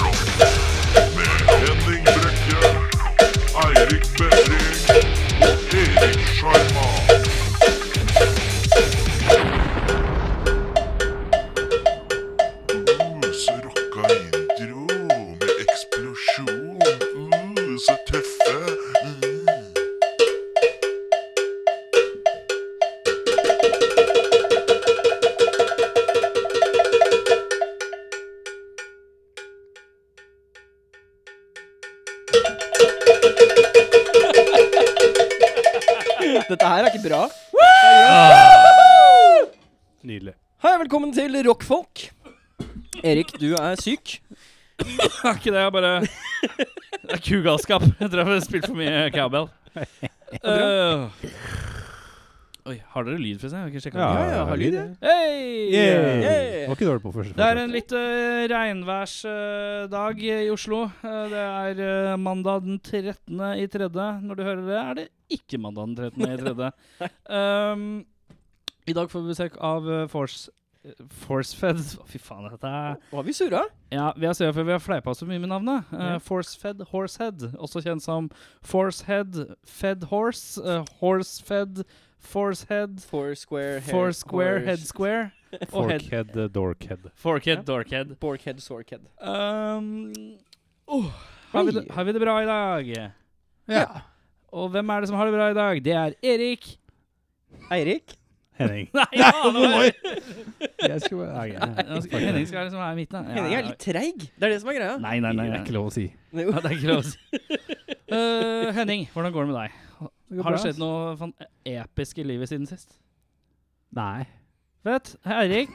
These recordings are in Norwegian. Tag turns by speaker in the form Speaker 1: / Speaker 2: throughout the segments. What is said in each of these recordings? Speaker 1: Rockfolk med Henning Brekke, Eirik Bevring og Erik Sjarma. Uh, så rocka intro med eksplosjon. Uh, så tøffe. Mm.
Speaker 2: Dette her er ikke bra.
Speaker 3: Nydelig.
Speaker 2: Hei, velkommen til Rockfolk. Erik, du er syk.
Speaker 3: Det er ikke det, jeg bare Det er kugalskap. Jeg tror jeg har spilt for mye cowbell. Øh. Oi, har dere lyd, forresten? Jeg har ikke sjekket
Speaker 2: Ja,
Speaker 3: det.
Speaker 2: ja, har lyd, jeg.
Speaker 3: Hei!
Speaker 2: Yay!
Speaker 4: Var ikke dårlig på første
Speaker 3: Det er en litt øh, regnværsdag i Oslo. Eh, det er eh, mandag den 13. i tredje. Når du hører det, er det ikke mandag den 13. i tredje. Um, I dag får vi besøk av eh, Force... Forcefed Fy faen, dette er
Speaker 2: Var vi surra?
Speaker 3: Ja, vi har, sett, for vi har fleipa så mye med navnet. Eh,
Speaker 2: Ja.
Speaker 3: Forcefed Horsehead, også kjent som Forcehead, Fed Horse, eh, Horsefed, Forcehead,
Speaker 2: Foursquare,
Speaker 3: Foursquare, Headsquare og head,
Speaker 4: Forkhead, eh, dorkhead.
Speaker 3: Forkhead,
Speaker 2: Ja.
Speaker 3: Dorkhead.
Speaker 2: Borkhead, sorkhead.
Speaker 3: Um, oh, har, vi det, har vi det bra i dag?
Speaker 4: Ja.
Speaker 3: Og hvem er det som har det bra i dag? Det er Erik.
Speaker 2: Eirik?
Speaker 4: Henning.
Speaker 3: Nei, ja, det var-
Speaker 4: Jeg skulle Nei,
Speaker 3: Nå skal- Henning skal liksom være i midten. da. Ja,
Speaker 2: Henning er litt treig. Det er det som er greia.
Speaker 3: Nei, nei, nei.
Speaker 4: Det er ikke lov å si.
Speaker 3: Ja, det er ikke lov å si. Eh, Henning, hvordan går det med deg? Har det skjedd noe fan episk i livet siden sist?
Speaker 4: Nei.
Speaker 3: Vet, Eirik.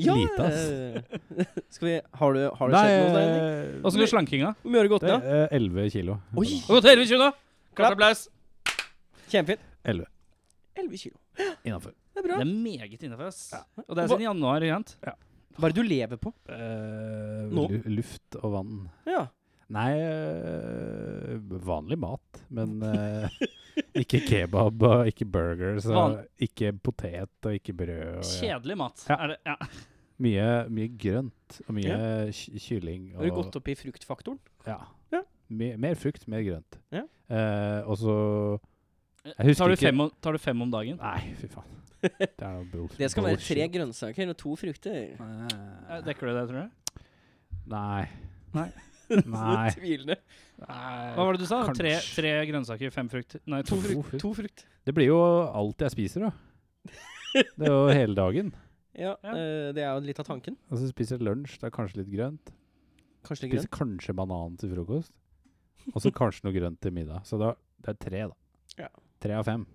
Speaker 2: Ja,
Speaker 4: Lite, ass.
Speaker 2: eh, Skal vi Har du, har du sett noe hos deg,
Speaker 3: eh,
Speaker 2: Henning?
Speaker 3: Åssen går slankinga?
Speaker 2: Hvor mye har du gått
Speaker 4: eh, Det
Speaker 2: ned?
Speaker 4: er 11 kilo.
Speaker 2: Oi,
Speaker 3: Har gått hele tjuna!
Speaker 2: Klapp.
Speaker 3: Kort applaus.
Speaker 2: kjempefint.
Speaker 4: 11
Speaker 2: 11 kilo.
Speaker 4: innafor.
Speaker 2: Det er bra.
Speaker 3: Det er meget innafor, ass. Og det er siden januar, ikke sant?
Speaker 2: Hva er det du lever på? Nå?
Speaker 4: Eh, Luft og vann.
Speaker 2: Ja.
Speaker 4: Nei eh, vanlig mat, men eh, ikke kebab og ikke burgers og
Speaker 3: Van-
Speaker 4: ikke potet og ikke brød. Og, ja.
Speaker 3: Kjedelig mat.
Speaker 4: Ja.
Speaker 3: Er det, ja.
Speaker 4: Mye, mye grønt og mye ky- kylling.
Speaker 2: Har du
Speaker 4: og-
Speaker 2: gått opp i fruktfaktoren?
Speaker 4: Ja.
Speaker 2: Ja.
Speaker 4: Me- mer frukt, mer grønt.
Speaker 2: Ja.
Speaker 4: Eh, og så husker
Speaker 3: Tar du,
Speaker 4: ikke-
Speaker 3: fem om, tar du fem om dagen?
Speaker 4: Nei, fy faen. Det er noe bull-
Speaker 2: Det skal være
Speaker 4: bullshit.
Speaker 2: tre grønnsaker og to frukter.
Speaker 3: Eh,
Speaker 4: Eh,
Speaker 3: Dekker du det, tror du?
Speaker 4: Nei.
Speaker 3: Nei.
Speaker 4: Nei.
Speaker 2: Tvilende.
Speaker 3: Hva var det du sa?
Speaker 4: Kanskje.
Speaker 3: Tre, tre grønnsaker, fem frukt Nei,
Speaker 2: To
Speaker 3: to frukt.
Speaker 2: frukt. To frukt.
Speaker 4: Det blir jo alt jeg spiser, da. Det er jo hele dagen.
Speaker 2: Ja,
Speaker 3: Ja.
Speaker 2: eh, det er jo litt av tanken.
Speaker 4: Og så spiser jeg lunsj. Det er kanskje litt grønt.
Speaker 2: Kanskje litt
Speaker 4: Spiser
Speaker 2: grønn.
Speaker 4: kanskje banan til frokost. Og så kanskje noe grønt til middag. Så da, det er tre, da.
Speaker 2: Ja.
Speaker 4: Tre av fem.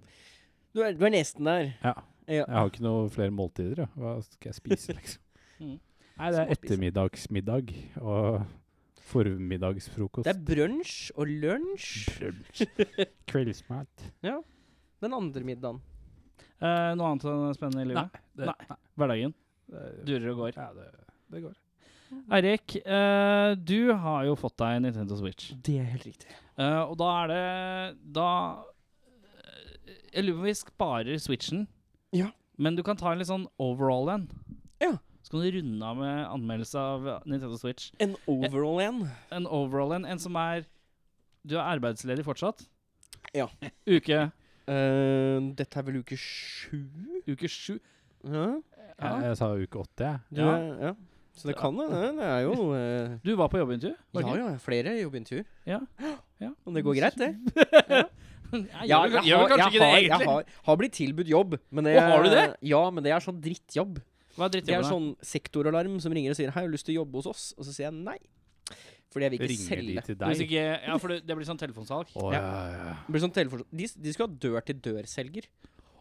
Speaker 2: Du er, du er nesten der.
Speaker 4: Ja.
Speaker 2: Ja.
Speaker 4: Jeg har ikke noe flere måltider, ja. Hva skal jeg spise, liksom?
Speaker 3: Mm.
Speaker 4: Nei, det er
Speaker 2: Småspise.
Speaker 4: ettermiddagsmiddag og formiddagsfrokost.
Speaker 2: Det er brunsj og lunsj
Speaker 4: Kveldsmat.
Speaker 2: den andre middagen.
Speaker 3: Eh, noe annet som er spennende i livet?
Speaker 4: det-
Speaker 3: Hverdagen
Speaker 4: Du-
Speaker 3: durer og går.
Speaker 4: Ja, det, det går.
Speaker 3: Eirik, eh, du har jo fått deg en Nintendo Switch.
Speaker 2: Det er helt riktig.
Speaker 3: Eh, og da er det Da eh, Jeg lurer på om vi sparer switchen.
Speaker 2: Ja.
Speaker 3: Men du kan ta en litt sånn overall en.
Speaker 2: Ja.
Speaker 3: Så kan du runde av med anmeldelse av Nintendo Switch.
Speaker 2: En overall en.
Speaker 3: En overall en, en som er Du er arbeidsledig fortsatt?
Speaker 2: Ja.
Speaker 3: Uke
Speaker 2: Eh, dette er vel uke sju?
Speaker 3: Uke sju? Eh,
Speaker 2: Ja.
Speaker 4: Jeg, jeg sa uke åtte, jeg.
Speaker 2: Du
Speaker 3: Ja.
Speaker 2: Er, ja. Så det kan det. Det det er jo eh,
Speaker 3: Du var på jobbintervju? var
Speaker 2: Ja
Speaker 3: ikke?
Speaker 2: ja, flere jobbintervjuer.
Speaker 3: Ja. ja.
Speaker 2: Om det går greit, det.
Speaker 3: Jeg
Speaker 2: Ja,
Speaker 3: Mm. gjør, vel-
Speaker 2: jeg
Speaker 3: gjør vel
Speaker 2: har- jeg
Speaker 3: kanskje ikke det,
Speaker 2: har- Jeg
Speaker 3: egentlig.
Speaker 2: har, har blitt tilbudt jobb. Men det,
Speaker 3: Å, har du det?
Speaker 2: Ja, men det er sånn drittjobb.
Speaker 3: Hva er
Speaker 2: Det er
Speaker 3: drittjobben? da?
Speaker 2: sånn sektoralarm som ringer og sier 'Hei, har du lyst til å jobbe hos oss?' Og så sier jeg nei. Fordi jeg vil ikke
Speaker 4: Ringer
Speaker 2: selge.
Speaker 4: de til
Speaker 3: Hvis
Speaker 4: deg?
Speaker 3: ikke Ja, for det, det blir sånn telefonsalg.
Speaker 4: Å, ja, ja.
Speaker 2: Det blir sånn telefon- de, de skulle ha dør-til-dør-selger.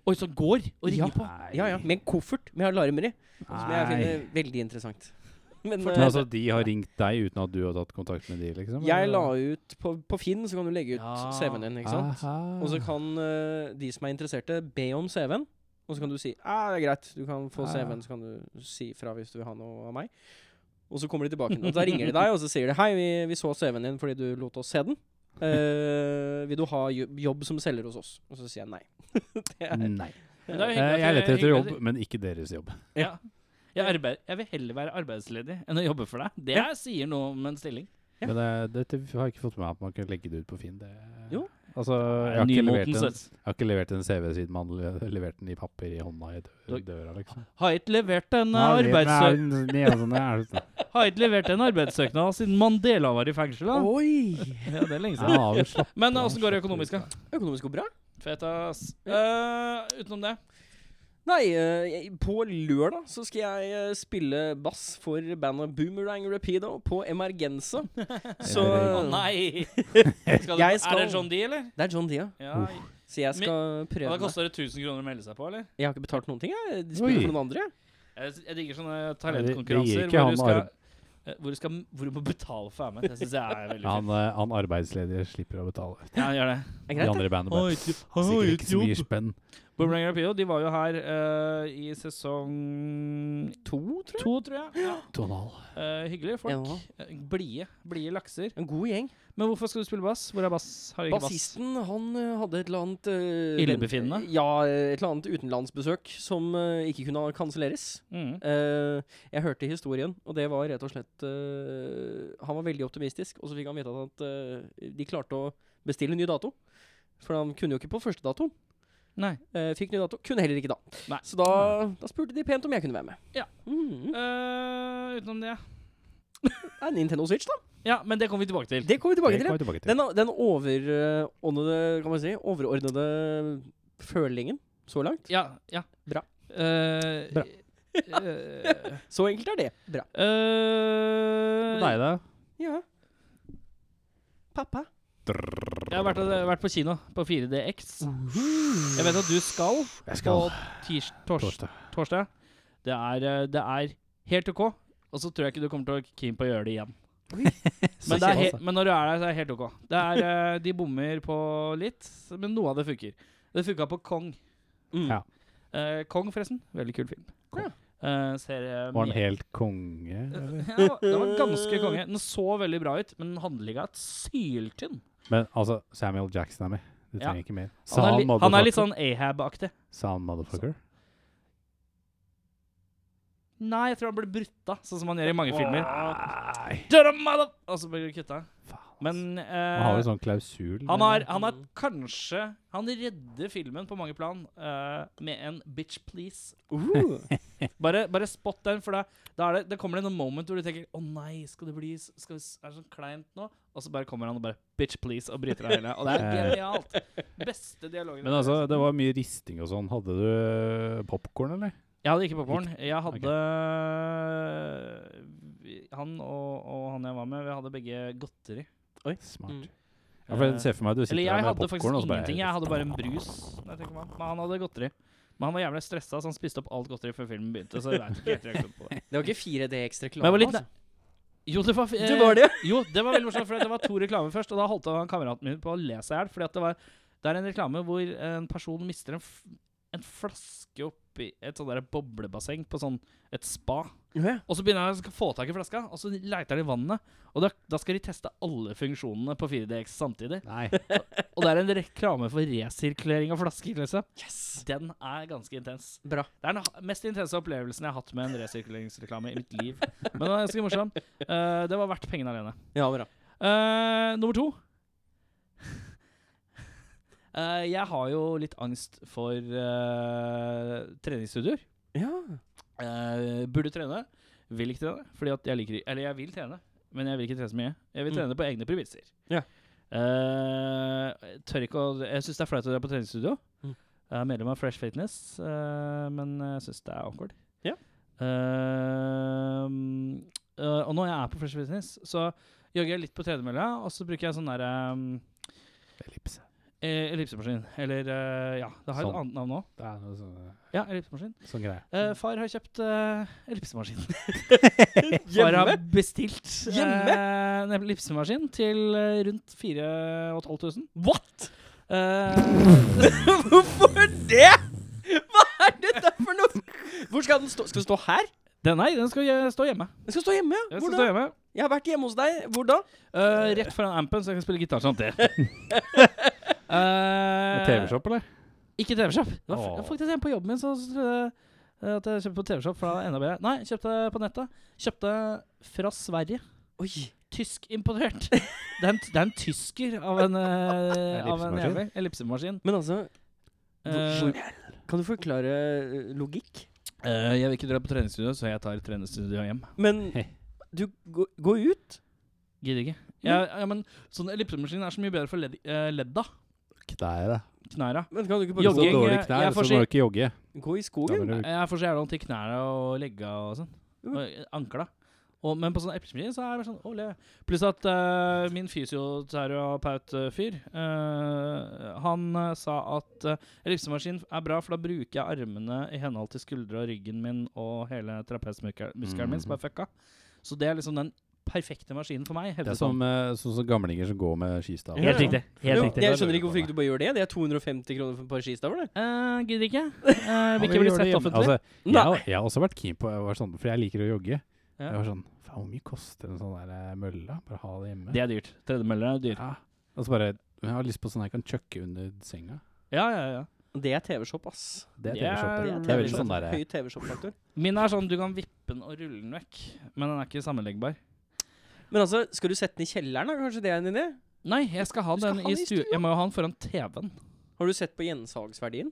Speaker 3: Oi, så går og
Speaker 2: Ja.
Speaker 3: ringer på.
Speaker 4: Nei.
Speaker 2: Ja, ja, Med en koffert med alarmer i. Som jeg
Speaker 4: Nei.
Speaker 2: finner veldig interessant. Men
Speaker 4: Men
Speaker 2: eh,
Speaker 4: altså, de har ringt deg uten at du har tatt kontakt med de, liksom?
Speaker 2: jeg la ut på, på Finn, så kan du legge ut
Speaker 3: Ja.
Speaker 2: CV-en din. ikke sant? Og så kan eh, de som er interesserte, be om CV-en. Og så kan du si ja, det er greit, du kan få
Speaker 4: Ja, ja.
Speaker 2: CV-en, så kan du si fra hvis du vil ha noe av meg. Og så kommer de tilbake, og da ringer de deg og så sier de hei, vi, vi så CV-en din fordi du lot oss se den. Eh, vil du ha jo- jobb som selger hos oss? Og så sier jeg nei. det er,
Speaker 4: Nei.
Speaker 2: Mm.
Speaker 3: Men det er jo hyggelig
Speaker 4: Eh,
Speaker 3: at
Speaker 4: Jeg
Speaker 3: det-
Speaker 4: leter etter
Speaker 3: hyggelig at
Speaker 4: jobb, men ikke deres jobb.
Speaker 3: Ja. Jeg, arbeid, jeg vil heller være arbeidsledig enn å jobbe for deg. Det
Speaker 2: Ja.
Speaker 3: sier noe om en stilling.
Speaker 2: Ja.
Speaker 4: Men eh, dette har jeg ikke fått med meg at man kan legge det ut på Finn. Det,
Speaker 2: Jo.
Speaker 4: Altså, jeg har, ikke levert en,
Speaker 3: Nymotens søs.
Speaker 4: jeg har ikke levert en CV siden man le- leverte den i papir i hånda i dø-
Speaker 3: Du-
Speaker 4: døra, liksom.
Speaker 3: Har ikke levert en eh,
Speaker 4: Nei, det er-
Speaker 3: arbeidssø-
Speaker 4: det er sånn det er, sånn.
Speaker 3: har ikke levert en arbeidssøknad siden Mandela var i fengsel. Da.
Speaker 2: Oi!
Speaker 3: Ja, det er lenge
Speaker 4: Ja,
Speaker 3: siden.
Speaker 4: har vi slapp-
Speaker 3: Men eh, åssen går det økonomisk, da?
Speaker 2: Økonomisk går bra.
Speaker 3: Fett, ass. Eh, utenom det.
Speaker 2: Nei, eh, jeg- på lørdag så skal jeg eh, spille bass for bandet Boomerang Rapido på Emergenza. Så
Speaker 4: Å,
Speaker 3: Nei! Skal du,
Speaker 2: Jeg skal-
Speaker 3: Er det John D, eller?
Speaker 2: eh, Det er John Dia.
Speaker 3: Ja.
Speaker 2: Så jeg
Speaker 3: Men-
Speaker 2: skal prøve
Speaker 3: Og da
Speaker 2: meg.
Speaker 3: koster det 1000 kroner å melde seg på, eller?
Speaker 2: Jeg har ikke betalt noen ting, jeg. De spiller
Speaker 4: Oi.
Speaker 2: for noen andre. jeg.
Speaker 3: Jeg, jeg digger sånne
Speaker 4: det
Speaker 3: talentkonkurranser
Speaker 4: gir ikke
Speaker 3: hvor, du
Speaker 4: han
Speaker 3: skal- eh, hvor, du skal- hvor du må betale for å være med. Det syns jeg er veldig fint.
Speaker 4: Han, eh, han arbeidsledige slipper å betale.
Speaker 3: Ja, han gjør det.
Speaker 2: Er
Speaker 4: De
Speaker 2: greit, det?
Speaker 4: andre i bandet bare Sikkert ikke så mye spenn.
Speaker 3: Boomerang Rapido de var jo her eh, i sesong
Speaker 2: To, tror jeg.
Speaker 3: to, tror jeg. Ja.
Speaker 4: Donald.
Speaker 3: Eh, hyggelige folk.
Speaker 2: Ja.
Speaker 3: Eh, Blide. Blide lakser.
Speaker 2: En god gjeng.
Speaker 3: Men hvorfor skal du spille bass? Hvor er bass? Har jeg ikke bass?
Speaker 2: Bassisten han eh, hadde et eller annet eh,
Speaker 3: Illebefinnende?
Speaker 2: ven- Ja, eh, et eller annet utenlandsbesøk som eh, ikke kunne kanselleres.
Speaker 3: Mm.
Speaker 2: Eh, jeg hørte historien, og det var rett og slett eh, Han var veldig optimistisk, og så fikk han vite at eh, de klarte å bestille ny dato. For han kunne jo ikke på første dato.
Speaker 3: Nei.
Speaker 2: Eh, fikk ny dato. Kunne heller ikke da.
Speaker 3: Nei.
Speaker 2: Så da, da spurte de pent om jeg kunne være med.
Speaker 3: Ja.
Speaker 2: Mm.
Speaker 3: Eh, utenom det.
Speaker 2: Det er Nintendo Switch, da.
Speaker 3: Ja, men det kommer vi tilbake til.
Speaker 2: Det kommer vi tilbake
Speaker 4: Det
Speaker 2: til. ja.
Speaker 4: kommer vi tilbake til.
Speaker 2: Den, den overordnede, kan man si, overordnede følingen så langt.
Speaker 3: Ja. ja.
Speaker 2: Bra.
Speaker 3: Eh,
Speaker 4: Bra.
Speaker 3: eh,
Speaker 2: Så enkelt er det. Bra.
Speaker 3: eh,
Speaker 4: Nei da.
Speaker 2: Ja. Pappa.
Speaker 3: Jeg har vært, eh, vært på kino på 4DX.
Speaker 2: Uhuh.
Speaker 3: Jeg vet at du skal,
Speaker 4: Jeg skal
Speaker 3: på tirs, tors,
Speaker 4: torsdag.
Speaker 3: torsdag. Det er, eh, det er helt OK. Og så tror jeg ikke du kommer til å være keen på å gjøre det igjen. Men, det er
Speaker 4: Altså.
Speaker 3: he, men når du er der, så er det helt OK. Det er, eh, de bommer på litt, men noe av det funker. Det funka på Kong.
Speaker 2: Mm.
Speaker 4: Ja.
Speaker 3: Eh, Kong, forresten. Veldig kul film.
Speaker 2: Kong.
Speaker 3: Eh, ser, eh,
Speaker 4: Var han
Speaker 3: mye-
Speaker 4: helt konge? eller?
Speaker 3: ja, Den var ganske konge. Den så veldig bra ut, men handlinga er syltynn.
Speaker 4: Men altså, Samuel Jackson er med. Du
Speaker 3: Ja.
Speaker 4: trenger ikke mer. Sa
Speaker 3: Han, er
Speaker 4: han,
Speaker 3: li- han er litt
Speaker 4: motherfucker?
Speaker 3: sånn Ahab-aktig.
Speaker 4: Sa han motherfucker?
Speaker 3: Nei, jeg tror han ble brutta, sånn som han gjør i mange filmer.
Speaker 4: Nei.
Speaker 3: Døra, mother- Og så blir det kutta.
Speaker 4: Faen.
Speaker 3: Men eh,
Speaker 4: Han har jo sånn klausul.
Speaker 3: han
Speaker 4: eh,
Speaker 3: har, han har kanskje Han redder filmen på mange plan eh, med en 'bitch please'.
Speaker 2: Uh.
Speaker 3: Bare, bare spot den, for da, da, er det, da kommer det noen moment hvor du tenker 'Å nei, skal det bli s- skal det, s- Er det sånn kleint nå?' Og så bare kommer han og bare 'bitch please' og bryter av hele. Og det er
Speaker 4: Eh.
Speaker 3: genialt. Beste dialogen.
Speaker 4: Men altså, det var mye risting og sånn. Hadde du popkorn, eller?
Speaker 3: Jeg hadde ikke popkorn. Jeg hadde vi- Han og, og han jeg var med, vi hadde begge godteri.
Speaker 4: Smart.
Speaker 2: Mm.
Speaker 4: Ja, for jeg ser for meg at du sitter
Speaker 3: Eh, Eller
Speaker 4: der
Speaker 3: jeg
Speaker 4: med
Speaker 3: hadde faktisk
Speaker 4: popkorn og så bare
Speaker 3: ingenting. Jeg hadde bare en brus. Når jeg tenker meg om. Men han hadde godteri. Men han var jævlig stressa, så han spiste opp alt godteri før filmen begynte. Så jeg vet ikke helt reaksjonen på det.
Speaker 2: Det var ikke altså. 4D ekstra
Speaker 3: Men jeg var
Speaker 2: reklame,
Speaker 3: litt Jo, det var, eh,
Speaker 2: Det var det.
Speaker 3: Jo, det var veldig morsomt, for det var to reklamer først, og da holdt han kameraten min på å le seg i hjel. fordi at det var- Det er en reklame hvor en person mister en, f en flaske oppi et sånn der boblebasseng på sånn et spa.
Speaker 2: Ja.
Speaker 3: Og så begynner han å skal få tak i flaska, og så leter han i vannet. Og da, da skal de teste alle funksjonene på 4DX samtidig.
Speaker 4: Nei.
Speaker 3: Og det er en reklame for resirkulering av flasker. Liksom.
Speaker 2: Yes!
Speaker 3: Den er ganske intens.
Speaker 2: Bra.
Speaker 3: Det er den ha- mest intense opplevelsen jeg har hatt med en resirkuleringsreklame i mitt liv. Men den er ganske morsom. Eh, det var verdt pengene alene.
Speaker 2: Ja, bra.
Speaker 3: Eh, nummer to. Eh, jeg har jo litt angst for eh, treningsstudioer.
Speaker 2: Ja.
Speaker 3: Eh, burde trene. Vil ikke trene. Fordi at jeg liker Eller jeg vil trene, men jeg vil ikke trene så mye. Jeg vil
Speaker 2: Mm.
Speaker 3: trene på egne premisser.
Speaker 2: Ja.
Speaker 3: Eh, jeg tør ikke å Jeg syns det er flaut å dra på treningsstudio.
Speaker 2: Mm.
Speaker 3: Jeg er medlem av Fresh Fitness, eh, men jeg syns det er awkward.
Speaker 2: Ja.
Speaker 3: Eh, eh, og når jeg er på Fresh Fitness, så jogger jeg litt på tredemølla, og så bruker jeg sånn derre
Speaker 4: Ellipse.
Speaker 3: Ellipsemaskin. Eller eh, ja, det har
Speaker 4: Sånn.
Speaker 3: et annet navn òg.
Speaker 4: Det er noe sånn,
Speaker 3: Ja, ellipsemaskin.
Speaker 4: sånn greie.
Speaker 3: Eh, far har kjøpt eh, ellipsemaskin. Far har
Speaker 2: Hjemme?
Speaker 3: bestilt eh,
Speaker 2: Hjemme?
Speaker 3: en ellipsemaskin til eh, rundt 4500.
Speaker 2: What?!
Speaker 3: Eh,
Speaker 2: Hvorfor det?! Hva er skal den stå? Skal den stå her?
Speaker 3: Den, nei, den skal jeg stå hjemme.
Speaker 2: Den skal stå hjemme, ja.
Speaker 3: Jeg
Speaker 2: Hvor
Speaker 3: skal
Speaker 2: da?
Speaker 3: stå hjemme.
Speaker 2: Jeg har vært hjemme hos deg. Hvor da?
Speaker 3: Eh, rett foran ampen, så jeg kan spille gitar samtidig.
Speaker 4: Med
Speaker 3: Eh,
Speaker 4: TV-shop, eller?
Speaker 3: Ikke TV-shop. Det var f-
Speaker 4: Åh.
Speaker 3: det var faktisk en på jobben min som trodde eh, at jeg kjøpte på TV-shop fra NAB. Nei, kjøpte på nettet. Kjøpte fra Sverige.
Speaker 2: Oi.
Speaker 3: Tyskimportert. Det er en, det er en tysker av en, eh, av en
Speaker 4: Ellipsemaskin.
Speaker 3: jævel. Ellipsemaskin.
Speaker 2: Men altså,
Speaker 3: Eh,
Speaker 2: hvor, hvor, kan du forklare eh, logikk?
Speaker 3: eh, jeg vil ikke dra på treningsstudio, så jeg tar treningsstudio hjem.
Speaker 2: Men
Speaker 4: Heh.
Speaker 2: du gå- gå ut?
Speaker 3: Gidder ikke. Ja, ja, men sånn ellipsemaskin er så mye bedre for ledd, eh, ledda.
Speaker 4: Knæra.
Speaker 3: Knæra.
Speaker 2: Men kan du ikke bare
Speaker 4: Hvis du har
Speaker 3: Jogging,
Speaker 2: gå,
Speaker 4: dårlige
Speaker 3: eh,
Speaker 4: knær,
Speaker 3: jeg
Speaker 4: så
Speaker 3: får
Speaker 4: må
Speaker 3: si-
Speaker 4: du ikke jogge.
Speaker 2: gå i
Speaker 4: Da
Speaker 2: skogen?
Speaker 4: vil du-
Speaker 3: Eh, Jeg får så jævla vondt i knærne og legga og sånn.
Speaker 2: Mm.
Speaker 3: Og ankla. Og, men på sånn eplemaskin så er det sånn olje. Pluss at eh, min fysioterapeut-fyr, eh, han eh, sa at uh, ellipsemaskin er bra, for da bruker jeg armene i henhold til skuldra og ryggen min og hele trapesmuskelen min, som er fucka. Så det er liksom den perfekte maskinen for meg.
Speaker 4: Det
Speaker 3: hevdet
Speaker 4: er som,
Speaker 3: han.
Speaker 4: eh, sånn som gamlinger som går med skistav.
Speaker 2: Helt riktig.
Speaker 4: Helt
Speaker 2: Jo,
Speaker 4: riktig.
Speaker 2: Jeg skjønner ikke hvorfor ikke du bare gjør det. Det er 250 kroner for et par skistaver, det.
Speaker 3: Eh, Gidder ikke. Eh, vil ikke bli sett offentlig.
Speaker 4: Altså, jeg,
Speaker 2: Nei.
Speaker 4: har- jeg har også vært keen på jeg var sånn, For jeg liker å jogge.
Speaker 3: Ja.
Speaker 4: Jeg var sånn Faen, hvor mye koster en sånn der eh, mølle? da? Bare ha det hjemme.
Speaker 3: det er dyrt. Tredemøller er dyrt.
Speaker 4: ja. Og så bare Jeg har lyst på sånn jeg kan chucke under senga.
Speaker 3: Ja, ja, ja.
Speaker 2: Det er TV-shop, ass.
Speaker 4: Det er
Speaker 3: Det er-
Speaker 2: Det
Speaker 4: TV-shop. Det.
Speaker 2: er
Speaker 4: det er veldig
Speaker 2: TV-shop.
Speaker 4: sånn derre
Speaker 2: Høy TV-shop-faktor.
Speaker 3: Min er sånn du kan vippe den og rulle den vekk, men den er ikke sammenleggbar.
Speaker 2: Men altså, skal du sette den i kjelleren, da? Kanskje det er en idé?
Speaker 3: Nei, jeg skal ha
Speaker 2: Du skal
Speaker 3: den
Speaker 2: ha
Speaker 3: i
Speaker 2: den i
Speaker 3: stua. Jeg må jo ha den foran TV-en.
Speaker 2: Har du sett på gjensalgsverdien?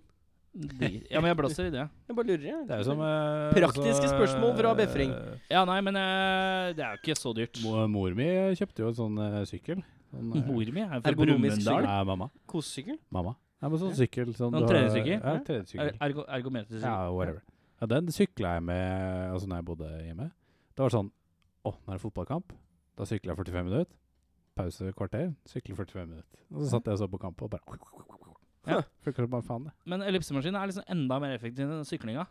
Speaker 3: Ja, men jeg blåser i det.
Speaker 2: Jeg bare lurer, jeg.
Speaker 4: Det er jo som
Speaker 3: eh,
Speaker 2: Praktiske
Speaker 3: altså,
Speaker 2: spørsmål fra Befring.
Speaker 3: Ja, nei, men eh, det er jo ikke så dyrt.
Speaker 4: Mo- Mor mi kjøpte jo en sånn eh, sykkel. Sånn, eh,
Speaker 3: Mor mi er fra
Speaker 2: Ergonomisk
Speaker 3: Brumunddal.
Speaker 4: Nei, mamma.
Speaker 2: Kosesykkel?
Speaker 4: Mamma. Nei, men sånn sykkel. Sånn, du
Speaker 3: Noen
Speaker 4: har-
Speaker 3: treningssykkel?
Speaker 4: Ja,
Speaker 2: Ja.
Speaker 4: treningssykkel.
Speaker 3: Er- Ergo, ergometrisk.
Speaker 4: Ja, whatever. Ja, den sykla jeg med altså når jeg bodde hjemme. Det var sånn Å, nå er det fotballkamp. Da sykler jeg 45 minutter. Pause kvarter. Sykler 45 minutter. Og så satt jeg og så på kamp og bare
Speaker 3: Ja.
Speaker 4: ja. Funker som bare faen, det.
Speaker 3: Men ellipsemaskinen er liksom enda mer effektiv enn syklinga.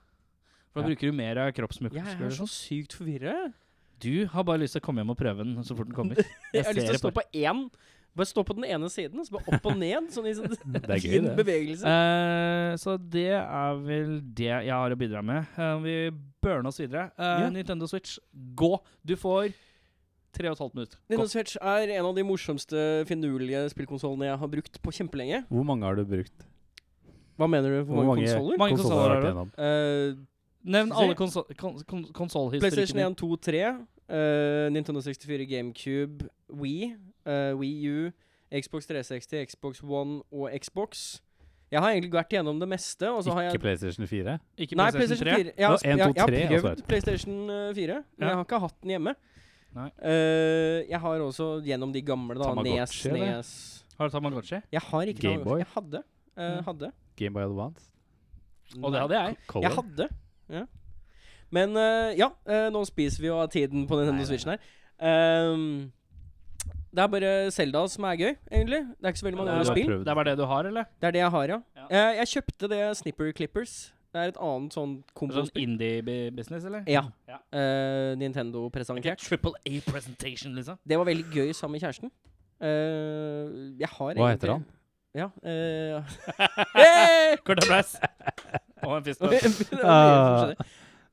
Speaker 3: For da
Speaker 4: Ja.
Speaker 3: bruker du mer av
Speaker 2: Jeg er
Speaker 3: kroppsmuskler.
Speaker 2: så
Speaker 4: sånn?
Speaker 2: sykt forvirra. jeg.
Speaker 3: sånn. Du har bare lyst til å komme hjem og prøve den så fort den kommer.
Speaker 2: Jeg har lyst til
Speaker 3: ser
Speaker 2: å stå
Speaker 3: det
Speaker 2: på én. Bare stå på den ene siden, og så bare opp og ned. Sånn i sånn
Speaker 4: Det er gøy,
Speaker 2: fin
Speaker 4: det.
Speaker 2: bevegelse.
Speaker 3: Eh, så det er vel det jeg har å bidra med. Eh, vi burner oss videre. Eh,
Speaker 2: Ja.
Speaker 3: Nintendo Switch, gå! Du får tre og et halvt minutt. Gå.
Speaker 2: Nintendo Switch er en av de morsomste, finurlige spillkonsollene jeg har brukt på kjempelenge.
Speaker 4: Hvor mange har du brukt?
Speaker 2: Hva mener du? Hvor mange, konsoller?
Speaker 3: Mange
Speaker 4: konsoller har
Speaker 3: konsoller
Speaker 4: du
Speaker 3: har du?
Speaker 4: vært igjennom?
Speaker 2: Eh,
Speaker 3: Nevn
Speaker 2: Skal vi
Speaker 3: alle
Speaker 2: se.
Speaker 3: konso- kon- kon-
Speaker 2: PlayStation
Speaker 3: konsollhistorikken.
Speaker 2: 1, 2, 3. eh, Nintendo 64, GameCube, Wii, uh, Wii U, Xbox 360, Xbox One og Xbox. Jeg har egentlig vært gjennom det meste. Og så har jeg
Speaker 4: Ikke PlayStation 4?
Speaker 3: Ikke
Speaker 2: Nei, PlayStation 4. Jeg har,
Speaker 4: Det var en,
Speaker 2: jeg,
Speaker 4: to,
Speaker 2: jeg
Speaker 4: tre,
Speaker 2: har
Speaker 4: altså,
Speaker 2: prøvd
Speaker 4: vet du.
Speaker 2: PlayStation eh, 4, men
Speaker 3: Ja.
Speaker 2: jeg har ikke hatt den hjemme.
Speaker 3: Nei.
Speaker 2: Eh, jeg har også gjennom de gamle, da. E
Speaker 4: Tamagotchi,
Speaker 2: Nes,
Speaker 4: eller?
Speaker 2: Nes
Speaker 3: Har du Tamagotchi?
Speaker 2: Jeg har ikke
Speaker 4: Game
Speaker 2: Tamagotchi.
Speaker 4: Boy?
Speaker 2: Jeg hadde. eh,
Speaker 3: Ja.
Speaker 2: hadde.
Speaker 4: Gameboy Advance?
Speaker 3: Og det hadde jeg.
Speaker 4: Color?
Speaker 2: Jeg hadde. Ja. Men eh, ja, eh, nå spiser vi jo av tiden på
Speaker 4: Nei, nei,
Speaker 2: Nintendo Switchen her. Ehm, det er bare Selda som er gøy, egentlig. Det er ikke så veldig
Speaker 3: Men
Speaker 2: mange
Speaker 3: det
Speaker 2: andre
Speaker 3: er
Speaker 2: spill.
Speaker 4: prøvd.
Speaker 3: Det er bare det du har, eller?
Speaker 2: Det er det jeg har, ja.
Speaker 3: Ja.
Speaker 2: Eh, jeg kjøpte det Snipper Clippers. Det er et annet sånn
Speaker 3: Sånn
Speaker 2: kombospill.
Speaker 3: indie-business, eller?
Speaker 2: Ja.
Speaker 3: Ja.
Speaker 2: Eh, Nintendo presentert.
Speaker 3: Triple A-presentation, liksom.
Speaker 2: Det var veldig gøy sammen med kjæresten. Eh, jeg har
Speaker 4: Hva
Speaker 2: egentlig-
Speaker 4: heter han?
Speaker 2: Ja, eh, Hey!
Speaker 3: Kort applaus! Og en fist
Speaker 2: Det
Speaker 3: bump.
Speaker 2: er mye som skjedde.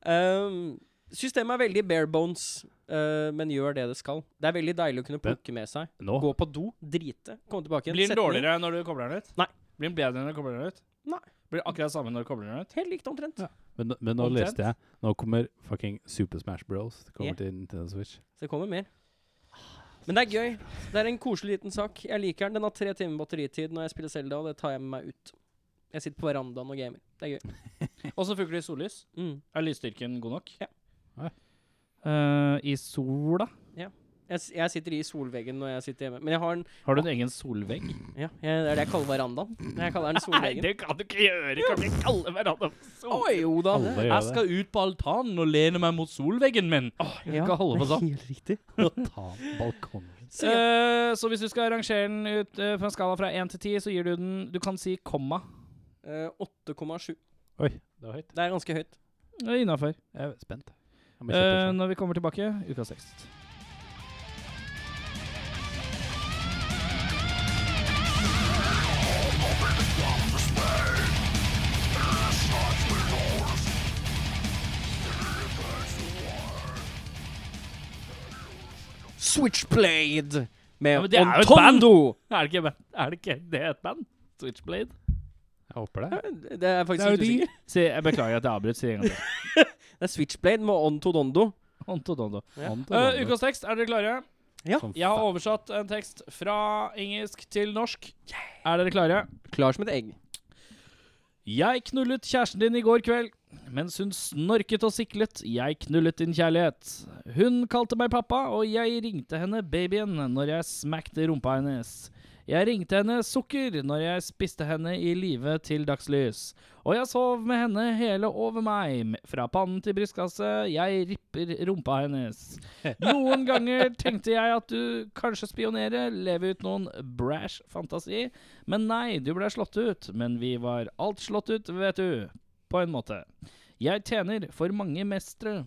Speaker 2: Um, systemet er veldig bare bones, eh, men gjør det det skal. Det er veldig deilig å kunne plukke med seg.
Speaker 4: Nå?
Speaker 2: Gå på do, drite, komme tilbake igjen.
Speaker 3: Blir den
Speaker 2: sette ned.
Speaker 3: dårligere når du kobler den ut?
Speaker 2: Nei.
Speaker 3: Blir den bedre når du kobler den ut?
Speaker 2: Nei.
Speaker 3: Blir akkurat det samme når du kobler den ut?
Speaker 2: Helt likt omtrent.
Speaker 4: Ja. Men, nå- men nå
Speaker 3: Omtrent.
Speaker 4: leste jeg Nå kommer fucking Super Smash Bros. Det kommer
Speaker 2: Ja.
Speaker 4: til Nintendo Switch.
Speaker 2: Så det kommer mer. Men det er gøy. Det er en koselig liten sak. Jeg liker den. Den har tre timer batteritid når jeg spiller Zelda, og det tar jeg med meg ut. Jeg sitter på verandaen og gamer. Det er gøy.
Speaker 3: Og så funker det i sollys.
Speaker 2: Mm.
Speaker 3: Er lysstyrken god nok?
Speaker 2: Ja.
Speaker 4: Nei.
Speaker 3: Eh, I sola?
Speaker 2: Jeg, s- jeg sitter i solveggen når jeg sitter hjemme. Men jeg har en
Speaker 3: Har du en egen solvegg?
Speaker 2: Ja, jeg, det er det jeg kaller verandaen. Jeg kaller den solveggen.
Speaker 3: kan du ikke gjøre! Du kan ikke kalle hverandre
Speaker 2: Å, jo da.
Speaker 4: Alle
Speaker 2: det-
Speaker 4: gjør
Speaker 3: Jeg
Speaker 4: det.
Speaker 3: skal ut på altanen og lene meg mot solveggen min.
Speaker 2: ja,
Speaker 3: skal holde
Speaker 2: det er
Speaker 3: på sånn.
Speaker 2: Helt riktig.
Speaker 4: Ta balkongen.
Speaker 2: Så ja.
Speaker 3: Eh, så hvis du skal rangere den ut eh, fra en skala fra 1 til 10, så gir du den Du kan si komma.
Speaker 2: Eh, 8,7.
Speaker 4: Oi, det var høyt.
Speaker 2: Det er ganske høyt.
Speaker 3: Eh, Innafor.
Speaker 4: Jeg er spent. Jeg må kjappe
Speaker 3: Uh,
Speaker 4: oss.
Speaker 3: når vi kommer tilbake, uka 6.
Speaker 2: Switchblade med
Speaker 3: Ja, men det er jo et
Speaker 2: Ontondo.
Speaker 3: Er det ikke, er det, ikke det et band? Switchblade?
Speaker 4: Jeg håper det.
Speaker 2: Det er
Speaker 4: Det er
Speaker 2: faktisk
Speaker 4: jo
Speaker 2: litt
Speaker 4: de.
Speaker 2: usikker.
Speaker 3: Si, jeg beklager at jeg avbrøt. Si en gang til.
Speaker 2: Det er Switchblade med Ontodondo.
Speaker 3: Onto dondo.
Speaker 2: Ja.
Speaker 4: Anton
Speaker 3: Eh,
Speaker 4: Donner,
Speaker 3: ukas tekst, er dere klare?
Speaker 2: Ja.
Speaker 4: som
Speaker 3: Jeg har
Speaker 4: faen.
Speaker 3: oversatt en tekst fra engelsk til norsk. Er dere klare?
Speaker 2: Klar som et egg.
Speaker 3: Jeg knullet kjæresten din i går kveld. Mens hun snorket og siklet, jeg knullet din kjærlighet. Hun kalte meg pappa, og jeg ringte henne babyen når jeg smakte rumpa hennes. Jeg ringte henne sukker når jeg spiste henne i live til dagslys. Og jeg sov med henne hele over meg, m- fra pannen til brystkasse, jeg ripper rumpa hennes. Noen ganger tenkte jeg at du kanskje spionerer, leve ut noen brash fantasi, men nei, du ble slått ut. Men vi var alt slått ut, vet du. På en måte. Jeg tjener for mange mestre.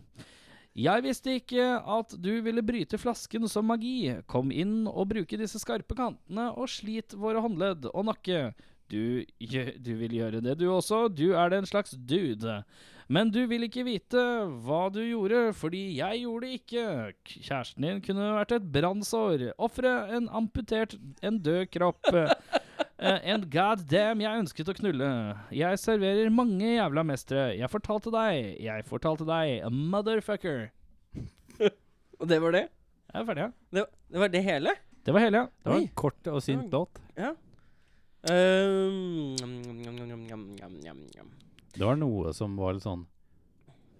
Speaker 3: Jeg visste ikke at du ville bryte flasken som magi. Kom inn og bruke disse skarpe kantene og slit våre håndledd og nakke. Du, gjø- du vil gjøre det, du også. Du er den slags dude. Men du vil ikke vite hva du gjorde, fordi jeg gjorde det ikke. K- Kjæresten din kunne vært et brannsår. Ofre en amputert, en død kropp. Eh, en god damn jeg ønsket å knulle. Jeg serverer mange jævla mestere. Jeg fortalte deg. Jeg fortalte deg. Motherfucker.
Speaker 2: Og det var det?
Speaker 3: Jeg er ferdig, ja.
Speaker 2: Det, det var det hele?
Speaker 3: Det var hele, ja.
Speaker 4: Det var
Speaker 2: Oi.
Speaker 4: en kort og sint låt.
Speaker 2: Um, njam, njam, njam, njam, njam, njam, njam.
Speaker 4: Det var noe som var litt sånn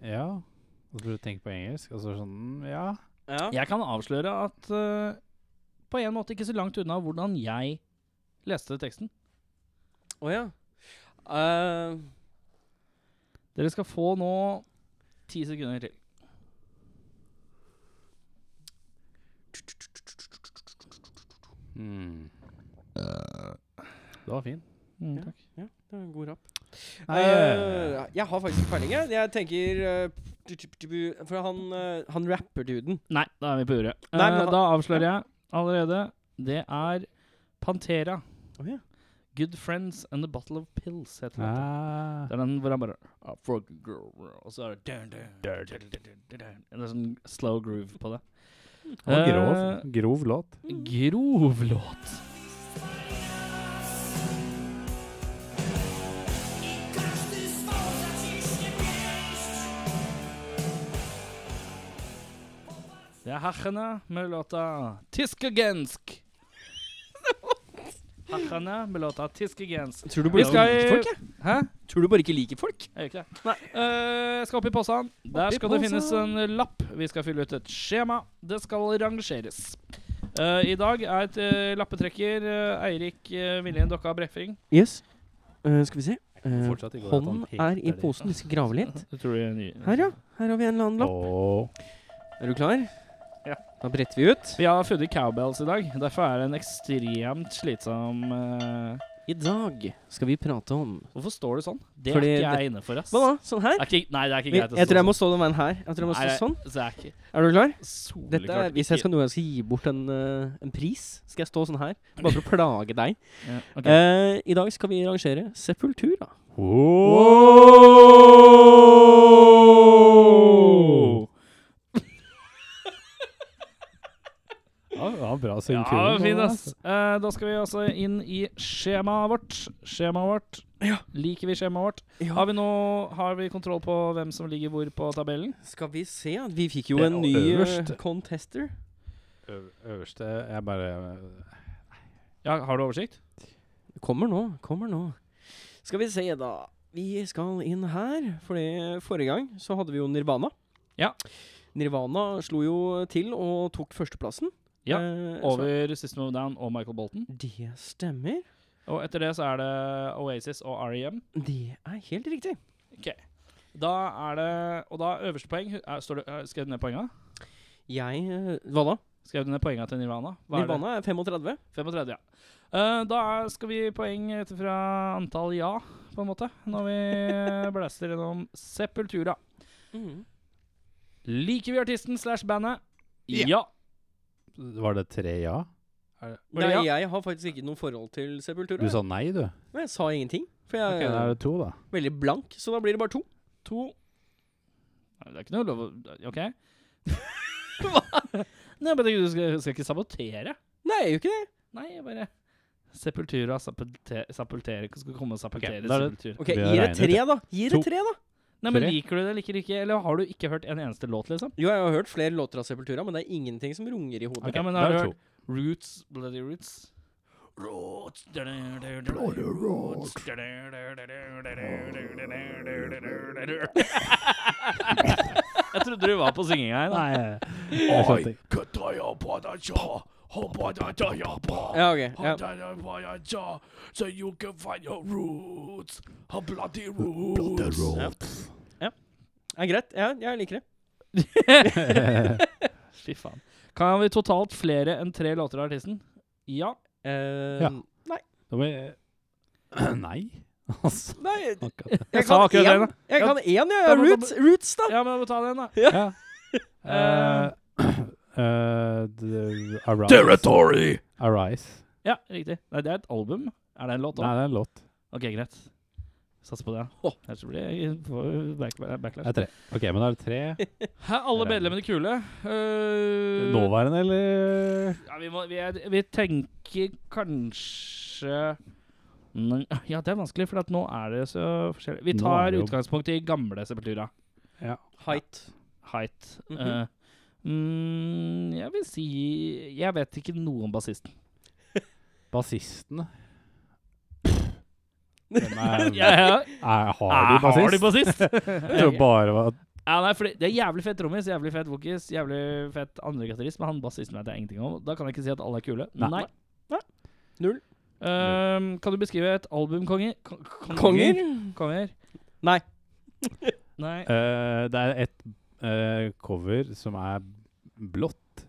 Speaker 4: Ja. Og så burde du tenke på engelsk. Og så var det sånn mm, Ja.
Speaker 2: Ja.
Speaker 3: Jeg kan avsløre at eh, på en måte ikke så langt unna hvordan jeg leste teksten.
Speaker 2: Å ja. Eh,
Speaker 3: Dere skal få nå ti sekunder til.
Speaker 4: Mm. Det var fin.
Speaker 3: Mm,
Speaker 2: Ja.
Speaker 3: takk.
Speaker 2: ja, det var en god rapp.
Speaker 4: Nei,
Speaker 2: Eh,
Speaker 4: eh,
Speaker 2: jeg har faktisk ikke peiling, jeg. Jeg tenker eh, tu- tu- tu- tu- For han, eh, han rapper-duden.
Speaker 3: Nei, da er vi på uret.
Speaker 2: Nei, men
Speaker 3: Eh,
Speaker 2: han-
Speaker 3: da avslører jeg allerede. Det er Pantera.
Speaker 2: Å ja.
Speaker 3: Good Friends and a Bottle of Pills heter det.
Speaker 4: ah.
Speaker 3: Det er den hvor han bare "A frog girl, girl", Og så er det dun, dun, dun, dun, dun, dun, dun, dun. Det er sånn slow groove på det.
Speaker 4: Det var grov, grov låt.
Speaker 3: Eh,
Speaker 2: Mm.
Speaker 3: grov låt. Det er Hachene med låta 'Tiskegensk'. Hachene med låta 'Tiskegensk'.
Speaker 2: Tror du
Speaker 3: Vi
Speaker 2: bare
Speaker 3: skal
Speaker 2: ikke
Speaker 3: i-
Speaker 2: liker folk, jeg?
Speaker 3: Hæ?
Speaker 2: Tror du bare ikke liker folk?
Speaker 3: Jeg gjør ikke det.
Speaker 2: Nei.
Speaker 3: Eh, jeg skal opp i posen. Der
Speaker 2: Opp i
Speaker 3: skal det finnes
Speaker 2: posen.
Speaker 3: en lapp. Vi skal fylle ut et skjema. Det skal rangeres. Eh, I dag er et eh, lappetrekker eh, Eirik uh, Viljen Dokka Breffing.
Speaker 2: Yes. Eh, skal vi se. Eh,
Speaker 4: Fortsatt ikke at han
Speaker 2: hånden er
Speaker 4: hekter
Speaker 2: i
Speaker 4: de.
Speaker 2: posen. Vi skal grave litt.
Speaker 3: Det tror jeg er ny.
Speaker 2: Her, ja. Her har vi en eller annen lapp.
Speaker 4: Åh.
Speaker 2: Er du klar?
Speaker 3: Ja.
Speaker 2: Da bretter vi ut.
Speaker 3: Vi har funnet cowbells i dag. Derfor er det en ekstremt slitsom eh,
Speaker 2: I dag skal vi prate om
Speaker 3: Hvorfor står det sånn? Det
Speaker 2: Fordi
Speaker 3: er ikke
Speaker 2: det-
Speaker 3: jeg inne for, ass.
Speaker 2: Hva da? Sånn her?
Speaker 3: Er ikke, nei, det er
Speaker 2: Vi,
Speaker 3: ikke greit. å
Speaker 2: jeg
Speaker 3: stå sånn.
Speaker 2: tror jeg må stå den veien her. Jeg tror jeg må
Speaker 3: Nei,
Speaker 2: stå sånn.
Speaker 3: det er ikke
Speaker 2: Er du klar?
Speaker 3: soleklart
Speaker 2: Dette er, hvis jeg skal noe jeg skal gi bort en, eh, en pris, skal jeg stå sånn her. Bare for å plage deg.
Speaker 3: ikke- ja, ok.
Speaker 2: Eh, I dag skal vi rangere Sepultura.
Speaker 4: Åh. Ja, det var bra altså.
Speaker 3: Ja,
Speaker 4: synkron.
Speaker 3: det var fint, ass. Eh, da skal vi altså inn i skjemaet vårt. Skjemaet vårt. Liker vi skjemaet vårt? Har vi, nå, har vi kontroll på hvem som ligger hvor på tabellen?
Speaker 2: Skal vi se Vi fikk jo
Speaker 4: Det er
Speaker 2: en
Speaker 4: jo
Speaker 2: ny eh,
Speaker 4: øverst.
Speaker 2: contester.
Speaker 4: Øv- Øverste Jeg bare
Speaker 3: Ja, Har du oversikt?
Speaker 2: Kommer nå, kommer nå. Skal vi se, da. Vi skal inn her, fordi forrige gang så hadde vi jo Nirvana.
Speaker 3: Ja.
Speaker 2: Nirvana slo jo til og tok førsteplassen.
Speaker 3: Ja,
Speaker 2: Eh, så-
Speaker 3: Over System of a Down og Michael Bolton.
Speaker 2: Det stemmer.
Speaker 3: Og etter det så er det Oasis og E REM.
Speaker 2: Det er helt riktig.
Speaker 3: Da er det Og da øverste poeng er, står det, er, Skrev du ned poenga?
Speaker 2: Jeg eh, Hva da?
Speaker 3: Skrev du ned poenga til Nirvana? Hva er det?
Speaker 2: Nirvana er 35.
Speaker 3: 35, ja. Eh, da er- skal vi poeng ut fra antall ja, på en måte, når vi eh, blaster gjennom Sepultura. Liker vi artisten slash bandet?
Speaker 4: Ja.
Speaker 3: Ja.
Speaker 4: Var det tre ja?
Speaker 3: Var
Speaker 2: Nei,
Speaker 3: det
Speaker 2: jeg har faktisk ikke noe forhold til Sepultura.
Speaker 4: Du sa nei, du.
Speaker 2: Men jeg sa ingenting. For jeg
Speaker 4: Ok, da er
Speaker 2: er
Speaker 4: det to, da.
Speaker 2: veldig blank, så da blir det bare to.
Speaker 3: To Nei, Det er ikke noe lov å OK? Nei, men du skal, skal ikke sabotere.
Speaker 2: Nei, jeg gjør ikke det.
Speaker 3: Nei, jeg bare Sepultura, sapulte- sapultere Skal komme og sapultere
Speaker 4: Ok, da er det-
Speaker 3: sepultur.
Speaker 2: Ok,
Speaker 4: Vi har
Speaker 2: Gi det
Speaker 4: regnet
Speaker 2: tre, da. Gi det
Speaker 4: To.
Speaker 2: tre, da.
Speaker 3: Nei, men
Speaker 4: Tre.
Speaker 3: Liker du det eller liker du ikke? Eller har du ikke hørt en eneste låt, liksom?
Speaker 2: Jo, jeg har hørt flere låter av Sepultura, men det er ingenting som runger i hodet.
Speaker 3: Ja, men
Speaker 4: da
Speaker 3: har
Speaker 4: er
Speaker 3: du
Speaker 4: det
Speaker 3: hørt Roots, Bloody Roots? Roots da, da, da, da, Bloody Roots da, da, da, da, da, da, da, da, da, da, da. Jeg trodde du var på synginga her.
Speaker 4: Jeg skjønte ikke.
Speaker 2: Ja, ok. Ja.
Speaker 5: So you can find your roots, her bloody roots.
Speaker 2: Ja, greit. Ja, jeg liker det.
Speaker 3: Fy faen. Kan vi totalt flere enn tre låter av artisten? Ja.
Speaker 2: Eh,
Speaker 4: Ja.
Speaker 2: Nei.
Speaker 4: Da må jeg Nei. Altså,
Speaker 2: nei jeg,
Speaker 4: akkurat. det.
Speaker 2: jeg
Speaker 3: sa
Speaker 2: kan
Speaker 3: akkurat det,
Speaker 2: én.
Speaker 3: da.
Speaker 2: Jeg kan én, ja.
Speaker 3: Da må- da
Speaker 2: Roots, roots, da.
Speaker 3: Ja, men da må vi ta den, da.
Speaker 4: Ja. Eh, eh, d- arise.
Speaker 5: Territory.
Speaker 4: arise.
Speaker 3: Ja, riktig. Nei, det er et album. Er det en låt
Speaker 4: Nei,
Speaker 3: da?
Speaker 4: det er en låt.
Speaker 3: Ok, greit. Satser på det.
Speaker 2: Åh.
Speaker 3: Ellers så blir jeg får back,
Speaker 4: Det
Speaker 3: backlash.
Speaker 4: er tre. Ok, men da er det tre
Speaker 3: Hæ, alle medlemmene kule. Eh,
Speaker 4: nåværende, eller
Speaker 3: Ja, vi, må, vi, er, vi tenker kanskje Men- Ja, det er vanskelig, for at nå er det så forskjellig. Vi
Speaker 4: Nå
Speaker 3: tar
Speaker 4: er det jo-
Speaker 3: utgangspunkt i gamle Sepultura.
Speaker 4: Ja.
Speaker 2: Height.
Speaker 3: Height.
Speaker 2: Mhm.
Speaker 3: Eh, mm, jeg vil si Jeg vet ikke noe om bassisten.
Speaker 4: Bassisten.
Speaker 3: Ja, ja.
Speaker 4: Er, har
Speaker 3: Ah,
Speaker 4: du bassist?
Speaker 3: bassist?
Speaker 4: Jeg tror bare det var
Speaker 3: Ja, nei, fordi Det er jævlig fett trommis, jævlig fett vokis, jævlig fett andregitarist, men han bassisten vet jeg ingenting om. Da kan jeg ikke si at alle er kule.
Speaker 4: Nei.
Speaker 2: Nei. Null.
Speaker 3: Ehm, kan du beskrive et album, konger? Ko- konger?
Speaker 2: Konger?
Speaker 3: Konger?
Speaker 2: Nei.
Speaker 3: Nei.
Speaker 4: Eh, Det er et eh, cover som er blått,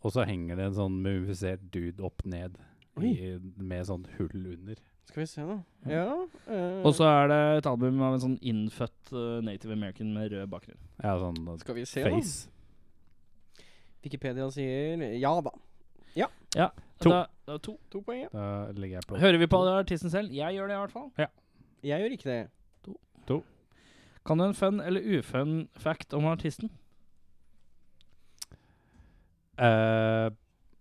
Speaker 4: og så henger det en sånn mumifisert dude opp ned i, med sånn hull under.
Speaker 2: Skal vi se, da. Ja eh,
Speaker 3: Og så er det et album av en sånn innfødt eh, native american med rød bakgrunn.
Speaker 4: Ja, sånn eh,
Speaker 2: Skal vi se, da.
Speaker 4: face.
Speaker 2: Wikipedia sier ja da.
Speaker 4: To.
Speaker 3: Da, da, to.
Speaker 2: To poeng. ja.
Speaker 4: Da legger jeg på
Speaker 3: Hører vi på artisten selv? Jeg gjør det, i hvert fall.
Speaker 2: Jeg gjør ikke det.
Speaker 3: Kan du en fun eller ufun fact om artisten?
Speaker 4: Eh,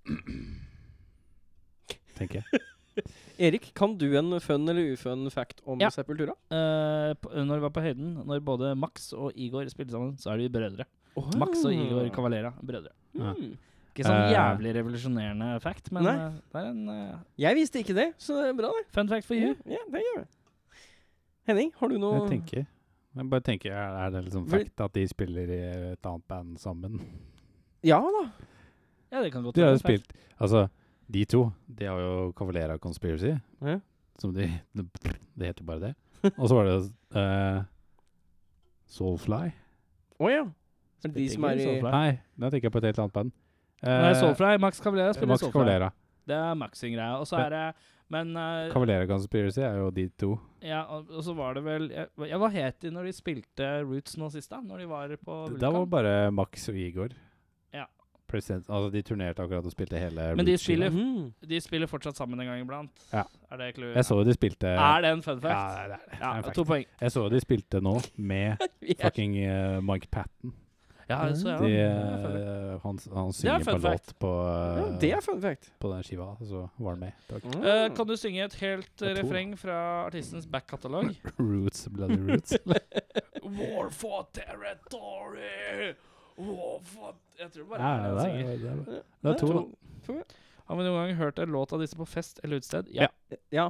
Speaker 4: Tenker jeg.
Speaker 2: Erik, kan du en fun eller ufun fact om
Speaker 3: Ja.
Speaker 2: Sepultura?
Speaker 3: Eh, på- når vi var på høyden, når både Max og Igor spilte sammen, så er de brødre. Max og Igor Cavalera, brødre.
Speaker 2: Mm.
Speaker 3: Ikke sånn
Speaker 4: Ah. Eh.
Speaker 3: jævlig revolusjonerende fact, men
Speaker 2: Nei.
Speaker 3: eh, det er en eh,
Speaker 2: Jeg visste ikke det, så det er bra, det.
Speaker 3: fun fact for
Speaker 2: Ja,
Speaker 3: you.
Speaker 2: ja, det gjør vi. Henning, har du noe
Speaker 4: Jeg tenker. Jeg bare tenker, er er det liksom
Speaker 2: Fordi-
Speaker 4: fact at de spiller i et annet band sammen?
Speaker 2: Ja da.
Speaker 3: Ja, det kan godt
Speaker 4: De har
Speaker 3: være
Speaker 4: jo
Speaker 3: en fact.
Speaker 4: spilt Altså, de to De har jo Cavalera Conspiracy.
Speaker 2: Ja.
Speaker 4: Som de Det heter bare det. Og så var det eh, Soulfly.
Speaker 2: Å ja. Er det de som er i
Speaker 3: Soulfly.
Speaker 4: Nei, da tenker jeg på et helt annet band. Eh,
Speaker 3: Nei, Soulfly, Max Cavalera
Speaker 4: eh,
Speaker 3: spiller
Speaker 4: Max
Speaker 3: Soulfly.
Speaker 4: Cavalera.
Speaker 3: Det er Max sin greie. Og så er det Men eh,
Speaker 4: Cavalera Conspiracy er jo de to.
Speaker 3: ja, og og så var det vel ja, ja, Hva het de når de spilte Roots nå sist, da? Når de var på
Speaker 4: Da var
Speaker 3: Vulkan?
Speaker 4: bare Max og Igor.
Speaker 3: Ja.
Speaker 4: Present, altså, de turnerte akkurat og spilte hele
Speaker 3: Men de
Speaker 4: Roots-skiva.
Speaker 3: spiller-
Speaker 2: Mm.
Speaker 3: De spiller fortsatt sammen en gang iblant.
Speaker 4: Ja.
Speaker 3: Er det clue?
Speaker 4: Jeg så jo de spilte
Speaker 3: Er det en fun fact?
Speaker 4: Ja, det er det.
Speaker 3: Ja,
Speaker 4: Det er en fact.
Speaker 3: to poeng.
Speaker 4: Jeg så de spilte nå med fucking eh, Mike Patten.
Speaker 3: Ja, det så jeg.
Speaker 4: De,
Speaker 3: Det er fun fact.
Speaker 4: eh, han, han synger
Speaker 3: fun
Speaker 4: på
Speaker 3: fact.
Speaker 4: låt på,
Speaker 2: Ja,
Speaker 4: eh,
Speaker 2: det er fun fact. Mm.
Speaker 4: på den skiva, og så var han med. Takk.
Speaker 3: Eh, kan du synge et helt eh,
Speaker 4: Jeg tror-
Speaker 3: refreng fra artistens backkatalog?
Speaker 4: Roots, Bloody Roots.
Speaker 5: War for territory. War for
Speaker 3: Jeg tror
Speaker 4: ja,
Speaker 3: bare det er det
Speaker 4: det,
Speaker 3: han synger.
Speaker 4: er, det, er,
Speaker 2: Ja,
Speaker 4: det er to. da.
Speaker 3: Har vi noen gang hørt en låt av disse på fest eller utested?
Speaker 4: Ja.
Speaker 2: Ja.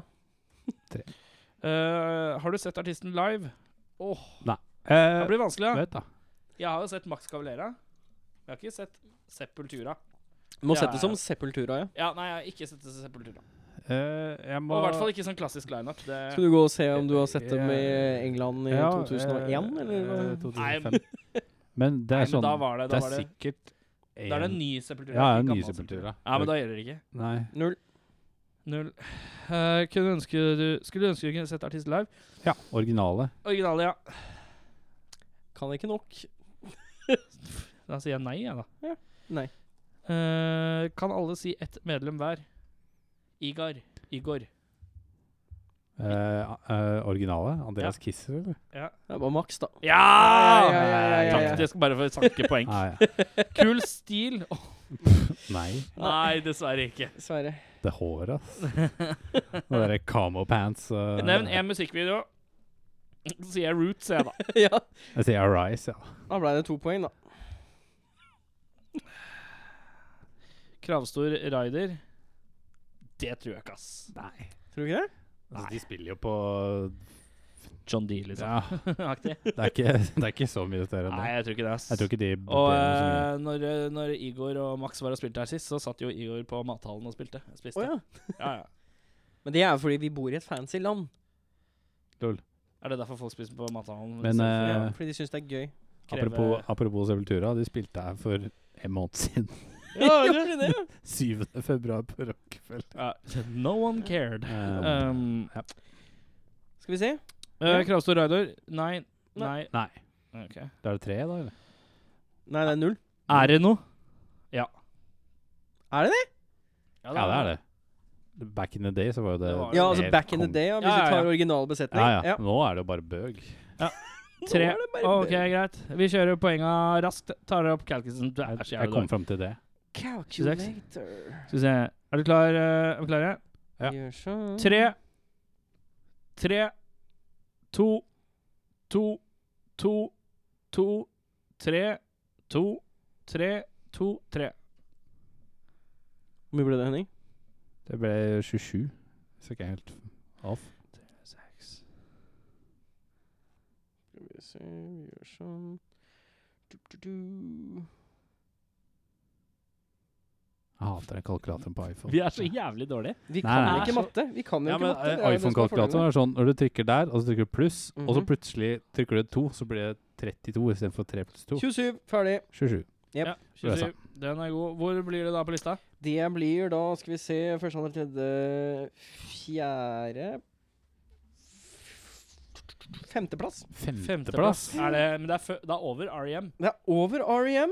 Speaker 3: Eh, har du sett artisten live? Åh,
Speaker 4: Eh,
Speaker 3: det blir vanskelig, ja.
Speaker 4: vet da.
Speaker 3: Jeg har jo sett Max Cavalera. Jeg har ikke sett Sepultura.
Speaker 2: Må
Speaker 3: Ja,
Speaker 2: sette
Speaker 3: ja.
Speaker 2: som Sepultura, ja.
Speaker 3: Ja, nei, jeg har ikke sett Sepultura.
Speaker 4: Eh, jeg må
Speaker 3: Og i hvert fall ikke sånn klassisk lineup. Det...
Speaker 2: Skal du gå og se om du har sett dem i England i
Speaker 4: Ja,
Speaker 2: 2001,
Speaker 4: eh,
Speaker 2: eller? hva?
Speaker 4: eh,
Speaker 3: Nei,
Speaker 4: 2005. Men det
Speaker 3: Nei,
Speaker 4: er
Speaker 3: men
Speaker 4: sånn
Speaker 3: da var det, da
Speaker 4: Det
Speaker 3: var
Speaker 4: er
Speaker 3: det,
Speaker 4: sikkert
Speaker 3: da er det
Speaker 4: en-
Speaker 3: en ny Sepultura.
Speaker 4: Ja,
Speaker 3: ikke
Speaker 4: en ny
Speaker 3: gammel
Speaker 4: Sepultura.
Speaker 3: Ja, men da gjelder det ikke.
Speaker 4: Nei.
Speaker 2: Null.
Speaker 3: Null. Eh, kunne ønske du, skulle du ønske du kunne sett artist live?
Speaker 4: Ja, originale.
Speaker 3: Originale, ja.
Speaker 2: Kan ikke nok.
Speaker 3: Da sier jeg nei, jeg, da.
Speaker 2: Nei.
Speaker 3: Eh, kan alle si ett medlem hver? Igar. Igor.
Speaker 4: Eh, eh, originale. Andreas Kisser, eller?
Speaker 2: Det er bare maks, da.
Speaker 3: Ja!
Speaker 2: Ja, ja, ja, ja, ja, ja.
Speaker 3: Taktisk, bare for å sanke poeng.
Speaker 4: Nei,
Speaker 3: Kul stil. Åh,
Speaker 4: Ah, Nei.
Speaker 3: Nei, dessverre ikke.
Speaker 2: Dessverre.
Speaker 4: Det håret, ass. Det derre camo pants. Uh,
Speaker 3: Nevn én musikkvideo. Så sier jeg Roots, jeg, da.
Speaker 2: ja.
Speaker 4: Jeg sier Arise, ja.
Speaker 2: Da ble det to poeng, da.
Speaker 3: Kravstor Rider. Det tror jeg ikke, ass.
Speaker 4: Nei.
Speaker 2: Tror du ikke det?
Speaker 4: Altså, de spiller jo på
Speaker 3: John Dee, liksom.
Speaker 4: Ja,
Speaker 3: Aktig.
Speaker 4: det er ikke, det er ikke så mye større enn
Speaker 3: Nei,
Speaker 4: det.
Speaker 3: jeg tror ikke det, ass.
Speaker 4: Jeg tror ikke de
Speaker 3: Og
Speaker 4: roterer så mye.
Speaker 3: eh, når, når Igor og Max var og spilte her sist, så satt jo Igor på mathallen og spilte. Spiste.
Speaker 2: Å ja.
Speaker 3: Ja, ja.
Speaker 2: Men det er jo fordi vi bor i et fancy land.
Speaker 3: Er det derfor folk spiser på mathallen?
Speaker 4: Men,
Speaker 3: istedenfor
Speaker 2: Ja,
Speaker 4: Eh.
Speaker 2: fordi de syns det er gøy.
Speaker 3: å kreve-
Speaker 4: Apropos, apropos Sepultura, de spilte her for en måned siden.
Speaker 2: Gjorde de det?
Speaker 4: 7. februar på Rockefeller.
Speaker 3: ja. No one cared.
Speaker 4: Eh,
Speaker 3: Um,
Speaker 2: Skal vi se.
Speaker 3: eh, Kravstor Reidar? Nei. Nei.
Speaker 4: nei.
Speaker 3: Ok.
Speaker 4: Da er det tre, da? eller?
Speaker 2: Nei, det er null.
Speaker 3: Er det noe?
Speaker 2: Er det det?
Speaker 4: Ja, det er det. Back in the day så var jo det
Speaker 3: Det var det.
Speaker 2: Ja, altså
Speaker 4: helt
Speaker 2: back in the
Speaker 4: kon-
Speaker 2: day, ja, hvis
Speaker 3: Ja, ja,
Speaker 2: du tar
Speaker 3: ja.
Speaker 2: original besetning.
Speaker 4: Ja, ja. Nå er det jo bare bøg.
Speaker 3: Tre.
Speaker 2: Nå er det bare
Speaker 3: Ok, greit. Vi kjører poenga raskt. Tar opp Calkisen. Du er
Speaker 4: Jeg,
Speaker 3: så
Speaker 4: jeg
Speaker 3: jævlig
Speaker 4: kom
Speaker 3: dårlig.
Speaker 4: fram til det.
Speaker 2: Calculator.
Speaker 3: Skal vi se. Er du klar? eh, Er vi klare?
Speaker 4: Ja.
Speaker 2: Gjør sånn.
Speaker 3: Tre. Tre. To. To. To. To. Tre. To. Tre. To. Tre.
Speaker 2: Hvor mye ble det, Henning?
Speaker 4: Det ble 27. Så ikke helt off.
Speaker 3: Seks.
Speaker 2: Skal vi se, vi gjør sånn du, du, du.
Speaker 4: Jeg hater den kalkulatoren på iPhone.
Speaker 3: Vi er så jævlig dårlige.
Speaker 2: Vi
Speaker 4: Nei,
Speaker 2: kan
Speaker 4: nei.
Speaker 2: ikke matte. Vi kan jo
Speaker 4: ja,
Speaker 2: ikke
Speaker 4: men eh,
Speaker 2: matte. det er jo det som er
Speaker 4: iPhone-kalkulatoren
Speaker 2: fordelen.
Speaker 4: er sånn når du trykker der, og så trykker du pluss, og så
Speaker 2: Mhm.
Speaker 4: plutselig trykker du to, så blir det 32 istedenfor 3 pluss 2.
Speaker 2: 27, ferdig.
Speaker 4: 27.
Speaker 2: Jep.
Speaker 3: Ja, 27. Den er god. Hvor blir det da på lista?
Speaker 2: Det blir da, skal vi se, første, andre, tredje, fjerde Femteplass.
Speaker 3: Mm,
Speaker 4: Femteplass.
Speaker 3: Er det, men det er, fø- det er over E REM.
Speaker 2: Det er over REM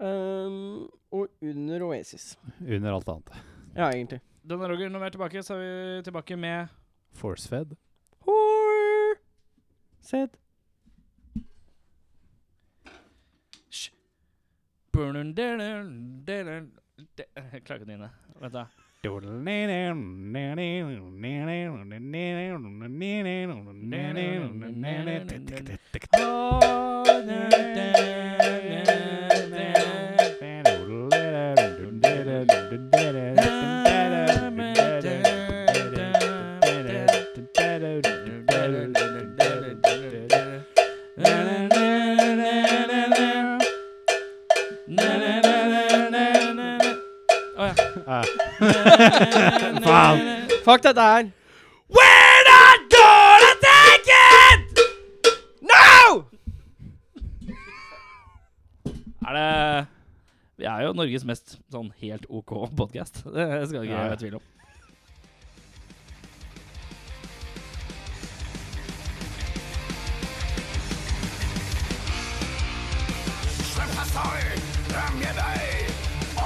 Speaker 2: ehm, og under Oasis.
Speaker 4: Under alt annet.
Speaker 2: Ja, egentlig.
Speaker 3: Den er Roger. Når vi er tilbake, så er vi tilbake med
Speaker 4: Forcefed.
Speaker 2: Whore. Sett.
Speaker 3: Burner, deler, deler, de- Jeg klarer ikke å nynne. Vent, da. Å ja.
Speaker 4: Faen!
Speaker 2: Fuck dette her.
Speaker 3: We're not gonna take it!
Speaker 2: No!
Speaker 3: Er det Vi er jo Norges mest sånn helt OK podkast. Det skal ikke
Speaker 4: Ja, ja.
Speaker 3: være tvil om.
Speaker 6: Przepasoj ramię daj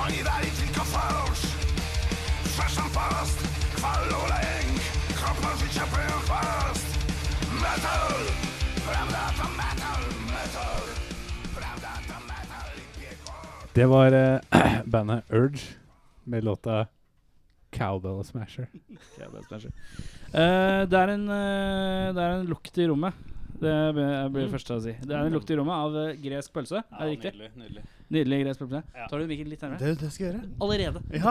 Speaker 6: Oni dali tylko fałsz Przeszłam fast Kwalu lęk Kropa życia byłem fast Metal Prawda to metal Metal Prawda to metal I piekło
Speaker 4: Det var eh, bandet Urge med låta Cowbell Smasher.
Speaker 3: Ok, det, er spennende. Eh, det, er en, eh, det er en lukt i rommet. Det be- jeg blir først til å si. Det er en lukt i rommet av eh, gresk pølse. er Mm. det riktig? Nydelig, nydelig. gresk pølse. Tar du mikken litt nærmere?
Speaker 7: Det, det skal jeg gjøre.
Speaker 3: Allerede.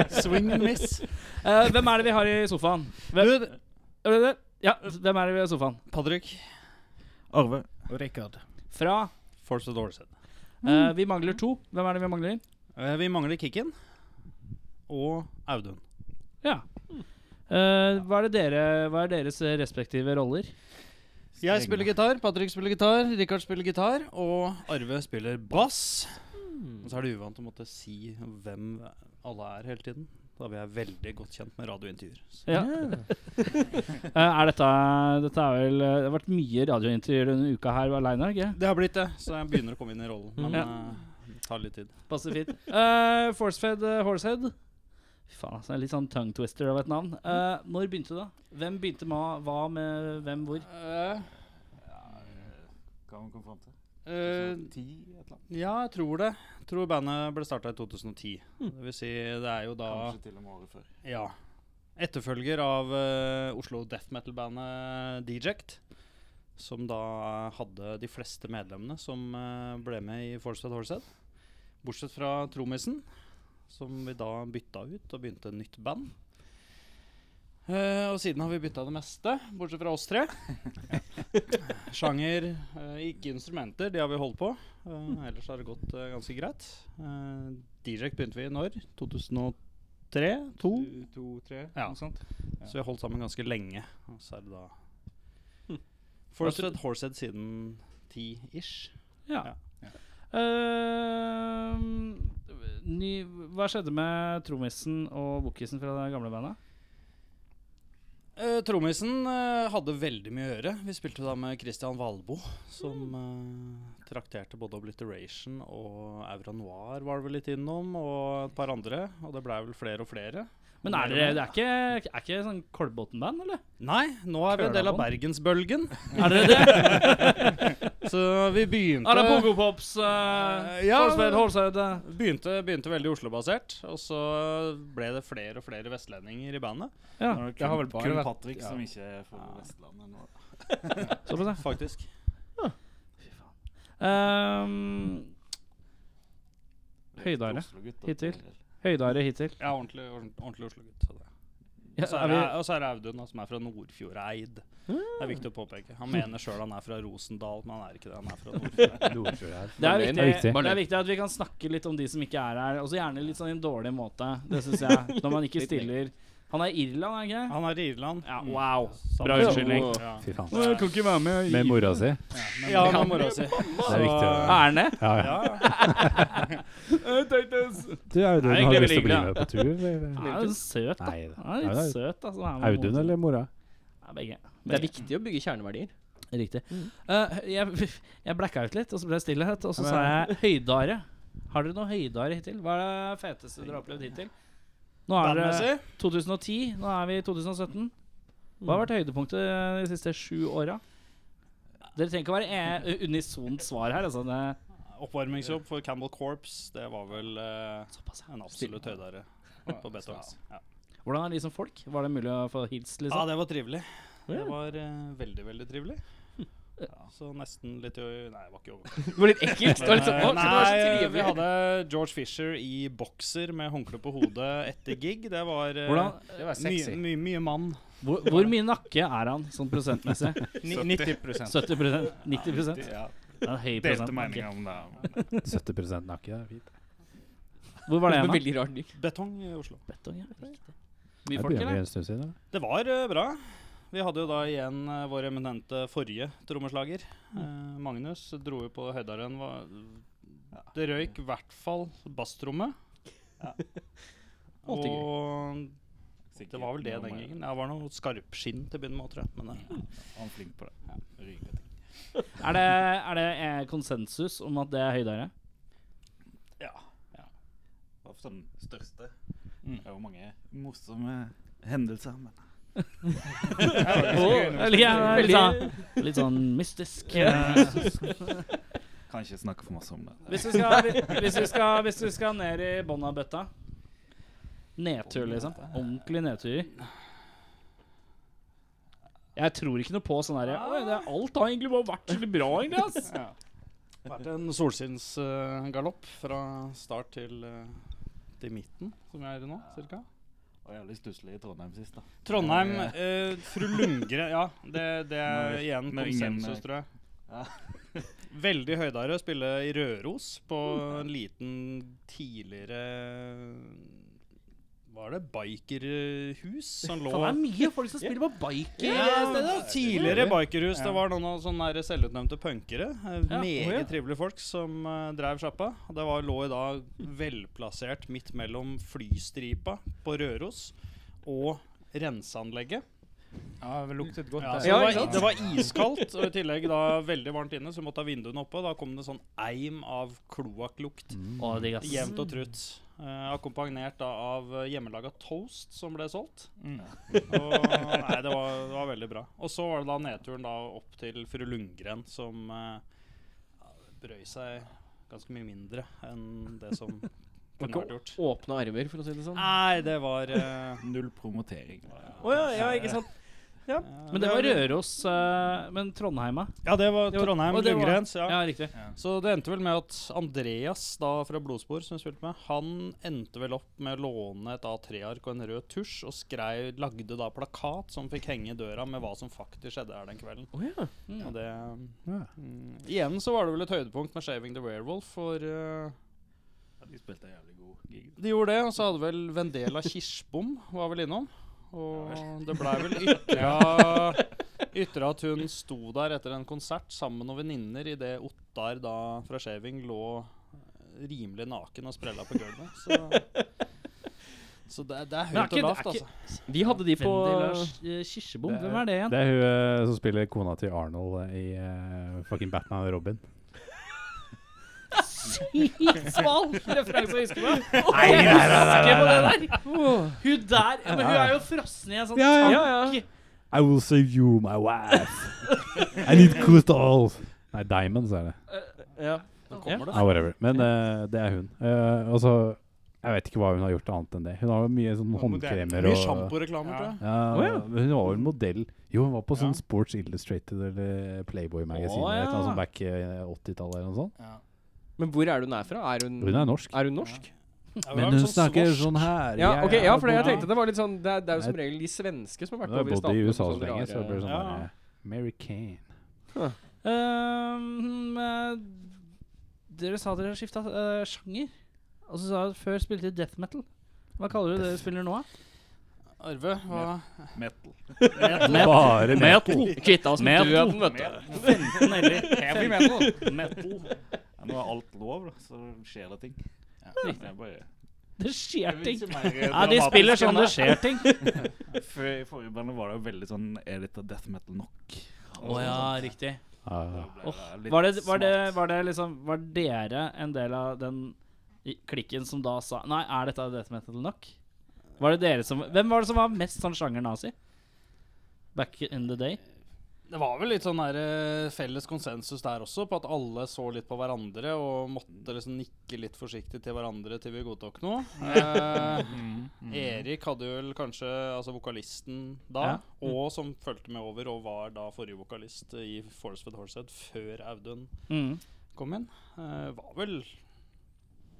Speaker 7: Ja. Swing and miss.
Speaker 3: Eh, hvem er det vi har i sofaen? Hvem,
Speaker 7: Du,
Speaker 3: Er det det? Ja, hvem er det vi har i sofaen?
Speaker 7: Patrick. Arve. Og Rikard.
Speaker 3: Fra
Speaker 7: Force of Dorset. Mm.
Speaker 3: eh, Vi mangler to. Hvem er det vi mangler?
Speaker 7: Eh, Vi mangler Kikken og Audun.
Speaker 3: Ja. Eh, hva, er det dere, hva er deres eh, respektive roller?
Speaker 7: Jeg spiller gitar, Patrick spiller gitar, Rikard spiller gitar, og Arve spiller bass.
Speaker 3: Hmm.
Speaker 7: Og så er det uvant å måtte si hvem alle er hele tiden, da vi er veldig godt kjent med radiointervjuer. Så
Speaker 3: Ja. Eh, er dette, dette er vel eh, Det har vært mye radiointervjuer denne uka her aleine, ikke
Speaker 7: Det har blitt det, så jeg begynner å komme inn i rollen. Men
Speaker 3: Ja.
Speaker 7: eh, det tar litt tid.
Speaker 3: Passer fint. Eh, Forcefed eh, Horsehead. Fy faen, altså. Litt sånn tongue twister av et navn. Eh, når begynte du, da? Hvem
Speaker 8: Eh,
Speaker 3: begynte med hva med hvem hvor?
Speaker 7: Uh, Eh, ja, jeg tror det. Jeg tror bandet ble starta i 2010.
Speaker 2: Mm.
Speaker 7: Det vil si, det er jo da
Speaker 8: Kanskje til og med året før.
Speaker 7: Ja. Etterfølger av eh, Oslo death metal-bandet Deject. Som da hadde de fleste medlemmene som eh, ble med i Forstead Horsehead. Bortsett fra trommisen, som vi da bytta ut og begynte nytt band. Eh, og siden har vi bytta det meste, bortsett fra oss tre. Sjanger, eh, ikke instrumenter, de har vi holdt på. Eh, ellers har det gått eh, ganske greit. Uh, Deject begynte vi i når? 2003? 2002?
Speaker 8: To-tre,
Speaker 7: Ja.
Speaker 8: noe sånt.
Speaker 7: Så vi har holdt sammen ganske lenge. Og så er det da
Speaker 8: Hm.
Speaker 7: Forstead Horsehead siden 10-ish.
Speaker 3: Ja.
Speaker 7: Ja.
Speaker 3: Eh, ny, hva skjedde med trommisen og bookisen fra det gamle bandet?
Speaker 7: Uh, Trommisen eh, hadde veldig mye å gjøre. Vi spilte da med Christian Valbo, som eh, trakterte både Obliteration og Aura Noir var det vel litt innom, og et par andre. Og det blei vel flere og flere.
Speaker 3: Men er dere det er ikke, er ikke sånn Kolbotn-band, eller?
Speaker 7: Nei, nå er vi en del av
Speaker 3: Kølabånd.
Speaker 7: bergensbølgen.
Speaker 3: Er dere det?
Speaker 7: Så vi begynte
Speaker 3: Er det Pogopops? Uh,
Speaker 7: Eh, ja.
Speaker 3: Forsved, Holsøyd, eh?
Speaker 7: Begynte, begynte veldig Oslo-basert, og så ble det flere og flere vestlendinger i bandet.
Speaker 3: Ja,
Speaker 8: Nå er det
Speaker 3: det har vel
Speaker 8: kun-
Speaker 3: bare
Speaker 8: kun
Speaker 3: vært-
Speaker 8: Patrick
Speaker 7: ja.
Speaker 8: som ikke er fra
Speaker 7: Ja.
Speaker 8: Vestlandet nå.
Speaker 3: Såpass, ja.
Speaker 7: Faktisk.
Speaker 3: Ehm, Høydare. Hittil. høydere hittil.
Speaker 7: Ja, ordentlig, ordent- ordentlig Oslo-gutt. så det.
Speaker 3: Ja,
Speaker 7: Og så er
Speaker 3: er vi,
Speaker 7: det- og så er det Audun, da, som er fra Nordfjordeid. Det er viktig å påpeke. Han mener sjøl han er fra Rosendal, men han er ikke det. Han er fra Nordfjordeid.
Speaker 4: Nordfjord
Speaker 3: det, er
Speaker 4: Det er viktig.
Speaker 3: viktig, det er viktig at vi kan snakke litt om de som ikke er her. Og så gjerne litt sånn i en dårlig måte. Det syns jeg. Når man ikke stiller Han er Irland, er han ikke? det?
Speaker 7: Han er i Irland.
Speaker 3: Ja, wow.
Speaker 7: Samme-
Speaker 3: Bra unnskyldning.
Speaker 7: Ja,
Speaker 4: Fy faen.
Speaker 3: Jeg kan ikke være med.
Speaker 4: Med mora si.
Speaker 7: ja med mora si.
Speaker 4: Det er viktig. å-
Speaker 3: Er han det?
Speaker 4: Ja, ja.
Speaker 7: Ja,
Speaker 4: Du, Audun,
Speaker 3: Det er
Speaker 4: har du
Speaker 3: egentlig
Speaker 4: lyst til å bli
Speaker 3: veldig
Speaker 4: med på tur? eller?
Speaker 3: Han er jo søt, da.
Speaker 4: Nei
Speaker 3: Han er litt
Speaker 4: da.
Speaker 3: søt, altså. han er
Speaker 4: Audun eller mora?
Speaker 3: Ja, begge.
Speaker 2: Det er viktig å bygge kjerneverdier.
Speaker 3: Riktig. Eh, jeg jeg blacka ut litt, og så ble det stillhet. Og så sa jeg høydare. Har dere noe høydare hittil? Hva er det feteste dere har opplevd hittil? Nå er det
Speaker 7: Bandmessig?
Speaker 3: 2010. Nå er vi i 2017. Hva har vært
Speaker 7: Mm.
Speaker 3: høydepunktet de siste sju åra? Dere trenger ikke å være e unisont svar her. Altså. Det,
Speaker 7: Oppvarmingsjobb for Campbell Corps, det var vel eh, en absolutt høydare på Beethovens. Ja.
Speaker 3: hvordan er de som folk? Var det mulig å få hilst,
Speaker 7: ja,
Speaker 3: liksom?
Speaker 7: det var trivelig. Det var eh, veldig, veldig trivelig. Ja, så nesten litt i- Nei, det var ikke over.
Speaker 2: Det var litt ekkelt. Det var litt sånn, å, det var så
Speaker 7: Eh, Nei, vi
Speaker 2: trivelig.
Speaker 7: hadde George Fisher i bokser med håndkle på hodet etter gig. Det var, eh,
Speaker 3: Hvordan,
Speaker 7: mye, mye, mye mann.
Speaker 3: hvor, hvor mye nakke er han, sånn prosentmessig?
Speaker 8: 90
Speaker 3: 70 90 Det
Speaker 8: Ja,
Speaker 3: er en høy
Speaker 8: Delte
Speaker 3: prosent.
Speaker 8: meninger om det.
Speaker 4: 70 nakke, det er fint.
Speaker 3: Hvor var det
Speaker 2: Det var
Speaker 3: igjen, da?
Speaker 2: veldig rart. Nick.
Speaker 7: Betong i Oslo.
Speaker 3: Betong, ja.
Speaker 4: Det
Speaker 3: Mye
Speaker 4: begynner å
Speaker 3: folk,
Speaker 4: bli
Speaker 3: eller?
Speaker 4: en stund siden. eller?
Speaker 7: Det var eh, bra. Vi hadde jo da igjen eh, vår eminente forrige trommeslager. Eh, Magnus dro jo på høydaren. var- Det røyk i hvert fall basstrommet.
Speaker 2: Alltid
Speaker 7: Og det var vel det den
Speaker 8: Sikkert
Speaker 7: gangen. Ja, Det var noe skarpskinn til å begynne med, tror jeg. Men eh, det,
Speaker 8: Han er flink på det. Ryker ting.
Speaker 3: Er det, er det eh, konsensus om at det er høydere?
Speaker 8: Ja. ja. Det var for den største.
Speaker 7: Mm.
Speaker 8: Det er jo mange morsomme hendelser, men
Speaker 3: Eller, ja, det er litt, sånn, litt sånn mystisk. eh.
Speaker 8: kan ikke snakke for masse om det.
Speaker 3: Hvis du skal, hvis du skal, hvis du skal ned i bånn av bøtta Nedtur, liksom. Ordentlig nedtur. Jeg tror ikke noe på sånn herre «Oi, det er Alt har egentlig bare vært veldig bra, egentlig, ass.
Speaker 7: vært en solskinnsgalopp eh, fra start til, eh, til midten, som jeg er i nå, cirka.
Speaker 8: Og jævlig stusslig i Trondheim sist, da.
Speaker 7: Trondheim,
Speaker 8: Ja,
Speaker 7: eh, fru Lundgren Ja, det, det er
Speaker 8: Når-
Speaker 7: igjen
Speaker 8: når ingen-
Speaker 7: konsensus, tror jeg.
Speaker 8: Ja.
Speaker 7: Veldig høydere å spille i Røros på en liten tidligere Var det bikerhus som lå
Speaker 3: Faen, det er mye folk som spiller på biker.
Speaker 7: ja, tidligere bikerhus. Det var noen av sånne der selvutnevnte punkere. eh,
Speaker 3: Ja,
Speaker 7: Meget
Speaker 5: Oh,
Speaker 3: å ja.
Speaker 7: trivelige folk som eh, drev sjappa. Og Det var, lå i dag velplassert midt mellom flystripa på Røros og renseanlegget.
Speaker 5: Ja, det luktet godt.
Speaker 7: Ja,
Speaker 5: der.
Speaker 7: så det, var, det var iskaldt, og i tillegg da veldig varmt inne, så vi måtte ha vinduene oppe. Og da kom det sånn eim av kloakklukt.
Speaker 3: Å, digg, ass.
Speaker 7: Jevnt og trutt. Eh, akkompagnert da av eh, hjemmelaga toast som ble solgt.
Speaker 3: Mm.
Speaker 7: Og, nei, det var, det var veldig bra. Og så var det da nedturen da opp til fru Lundgren som eh, brøy seg ganske mye mindre enn det som kunne
Speaker 2: ikke
Speaker 7: vært gjort.
Speaker 2: Åpne armer, for å si det sånn. Å
Speaker 7: Nei, det var eh,
Speaker 8: Null promotering.
Speaker 2: ja, ja, ikke sant.
Speaker 3: Men det var Røros, eh, men Trondheim, da?
Speaker 7: Ja, det var
Speaker 3: Det var-
Speaker 7: Trondheim
Speaker 3: og det var-
Speaker 7: Lundgrens. Ja.
Speaker 3: Ja, riktig.
Speaker 7: Så det endte vel med at Andreas da fra Blodspor, som jeg spilte med, han endte vel opp med å låne et A3-ark og en rød tusj, og skrev, lagde da plakat som fikk henge i døra med hva som faktisk skjedde her den kvelden.
Speaker 2: Å ja.
Speaker 7: Og det
Speaker 4: Ja.
Speaker 7: mm, Igjen så var det vel et høydepunkt med 'Shaving the Werewolf', for eh,
Speaker 8: De spilte en jævlig god gig.
Speaker 7: De gjorde det, og så hadde vel Vendela Kirsbom var vel innom. Og det blei vel ytra, ytra at hun sto der etter en konsert sammen med noen venninner idet Ottar da fra Shaving lå eh, rimelig naken og sprella på gulvet. Så, så det, det er
Speaker 3: Men er
Speaker 7: høyt
Speaker 3: ikke-
Speaker 7: og lavt,
Speaker 3: er ikke-
Speaker 7: altså.
Speaker 2: Vi hadde de på
Speaker 3: Vendela eh, Kirsebom, hvem er det igjen?
Speaker 4: Det er hun eh, som spiller kona til Arnold eh, i eh, fucking Batman og Robin.
Speaker 3: Sykt smal referanse å huske på. Nei, nei, nei, Hun der Men hun er jo frossen i en sånn
Speaker 4: Ja,
Speaker 3: tank.
Speaker 4: I will save you, my wife. I need crystals. Nei, Diamonds er det.
Speaker 2: ja.
Speaker 7: Nå kommer
Speaker 4: Ja,
Speaker 7: det.
Speaker 4: whatever. Men eh, det er hun. Eh, altså, jeg vet ikke hva hun har gjort annet enn det. Hun har jo mye sånn håndkremer
Speaker 7: Mye
Speaker 4: og
Speaker 7: sjamporeklamer, tror jeg.
Speaker 4: ja, Hun var jo en modell. Jo, hun var på sånn Sports Illustrated eller Playboy-magasinet.
Speaker 3: Å,
Speaker 4: eller et eller annet
Speaker 3: ja.
Speaker 4: sånt Back eh, 80-tallet eller noe sånt.
Speaker 2: Men hvor er hun her fra? Er hun,
Speaker 4: Hun er norsk.
Speaker 2: er hun norsk?
Speaker 7: Ja, vi har
Speaker 4: Men
Speaker 7: vært
Speaker 4: hun
Speaker 7: sånn
Speaker 4: snakker
Speaker 7: svorsk.
Speaker 4: sånn her.
Speaker 2: Ja, ok, ja, for jeg
Speaker 4: bodde-
Speaker 2: tenkte det var litt sånn Det er, det er jo som regel de svenske som har
Speaker 4: Hun
Speaker 2: vært
Speaker 4: har
Speaker 2: over i
Speaker 4: bodd i
Speaker 2: statene. på
Speaker 4: USA så
Speaker 2: sånne
Speaker 4: lenge, så det
Speaker 2: rare-
Speaker 4: blir sånn
Speaker 7: Ja.
Speaker 4: der, eh, Mary Kane.
Speaker 3: Ehm, eh, dere sa dere har skifta sjanger. Og så sa dere at før spilte dere death metal. Hva kaller dere det dere spiller nå, da?
Speaker 7: Arve, hva
Speaker 8: Metal.
Speaker 4: Bare
Speaker 3: Metal.
Speaker 2: Kvitta oss med
Speaker 3: Metal.
Speaker 2: døden, vet du.
Speaker 8: Heavy metal. metal. Ja, nå er alt lov, da, så skjer det ting. Det er bare
Speaker 3: Det skjer ting.
Speaker 8: Ja,
Speaker 3: Ja, de spiller sånn det skjer ting.
Speaker 8: Før I forrige bandet var det jo veldig sånn Er dette death metal nok?
Speaker 3: Å ja, riktig.
Speaker 4: Ja, ja.
Speaker 3: Var det, var, det, var det liksom Var dere en del av den i- klikken som da sa Nei, er dette death metal nok? Var det dere som Hvem var det som var mest sånn sjanger nazi? Back in the day?
Speaker 7: Det var vel litt sånn der, eh, felles konsensus der også, på at alle så litt på hverandre og måtte liksom nikke litt forsiktig til hverandre til vi godtok noe. Eh, Erik hadde jo vel kanskje altså vokalisten da, og som fulgte med over og var da forrige vokalist i Forest with Horsehead før Audun
Speaker 3: Mm.
Speaker 7: kom inn, eh, var vel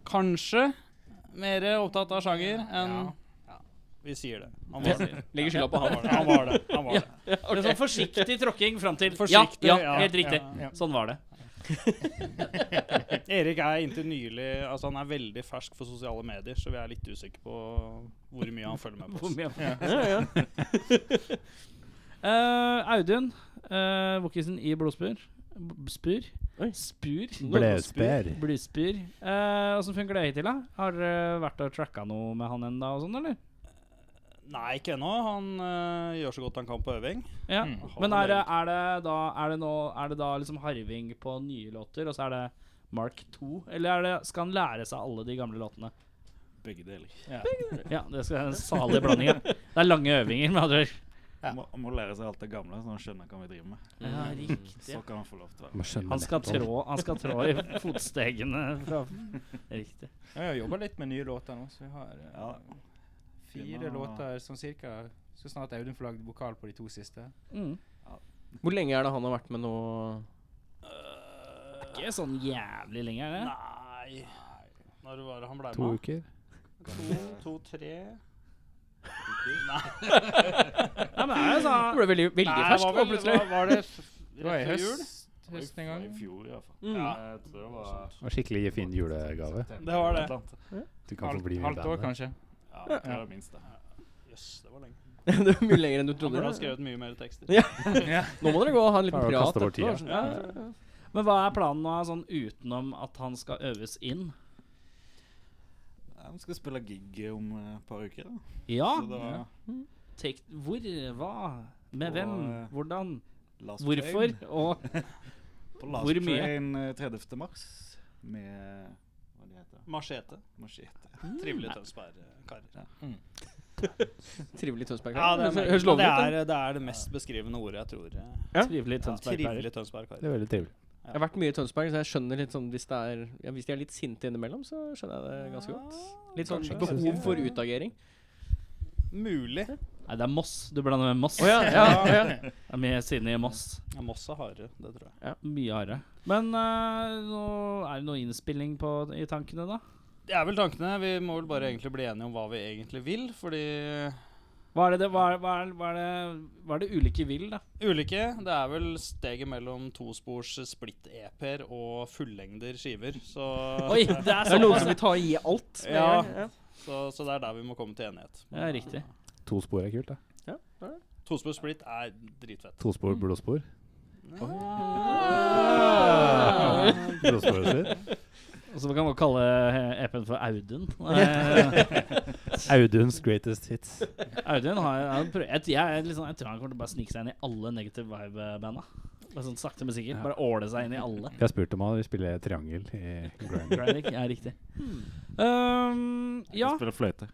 Speaker 7: kanskje mer opptatt av sjanger enn ja. Vi sier det. Han var det.
Speaker 2: Legger skylda på
Speaker 7: Han
Speaker 2: han.
Speaker 7: var det. Han var det. Han var det.
Speaker 3: Det er sånn forsiktig tråkking fram til
Speaker 7: Forsiktig,
Speaker 3: ja,
Speaker 7: ja,
Speaker 3: ja, helt riktig.
Speaker 7: ja, ja.
Speaker 3: Sånn var det.
Speaker 7: Erik er inntil nylig Altså han er veldig fersk for sosiale medier, så vi er litt usikre på hvor mye han følger med på.
Speaker 3: Hvor
Speaker 7: oss.
Speaker 3: mye- Eh, Audun, uh, vokisen i Blodspur B- Spur?
Speaker 2: Oi.
Speaker 3: Spur?
Speaker 4: Blødspær.
Speaker 3: Blodspur. Eh, Åssen funker det hittil, da? Har dere vært og tracka noe med han ennå og sånn, eller?
Speaker 7: Nei, ikke ennå. Han øh, gjør så godt han kan på øving.
Speaker 3: Ja.
Speaker 7: Har
Speaker 3: Men
Speaker 7: han
Speaker 3: er det, er det da Er det, nå, er det da liksom harving på nye låter, og så er det Mark 2? Eller er det, skal han lære seg alle de gamle låtene?
Speaker 8: Begge deler.
Speaker 3: Ja, det skal være en salig blanding. Ja. Det er lange øvinger, med andre ord.
Speaker 8: Må, må lære seg alt det gamle, så han skjønner hva vi driver med.
Speaker 3: Ja, riktig.
Speaker 8: Så kan han få lov til å være
Speaker 4: Man skjønner
Speaker 3: Han skal
Speaker 4: nettopp.
Speaker 3: trå, han skal trå i fotstegene fra Riktig.
Speaker 9: Ja, jeg jobber litt med nye låter nå, så jeg har eh,
Speaker 8: Ja.
Speaker 9: fire
Speaker 8: Finner-
Speaker 9: låter sånn cirka så snart Audun får lagd vokal på de to siste.
Speaker 3: Mm.
Speaker 2: Hvor lenge er det han har vært med nå?
Speaker 3: Ikke sånn jævlig lenge, er det?
Speaker 7: Eh, Nei Når var det han ble
Speaker 4: To
Speaker 7: med?
Speaker 4: uker.
Speaker 7: To, to, tre Nei,
Speaker 3: Ja, men er det
Speaker 2: Han
Speaker 3: sånn
Speaker 2: ble veldig, veldig
Speaker 7: nei
Speaker 2: fersk
Speaker 7: var,
Speaker 2: nå,
Speaker 7: vel,
Speaker 2: plutselig.
Speaker 7: var, var det f-
Speaker 9: Det var i
Speaker 7: rett før jul?
Speaker 9: høst, høst en gang.
Speaker 8: I fjor, i hvert fall.
Speaker 2: Mm.
Speaker 7: Ja.
Speaker 8: Jeg tror det var
Speaker 4: Det var skikkelig fin julegave.
Speaker 7: Det var det.
Speaker 4: Du kan få
Speaker 9: Halvt
Speaker 4: bli med i
Speaker 9: halvt år,
Speaker 4: bandet.
Speaker 9: kanskje.
Speaker 8: Ja, det var det minste.
Speaker 7: Jøs, det var lenge.
Speaker 2: det var mye lenger enn du
Speaker 7: Han burde
Speaker 2: trodde.
Speaker 7: ha skrevet mye mer tekster.
Speaker 2: Ja. Nå må dere gå og ha en liten
Speaker 4: Klarer å
Speaker 2: prat.
Speaker 4: kaste
Speaker 2: etterpå,
Speaker 4: bort tida.
Speaker 2: sånn. Ja, ja, ja.
Speaker 3: Men hva er planen nå, sånn utenom at han skal øves inn?
Speaker 8: Ja, vi skal spille gig om eh, et par uker. Da.
Speaker 3: Ah, Ja,
Speaker 8: Så da
Speaker 3: take, hvor, hva, med
Speaker 8: Og,
Speaker 3: hvem,
Speaker 8: eh,
Speaker 3: hvordan,
Speaker 8: Last
Speaker 3: hvorfor,
Speaker 8: Train,
Speaker 3: og
Speaker 8: på Last
Speaker 3: hvor mye?
Speaker 8: Train eh, 30. mars med Hva det heter
Speaker 7: Machete.
Speaker 8: Machete.
Speaker 7: Trivelig Tønsberg-karer.
Speaker 2: Trivelig Tønsberg.
Speaker 7: Ja, det, er,
Speaker 2: Høres lovende ut.
Speaker 7: det er det mest beskrivende ordet jeg tror. eh,
Speaker 2: Ja.
Speaker 3: trivelig
Speaker 7: Trivelig
Speaker 3: Tønsberg-karer.
Speaker 4: Det
Speaker 7: Tønsberg-karer.
Speaker 4: er veldig trivelig.
Speaker 2: Jeg har vært mye i Tønsberg, så jeg skjønner litt sånn hvis, det er, ja, hvis de er litt sinte innimellom, så skjønner jeg det ganske godt. Litt sånn behov for utagering.
Speaker 7: Mulig.
Speaker 3: Nei, det er Moss. Du blander med Moss.
Speaker 2: Å ja, ja, ja.
Speaker 3: Det er mye sinne i Moss.
Speaker 7: Ja, Moss er hardere, det tror jeg.
Speaker 3: Mye hardere. Men eh, nå er det noe innspilling på, i tankene, da?
Speaker 7: Det er vel tankene. Vi må vel bare egentlig bli enige om hva vi egentlig vil, fordi
Speaker 3: Hva er det, det, hva er, hva er, hva er det, hva er det ulike vil, da?
Speaker 7: ulike Det er vel steget mellom tospors splitt-EP-er og fullengder skiver. Så,
Speaker 3: Oi, det er
Speaker 2: Det er noen
Speaker 3: såpass!
Speaker 2: som vil ta i alt. med
Speaker 7: Ja.
Speaker 2: en gang,
Speaker 7: så, så det er der vi må komme til enighet.
Speaker 3: Ja, riktig.
Speaker 4: To spor er kult, da.
Speaker 7: Tospor splitt er dritfett.
Speaker 4: To spor, blodspor.
Speaker 2: ja.
Speaker 4: Blodsporet sitt.
Speaker 3: Og så kan man kalle eh, EP-en for Audun. Eh,
Speaker 4: Auduns greatest hits.
Speaker 3: Audun har han prøv, jeg, jeg, er litt sånn- jeg tror han kommer til å bare snike seg inn i alle negative vibe-banda. Bare sånn Sakte, men sikkert. Bare åle seg inn i alle.
Speaker 4: Jeg har spurt om han vil spille triangel i Grand
Speaker 3: Grinding, ja, riktig. Hmm. Um, ja,
Speaker 8: Spiller fløyte.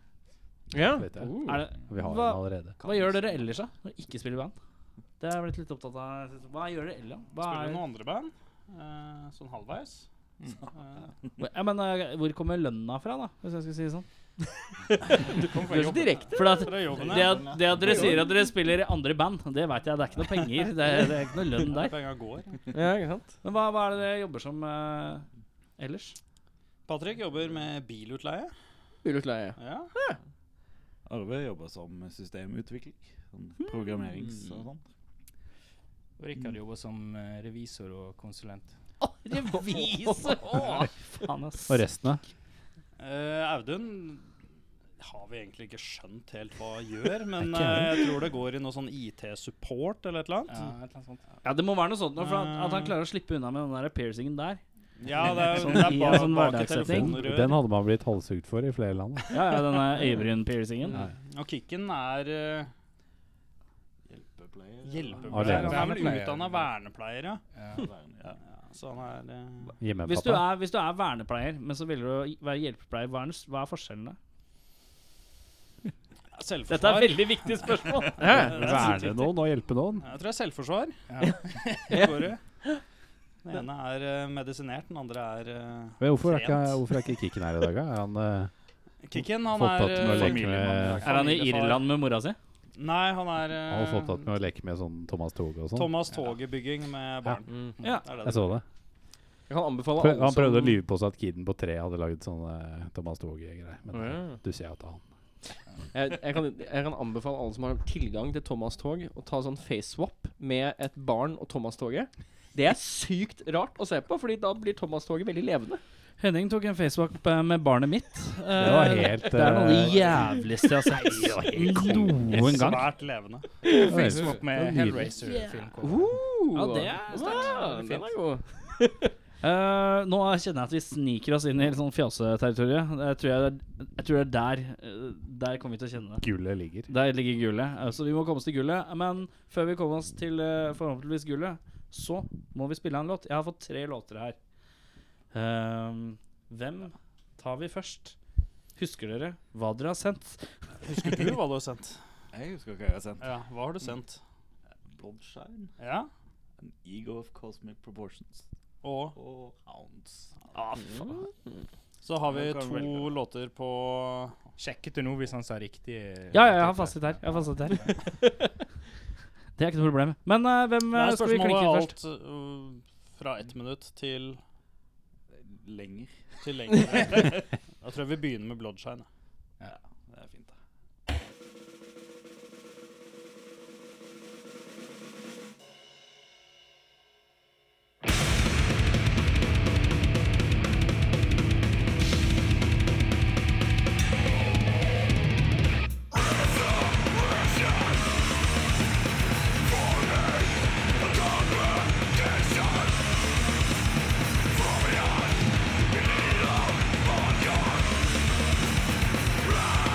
Speaker 2: Ja.
Speaker 4: Vet jeg.
Speaker 3: er det,
Speaker 4: Vi har
Speaker 3: Uh. Hva-
Speaker 4: den allerede.
Speaker 3: hva gjør dere ellers, da? Når dere ikke spiller i band? Det har jeg blitt litt opptatt av. Hva gjør dere ellers? da? Hva
Speaker 7: Spiller
Speaker 3: er,
Speaker 7: noen andre band, eh, sånn halvveis.
Speaker 3: Mm.
Speaker 7: Eh,
Speaker 3: Hvor- ja, men, eh, hvor kommer lønna fra, da? Hvis jeg skal si det sånn.
Speaker 2: Du er så direkte.
Speaker 3: For at,
Speaker 7: fra jobben,
Speaker 3: det, at, det at dere sier at dere spiller i andre band, det vet jeg. Det er ikke noe penger. Det er, det er ikke noe lønn
Speaker 7: Der.
Speaker 3: der.
Speaker 7: Penga går.
Speaker 2: Ja, ikke sant?
Speaker 3: Men hva, hva er det dere jobber som eh, ellers?
Speaker 7: Patrick jobber med bilutleie.
Speaker 2: Ulykkelige.
Speaker 7: Ja.
Speaker 8: Arve jobber som systemutvikler. Sånn
Speaker 3: Hmm.
Speaker 8: programmerings og sånn.
Speaker 9: Og Rikard jobber som eh, revisor og konsulent.
Speaker 3: Revisor! Faen, ass.
Speaker 4: Og resten, da?
Speaker 7: Eh, Audun har vi egentlig ikke skjønt helt hva gjør, men eh, jeg tror det går i noe sånn IT-support eller et eller
Speaker 9: Ja, Eh.
Speaker 7: annet.
Speaker 9: et eller annet sånt.
Speaker 3: Ja, det må være noe sånt nå, for at, at han klarer å slippe unna med den der piercingen der.
Speaker 7: Ja, det er,
Speaker 3: Sånn
Speaker 7: det er
Speaker 3: i
Speaker 7: bare
Speaker 3: en sånn
Speaker 7: bak et
Speaker 3: hverdagssetting.
Speaker 4: Den,
Speaker 7: telefonrør.
Speaker 4: den hadde man blitt halshugd for i flere land. da.
Speaker 3: Ja, ja, denne øyebryn-piercingen.
Speaker 7: Og Kikken er eh,
Speaker 8: Hjelpepleier.
Speaker 7: hjelpepleier. Han er vel
Speaker 9: Vernepleier.
Speaker 7: utdanna vernepleier, ja.
Speaker 8: Ja.
Speaker 7: ja. Så han er eh,
Speaker 3: Hvis du,
Speaker 4: Hjemmepappa.
Speaker 3: er, hvis du er vernepleier, men så velger du å være hjelpepleier, hva er, den s- hva er forskjellen da?
Speaker 7: selvforsvar.
Speaker 3: Dette er veldig viktige spørsmål.
Speaker 4: Verne noen og hjelpe noen.
Speaker 7: Jeg tror det er selvforsvar.
Speaker 9: Ja.
Speaker 7: Går det? Den ene er eh, medisinert, den andre er eh,
Speaker 4: Men hvorfor er ikke,
Speaker 7: Trent.
Speaker 4: hvorfor er ikke Kikken her i dag, da? Er han eh,
Speaker 7: Kikken, han
Speaker 4: fått
Speaker 7: er
Speaker 4: tatt med å
Speaker 7: eh,
Speaker 4: leke med
Speaker 3: Er han i
Speaker 7: familiefar.
Speaker 3: Irland med mora si?
Speaker 7: Nei, han
Speaker 4: Han
Speaker 7: er
Speaker 4: har
Speaker 7: eh,
Speaker 4: fått tatt med å leke med sånn Thomas Toge og sånn.
Speaker 7: Thomas Togebygging med barn.
Speaker 2: Mm.
Speaker 3: Ja.
Speaker 7: Det er det
Speaker 4: Jeg så det.
Speaker 2: Jeg kan anbefale
Speaker 4: Prøv,
Speaker 2: alle
Speaker 4: han prøvde å
Speaker 2: som-
Speaker 4: lyve på seg at kiden på tre hadde lagd sånne Thomas Toge-greier. Men
Speaker 2: Å,
Speaker 4: eh,
Speaker 2: ja.
Speaker 4: du ser jo at han
Speaker 2: jeg, jeg, kan, jeg kan anbefale alle som har tilgang til Thomas Tog, å ta sånn face-swap med et barn og Thomas-toget. Det er sykt rart å se på, Fordi da blir Thomas-toget veldig levende.
Speaker 3: Henning tok en Facebook eh, med barnet mitt.
Speaker 4: Det var helt
Speaker 3: Det er noe av det
Speaker 4: eh,
Speaker 3: jævligste jeg har sett noen gang.
Speaker 7: Svært levende.
Speaker 4: det var helt-
Speaker 9: Facebook med
Speaker 4: det var nydelig.
Speaker 9: Hellraiser-film.
Speaker 3: Ja, det er
Speaker 2: Ja,
Speaker 3: sterkt.
Speaker 2: den er god.
Speaker 3: Eh, nå kjenner jeg at vi sniker oss inn i litt sånn fjaseterritoriet. Jeg tror, jeg, jeg tror det er der eh, Der kommer vi til å kjenne det.
Speaker 4: Gullet ligger.
Speaker 3: Der ligger gullet. Eh, Så vi må komme oss til gullet. Men før vi kommer oss til eh, forhåpentligvis gullet, så må vi spille en låt. Jeg har fått tre låter her. Ehm, hvem tar vi først? Husker dere hva dere har sendt?
Speaker 7: Husker du hva du har sendt?
Speaker 8: Jeg husker hva jeg har sendt.
Speaker 7: Ja, hva har du sendt?
Speaker 8: Bloodshine.
Speaker 7: Ja?
Speaker 8: An ego of cosmic proportions.
Speaker 7: Og Ah,
Speaker 8: Og ounce.
Speaker 7: så har vi
Speaker 8: Den kan velge.
Speaker 7: to låter på
Speaker 9: Sjekket du nå hvis han sa riktig? eh,
Speaker 3: Ja, ja, jeg har fasit her. Jeg har fasit her. Det er ikke noe problem. Men eh, hvem eh,
Speaker 7: Nei,
Speaker 3: skal vi klinke
Speaker 7: spørsmålet
Speaker 3: i
Speaker 7: er
Speaker 3: først?
Speaker 7: alt øh, fra ett minutt til,
Speaker 8: Lenger.
Speaker 7: til lenger. Da tror jeg vi begynner med Bloodshine.
Speaker 8: Det er fint, da.
Speaker 6: Bloodshine.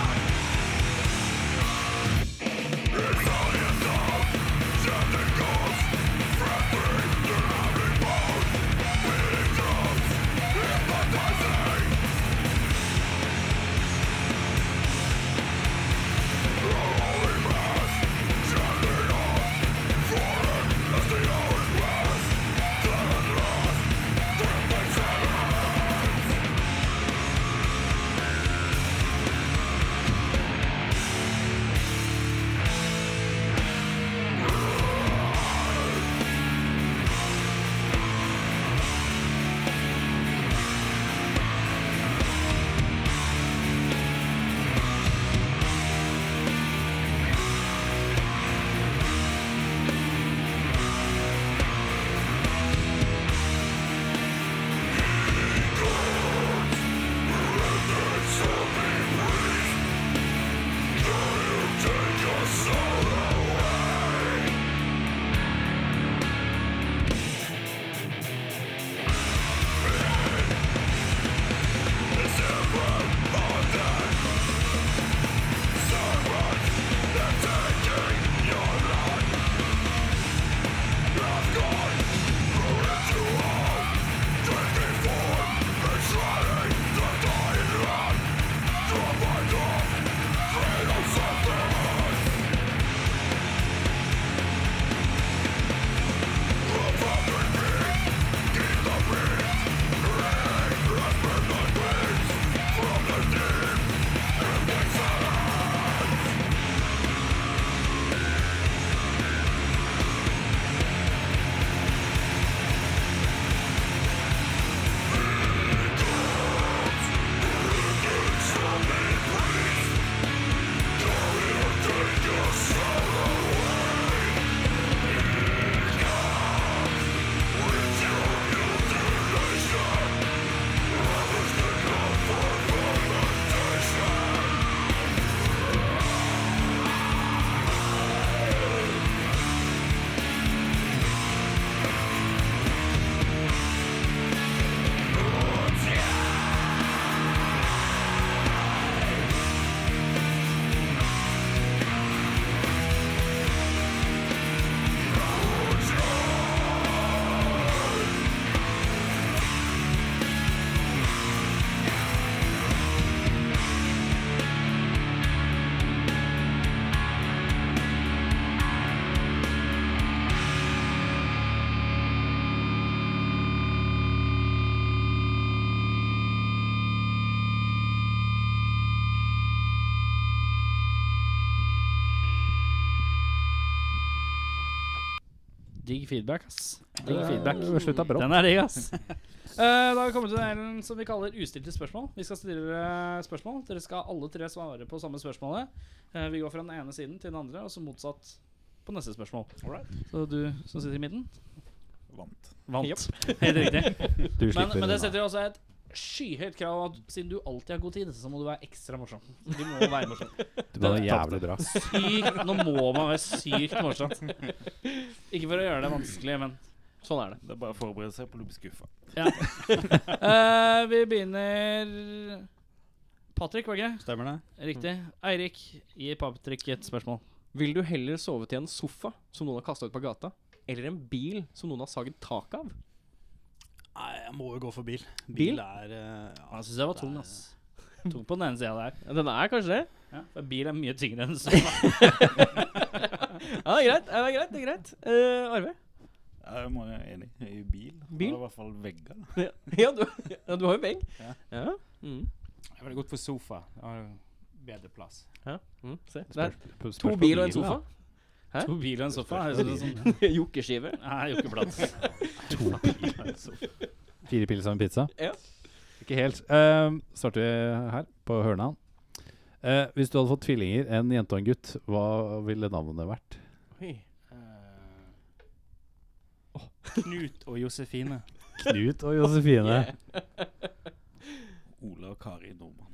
Speaker 3: digg feedback, ass. Digg
Speaker 4: Ja,
Speaker 3: feedback.
Speaker 4: det slutta brått.
Speaker 3: Den er digg, ass. Eh, da har vi kommet til den delen som vi kaller ustilte spørsmål. Vi skal stille dere spørsmål. Dere skal alle tre svare på samme spørsmålet. Eh, vi går fra den ene siden til den andre, og så motsatt på neste spørsmål. Så du som sitter i midten,
Speaker 8: Vant.
Speaker 3: vant. Helt riktig.
Speaker 4: Du
Speaker 3: Men,
Speaker 4: slipper
Speaker 3: men det
Speaker 4: unna.
Speaker 3: setter jo også et skyhøyt krav at siden du alltid har god tid, så må du være ekstra morsom. Du må være morsom.
Speaker 4: Det var jævlig bra.
Speaker 3: Sykt, nå må man være sykt morsom. Ikke for å gjøre det vanskelig, men sånn er det.
Speaker 8: Det er bare å forberede seg på å bli skuffa.
Speaker 3: Eh, vi begynner Patrick, var det ikke?
Speaker 7: Stemmer det?
Speaker 3: Riktig. Eirik, gi Patrick et spørsmål.
Speaker 2: Vil du heller sove til en sofa som noen har kasta ut på gata, eller en bil som noen har saget taket av?
Speaker 7: Nei, jeg må jo gå for bil.
Speaker 2: Bil?
Speaker 7: er eh, ja,
Speaker 3: Jeg syns jeg var tung, ass. Tung på den ene sida der.
Speaker 2: Ja, Den er kanskje det?
Speaker 3: For bil er mye tyngre enn sofa.
Speaker 2: Ja, det er greit. Ja, det er greit, det er greit. Eh, Arve?
Speaker 8: Jeg må være enig. I bil.
Speaker 2: Bil?
Speaker 8: Eller i hvert fall vegger. da.
Speaker 2: Ja, ja, du, ja, du har jo vegg. Ja. Mm.
Speaker 9: Jeg ville gått for sofa. Jeg har bedre plass.
Speaker 2: ja. Mm. Se. Det er
Speaker 4: Spørs- spørs-
Speaker 2: to
Speaker 4: spørs
Speaker 2: bil
Speaker 4: på
Speaker 2: og en
Speaker 4: bilen, da.
Speaker 2: sofa.
Speaker 3: To biler og en sofa. Er det sånn,
Speaker 2: Jokkeskive.
Speaker 3: nei, jo ikke plass.
Speaker 4: Fire pils og en pizza?
Speaker 2: Ja.
Speaker 4: Ikke helt. Ehm, starter vi her, på Hørna. Eh, hvis du hadde fått tvillinger, en jente og en gutt, hva ville navnet vært?
Speaker 2: Oi.
Speaker 9: Knut og Josefine.
Speaker 4: Knut og Josefine.
Speaker 8: Ole og Kari Nordmann.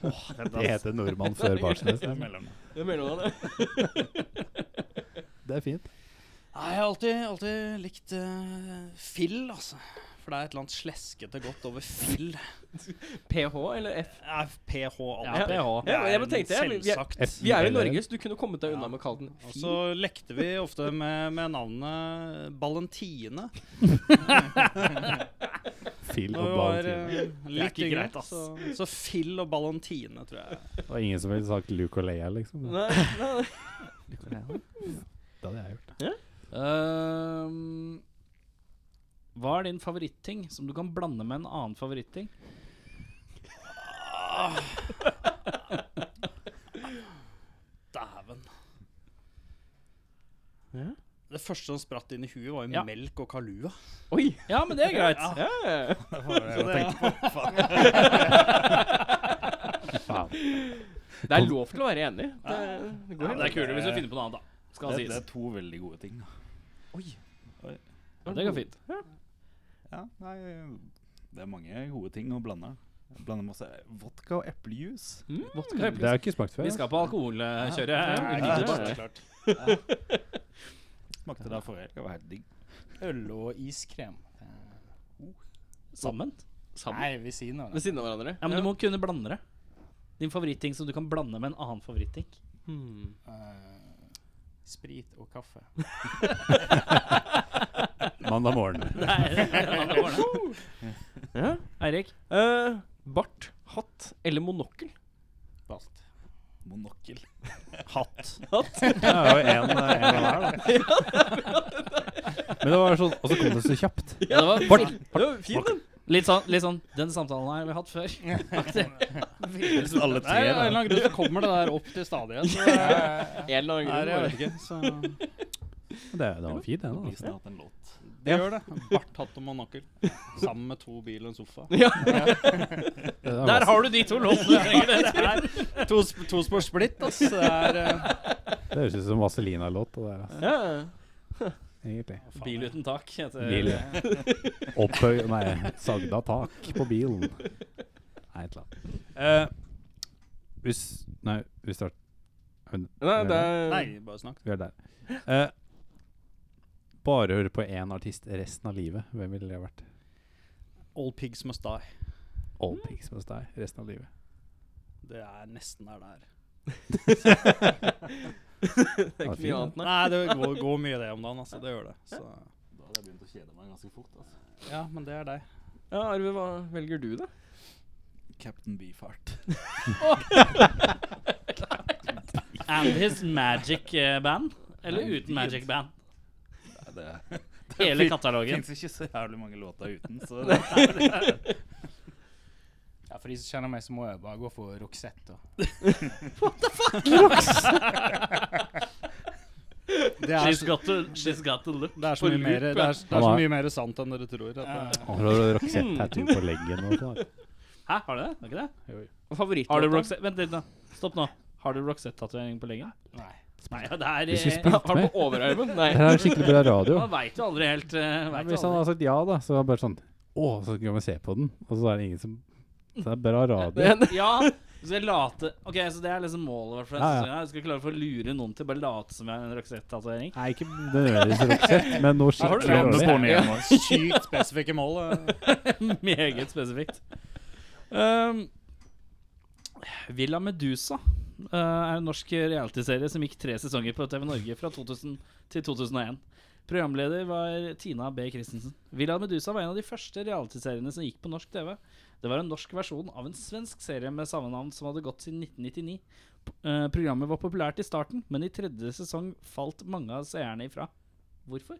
Speaker 4: Det heter nordmann før Barsnes.
Speaker 8: Det er mellom
Speaker 2: Det er mellomnavnet.
Speaker 4: Det er fint.
Speaker 7: Nei, jeg har alltid, alltid likt eh, Fill, altså. For det er et eller annet sleskete godt over Fill.
Speaker 2: PH eller F?
Speaker 7: Ja, PH
Speaker 2: Ja,
Speaker 7: alltid.
Speaker 2: PH. Ja, men jeg bare tenkte, jeg- jeg-
Speaker 7: Selvsagt.
Speaker 2: Vi er jo i Norge, så du kunne kommet deg unna
Speaker 7: Ja.
Speaker 2: med å kalle den
Speaker 7: Og
Speaker 2: Fi.
Speaker 7: så lekte vi ofte med, med navnet Ballentine.
Speaker 4: Phil
Speaker 7: Når
Speaker 4: og
Speaker 7: vi var
Speaker 4: Ballentine.
Speaker 7: eh, litt
Speaker 3: ikke
Speaker 7: yngre.
Speaker 3: greit, ass.
Speaker 7: så, så Phil og Ballentine, tror jeg.
Speaker 4: Det var ingen som ville sagt Luke og Leia, liksom.
Speaker 2: Nei, nei, nei.
Speaker 4: Det hadde jeg gjort.
Speaker 3: Ehm, hva er din favoritting som du kan blande med en annen favoritting?
Speaker 7: Dæven.
Speaker 2: Ja.
Speaker 7: Det første som spratt inn i huet, var jo
Speaker 3: Ja.
Speaker 7: melk og kalua.
Speaker 2: Oi!
Speaker 3: Ja, men det er greit.
Speaker 2: Ja, ja, ja.
Speaker 4: Faen.
Speaker 2: Det er lov til å være enig. Det, det går
Speaker 3: Ja,
Speaker 2: helt
Speaker 3: det er kulere hvis du finner på noe annet, da. Skal
Speaker 8: Det, det
Speaker 3: sies.
Speaker 8: er to veldig gode ting. da.
Speaker 3: Ja, Det går fint.
Speaker 8: Ja, nei, det er mange gode ting å blande. Jeg blander masse vodka og eplejus.
Speaker 3: Vodka,
Speaker 4: Det har jeg ikke smakt før.
Speaker 3: Vi
Speaker 4: altså.
Speaker 3: skal på alkoholkjøret.
Speaker 8: Nei,
Speaker 3: her.
Speaker 8: det
Speaker 2: ja,
Speaker 8: er
Speaker 2: ja.
Speaker 8: klart. Smakte det forrige helg. Det var helt digg.
Speaker 9: Øl og iskrem.
Speaker 3: Sammen?
Speaker 2: Sammen.
Speaker 9: Nei, ved siden av.
Speaker 2: Ved siden av hverandre.
Speaker 3: Ja, men du må kunne blande det. Din favoritting som du kan blande med en annen favoritting.
Speaker 2: Hmm.
Speaker 9: Eh, sprit og kaffe.
Speaker 4: Mandag morgen.
Speaker 2: Ja.
Speaker 3: Eirik?
Speaker 2: Eh, bart, hatt eller monokkel?
Speaker 9: Balt.
Speaker 8: Monokkel.
Speaker 4: Det er jo en, en hver, da. Men det var sånn Og så kom det så kjapt.
Speaker 3: Ja, det var
Speaker 4: Bart,
Speaker 2: Det var fin, den.
Speaker 3: litt sånn, litt sånn Den samtalen her har vi hatt før.
Speaker 8: Alle
Speaker 7: Nei, av en eller
Speaker 8: tre. Da.
Speaker 7: annen grunn så kommer det der opp til stadighet. så det er-
Speaker 2: En eller annen grunn.
Speaker 7: Nei, jeg
Speaker 2: bare.
Speaker 7: vet ikke. Så det
Speaker 4: Det, det var fint, den.
Speaker 8: Det blir
Speaker 4: Altså.
Speaker 8: snart en låt.
Speaker 7: gjør det. Bart, hatt og monokkel. Sammen med to bil og en sofa.
Speaker 4: Det var
Speaker 3: Der har du de to låtene.
Speaker 7: Det er to, sp- to spor splitt, ass. Det er eh,
Speaker 4: Det høres ut som Vazelina-låt. det der, altså.
Speaker 2: Ja, ja.
Speaker 4: Egentlig.
Speaker 3: Bil uten tak. heter-
Speaker 4: Bil. Opphøy Nei, sagda tak på bilen. Nei, et eller annet. Eh, hvis Nei, vi starter
Speaker 2: Nei, det er
Speaker 7: Nei, bare snakk.
Speaker 4: Vi er der. Eh, bare høre på én artist resten av livet. Hvem ville det vært?
Speaker 7: All pigs must die.
Speaker 4: All Pigs hos deg resten av livet.
Speaker 7: Det er nesten der det er.
Speaker 2: Det er
Speaker 4: Ja,
Speaker 2: ikke
Speaker 4: fin,
Speaker 2: mye annet, nei.
Speaker 7: Nei, det går, går mye det om dagen, altså. Det gjør det. Så.
Speaker 8: Da hadde jeg begynt å kjede meg ganske fort. altså.
Speaker 7: Ja, men det er deg.
Speaker 2: Ja, Arve, hva velger du, da?
Speaker 8: Captain Beefheart.
Speaker 3: And his magic eh, band. Eller uten magic band.
Speaker 8: Nei, Det
Speaker 3: Hele
Speaker 8: det
Speaker 3: katalogen.
Speaker 8: fins ikke så jævlig mange låter uten, så
Speaker 9: Ja, For de som kjenner meg, så må jeg bare gå for Roxette. da.
Speaker 7: Det er,
Speaker 3: She's
Speaker 7: så-
Speaker 3: got to, she's got to look
Speaker 7: det er, så,
Speaker 3: for
Speaker 7: mye
Speaker 3: loop,
Speaker 7: mer, det er,
Speaker 3: ja.
Speaker 7: det er så mye mer sant enn dere tror. At det,
Speaker 4: Han har rakett-tattoo på leggen og sånn.
Speaker 3: Hæ, har du det? Er ikke det?
Speaker 2: Favorittlåta?
Speaker 3: Har du Roxette Vent litt, da. Stopp nå. Har du Roxette-tattering på lenge?
Speaker 9: Nei.
Speaker 3: Nei, ja, det er
Speaker 4: Hvis vi
Speaker 3: eh,
Speaker 4: spilte
Speaker 2: Har du
Speaker 4: med
Speaker 2: på overarmen? Nei.
Speaker 4: Det er skikkelig bra radio.
Speaker 3: Man veit jo aldri helt. eh,
Speaker 4: Men
Speaker 3: vet
Speaker 4: Hvis
Speaker 3: jo
Speaker 4: han
Speaker 3: aldri.
Speaker 4: hadde sagt ja, da, så var det bare sånn Å, så kan vi se på den. Og så er det ingen som Så det er bra radio.
Speaker 2: Det-
Speaker 3: Ja, så jeg late Ok, så det er liksom målet vårt.
Speaker 4: Ja, ja.
Speaker 3: for denne sesongen her. Jeg skal klare for å lure noen til å bare late som jeg er en Roxette-tatovering.
Speaker 4: Nei, ikke nødvendigvis Roxette, men noe
Speaker 7: Har du
Speaker 4: skikkelig
Speaker 7: det?
Speaker 4: dårlig.
Speaker 7: Sykt spesifikke mål. eh.
Speaker 3: Meget spesifikt. Um, Villa Medusa uh, er en norsk realityserie som gikk tre sesonger på TV Norge fra 2000 til 2001. Programleder var Tina B. Christensen. Villa Medusa var en av de første realityseriene som gikk på norsk TV. Det var en norsk versjon av en svensk serie med samme navn som hadde gått siden 1999. P- eh, programmet var populært i starten, men i tredje sesong falt mange av seerne ifra. Hvorfor?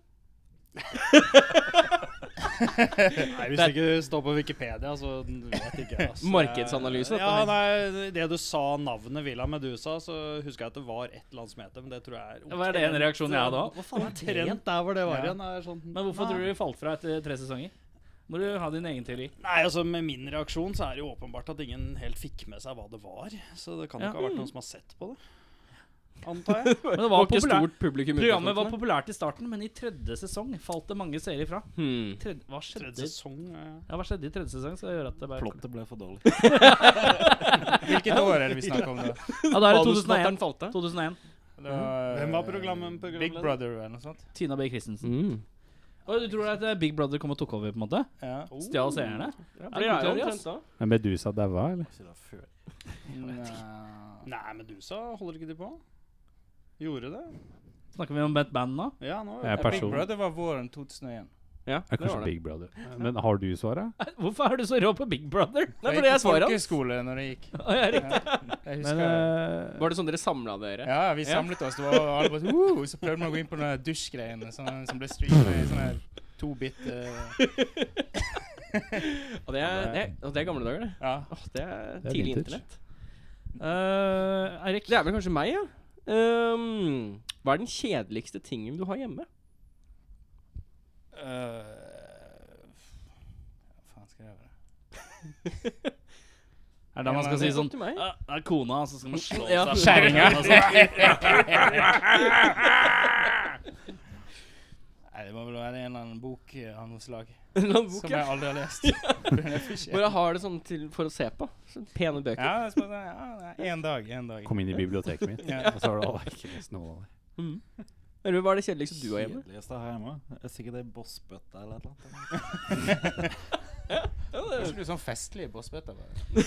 Speaker 7: Nei, Hvis det ikke står på Wikipedia, så vet ikke jeg. ass.
Speaker 2: Markedsanalyse, dette her.
Speaker 7: Ja, nei, det du sa navnet Villa Medusa, så husker jeg at det var et eller annet som het det, men det tror jeg er
Speaker 3: Var det en reaksjon jeg hadde òg?
Speaker 7: Omtrent der hvor det var igjen. er Sånn,
Speaker 3: Men hvorfor
Speaker 7: nei.
Speaker 3: tror du de falt fra etter tre sesonger? Må du ha din egen teori.
Speaker 7: Nei, altså Med min reaksjon så er det jo åpenbart at ingen helt fikk med seg hva det var. Så det kan jo
Speaker 3: Ja.
Speaker 7: ikke ha
Speaker 9: Mm.
Speaker 7: vært noen som har sett på det. Antar jeg.
Speaker 3: Men det
Speaker 2: var
Speaker 3: var
Speaker 2: ikke
Speaker 3: populært.
Speaker 2: stort publikum. i
Speaker 3: Programmet var
Speaker 2: utgangspunktet.
Speaker 3: populært i starten, men i tredje sesong falt det mange seere ifra.
Speaker 2: hmm.
Speaker 3: Tredje, hva, skjedde?
Speaker 7: Tredje sesong eh.
Speaker 3: Ja, hva skjedde i tredje sesong? Skal jeg gjøre at det bare
Speaker 9: Plottet ble for dårlig. Hvilket år er det vi snakker om nå?
Speaker 3: Ja, da er det
Speaker 2: Manusforfatteren
Speaker 3: 2001.
Speaker 2: falt av.
Speaker 3: 2001.
Speaker 9: Det var, eh,
Speaker 7: Hvem var programmen-
Speaker 9: Big
Speaker 7: programleder?
Speaker 9: Brother eller noe sånt?
Speaker 3: Tina B. Christensen. Og du tror at eh, Big Brother kom og tok over, på en måte?
Speaker 9: Ja.
Speaker 3: Stjal seerne?
Speaker 2: Ja,
Speaker 3: det er jo
Speaker 2: teori,
Speaker 3: omtrent
Speaker 2: ass.
Speaker 4: Men Medusa daua, eller?
Speaker 9: Ikke da før.
Speaker 7: Nei, Medusa holder ikke de på? Gjorde det?
Speaker 3: Snakker vi om Bent Band nå?
Speaker 7: Ja, nå
Speaker 4: Jeg er
Speaker 9: Big
Speaker 4: person.
Speaker 9: Brother var våren 2001.
Speaker 2: Ja, det
Speaker 4: Jeg er
Speaker 2: var det.
Speaker 4: kanskje Big Brother. Men har du svaret?
Speaker 3: Hvorfor er du så rå på Big Brother?
Speaker 2: Nei, for det er svaret hans.
Speaker 9: Folkeskole når det gikk.
Speaker 3: Å, jeg er riktig.
Speaker 9: Jeg
Speaker 4: Men
Speaker 9: husker det.
Speaker 4: eh,
Speaker 2: Var det sånn dere samla dere?
Speaker 9: Ja, vi samlet oss. Det var alle bare sånn, «Woo!» Så prøvde man å gå inn på den dusjgreiene som, som ble streamet i sånne her to-bit eh,
Speaker 2: Og det er, det, er, og det er gamle dager, det.
Speaker 9: Ja.
Speaker 2: Åh, det er
Speaker 4: Det er
Speaker 2: tidlig
Speaker 4: vintage.
Speaker 2: internett.
Speaker 3: Eh, Eirik,
Speaker 2: Det er vel kanskje meg, ja. Ehm, hva er den kjedeligste tingen du har hjemme?
Speaker 9: eh, Hva faen skal jeg gjøre?
Speaker 3: er det da man skal si
Speaker 2: Det er
Speaker 3: sånn
Speaker 2: opp til meg.
Speaker 3: «Ja, Det er kona, så skal man slå
Speaker 2: Ja.
Speaker 3: seg på
Speaker 9: Kjerringa.
Speaker 3: den, og så-
Speaker 9: Nei, det må vel være en eller annen bok eh, av noe slag
Speaker 2: En eller annen bok,
Speaker 9: som
Speaker 2: ja.
Speaker 9: jeg aldri har lest. ja,
Speaker 2: Bare har det sånn til, for å se på. Sånn pene bøker.
Speaker 9: det er sånn, ja, nei, en dag, en dag.
Speaker 4: eh, kom inn i biblioteket mitt,
Speaker 9: Ja.
Speaker 4: og så har du «Å, ikke lest noe av det.
Speaker 2: Eller hva er det kjedeligste du har hjemme?
Speaker 8: Kjedeligste her hjemme? Det er Sikkert ei bossbøtte eller et eller annet.
Speaker 9: Kanskje du er sånn festlig bossbøtter bare.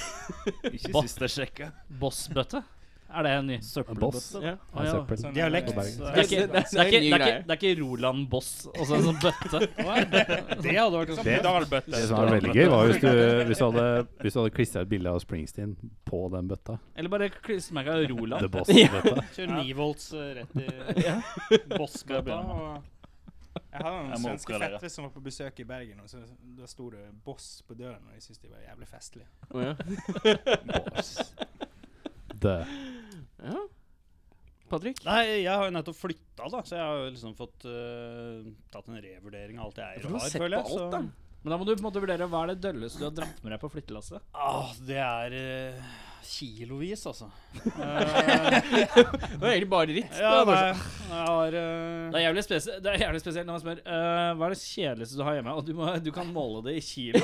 Speaker 8: Ikke sist jeg sjekka.
Speaker 3: Bossbøtte? Er det en ny?
Speaker 4: Boss.
Speaker 2: Ja.
Speaker 3: Å, ja.
Speaker 4: Søppel.
Speaker 9: Sånn,
Speaker 7: Dialekt.
Speaker 9: eh,
Speaker 7: så-
Speaker 3: Det er ikke,
Speaker 2: Det- det-
Speaker 3: det er ikke,
Speaker 2: det er en ny
Speaker 3: det er ikke,
Speaker 2: greie.
Speaker 3: det er ikke Roland Boss og så en sånn bøtte.
Speaker 7: Det hadde vært ganske
Speaker 4: Det-
Speaker 7: pedalbøtte.
Speaker 4: Det som er veldig gøy, var hvis du, hvis du hadde, hvis du hadde klistra et bilde av Springsteen på den bøtta.
Speaker 3: Eller bare klistremerka
Speaker 4: The
Speaker 3: Roland.
Speaker 4: Boss-bøtta.
Speaker 7: Kjøre 9 volts eh, rett i bossbøtta. og-
Speaker 9: Jeg hadde noen
Speaker 8: Jeg må
Speaker 9: svenske
Speaker 8: oppgradere.
Speaker 9: fettere som var på besøk i Bergen, og så, da sto det 'boss' på døren, og jeg syntes de var jævlig festlige.
Speaker 2: Å, ja.
Speaker 4: The.
Speaker 2: ja. Patrick?
Speaker 7: Nei, jeg har jo nettopp flytta, da, så jeg har jo liksom fått eh, tatt en revurdering av alt jeg eier
Speaker 2: Altså, Du
Speaker 7: og
Speaker 2: har
Speaker 7: har,
Speaker 2: sett på
Speaker 7: føler jeg.
Speaker 2: alt, da.
Speaker 7: Så
Speaker 3: Men da må du på en måte vurdere hva er det dølleste du har dratt med deg på flyttelasset.
Speaker 7: ah, det er eh, kilovis, altså. Eh,
Speaker 2: Det var egentlig bare dritt.
Speaker 7: Ja,
Speaker 2: Det var
Speaker 7: nei,
Speaker 2: bare sånn.
Speaker 7: jeg har eh,
Speaker 3: Det er jævlig spesielt Det er jævlig spesielt når man spør eh, hva er det kjedeligste du har hjemme, og du, må, du kan måle det i kilo.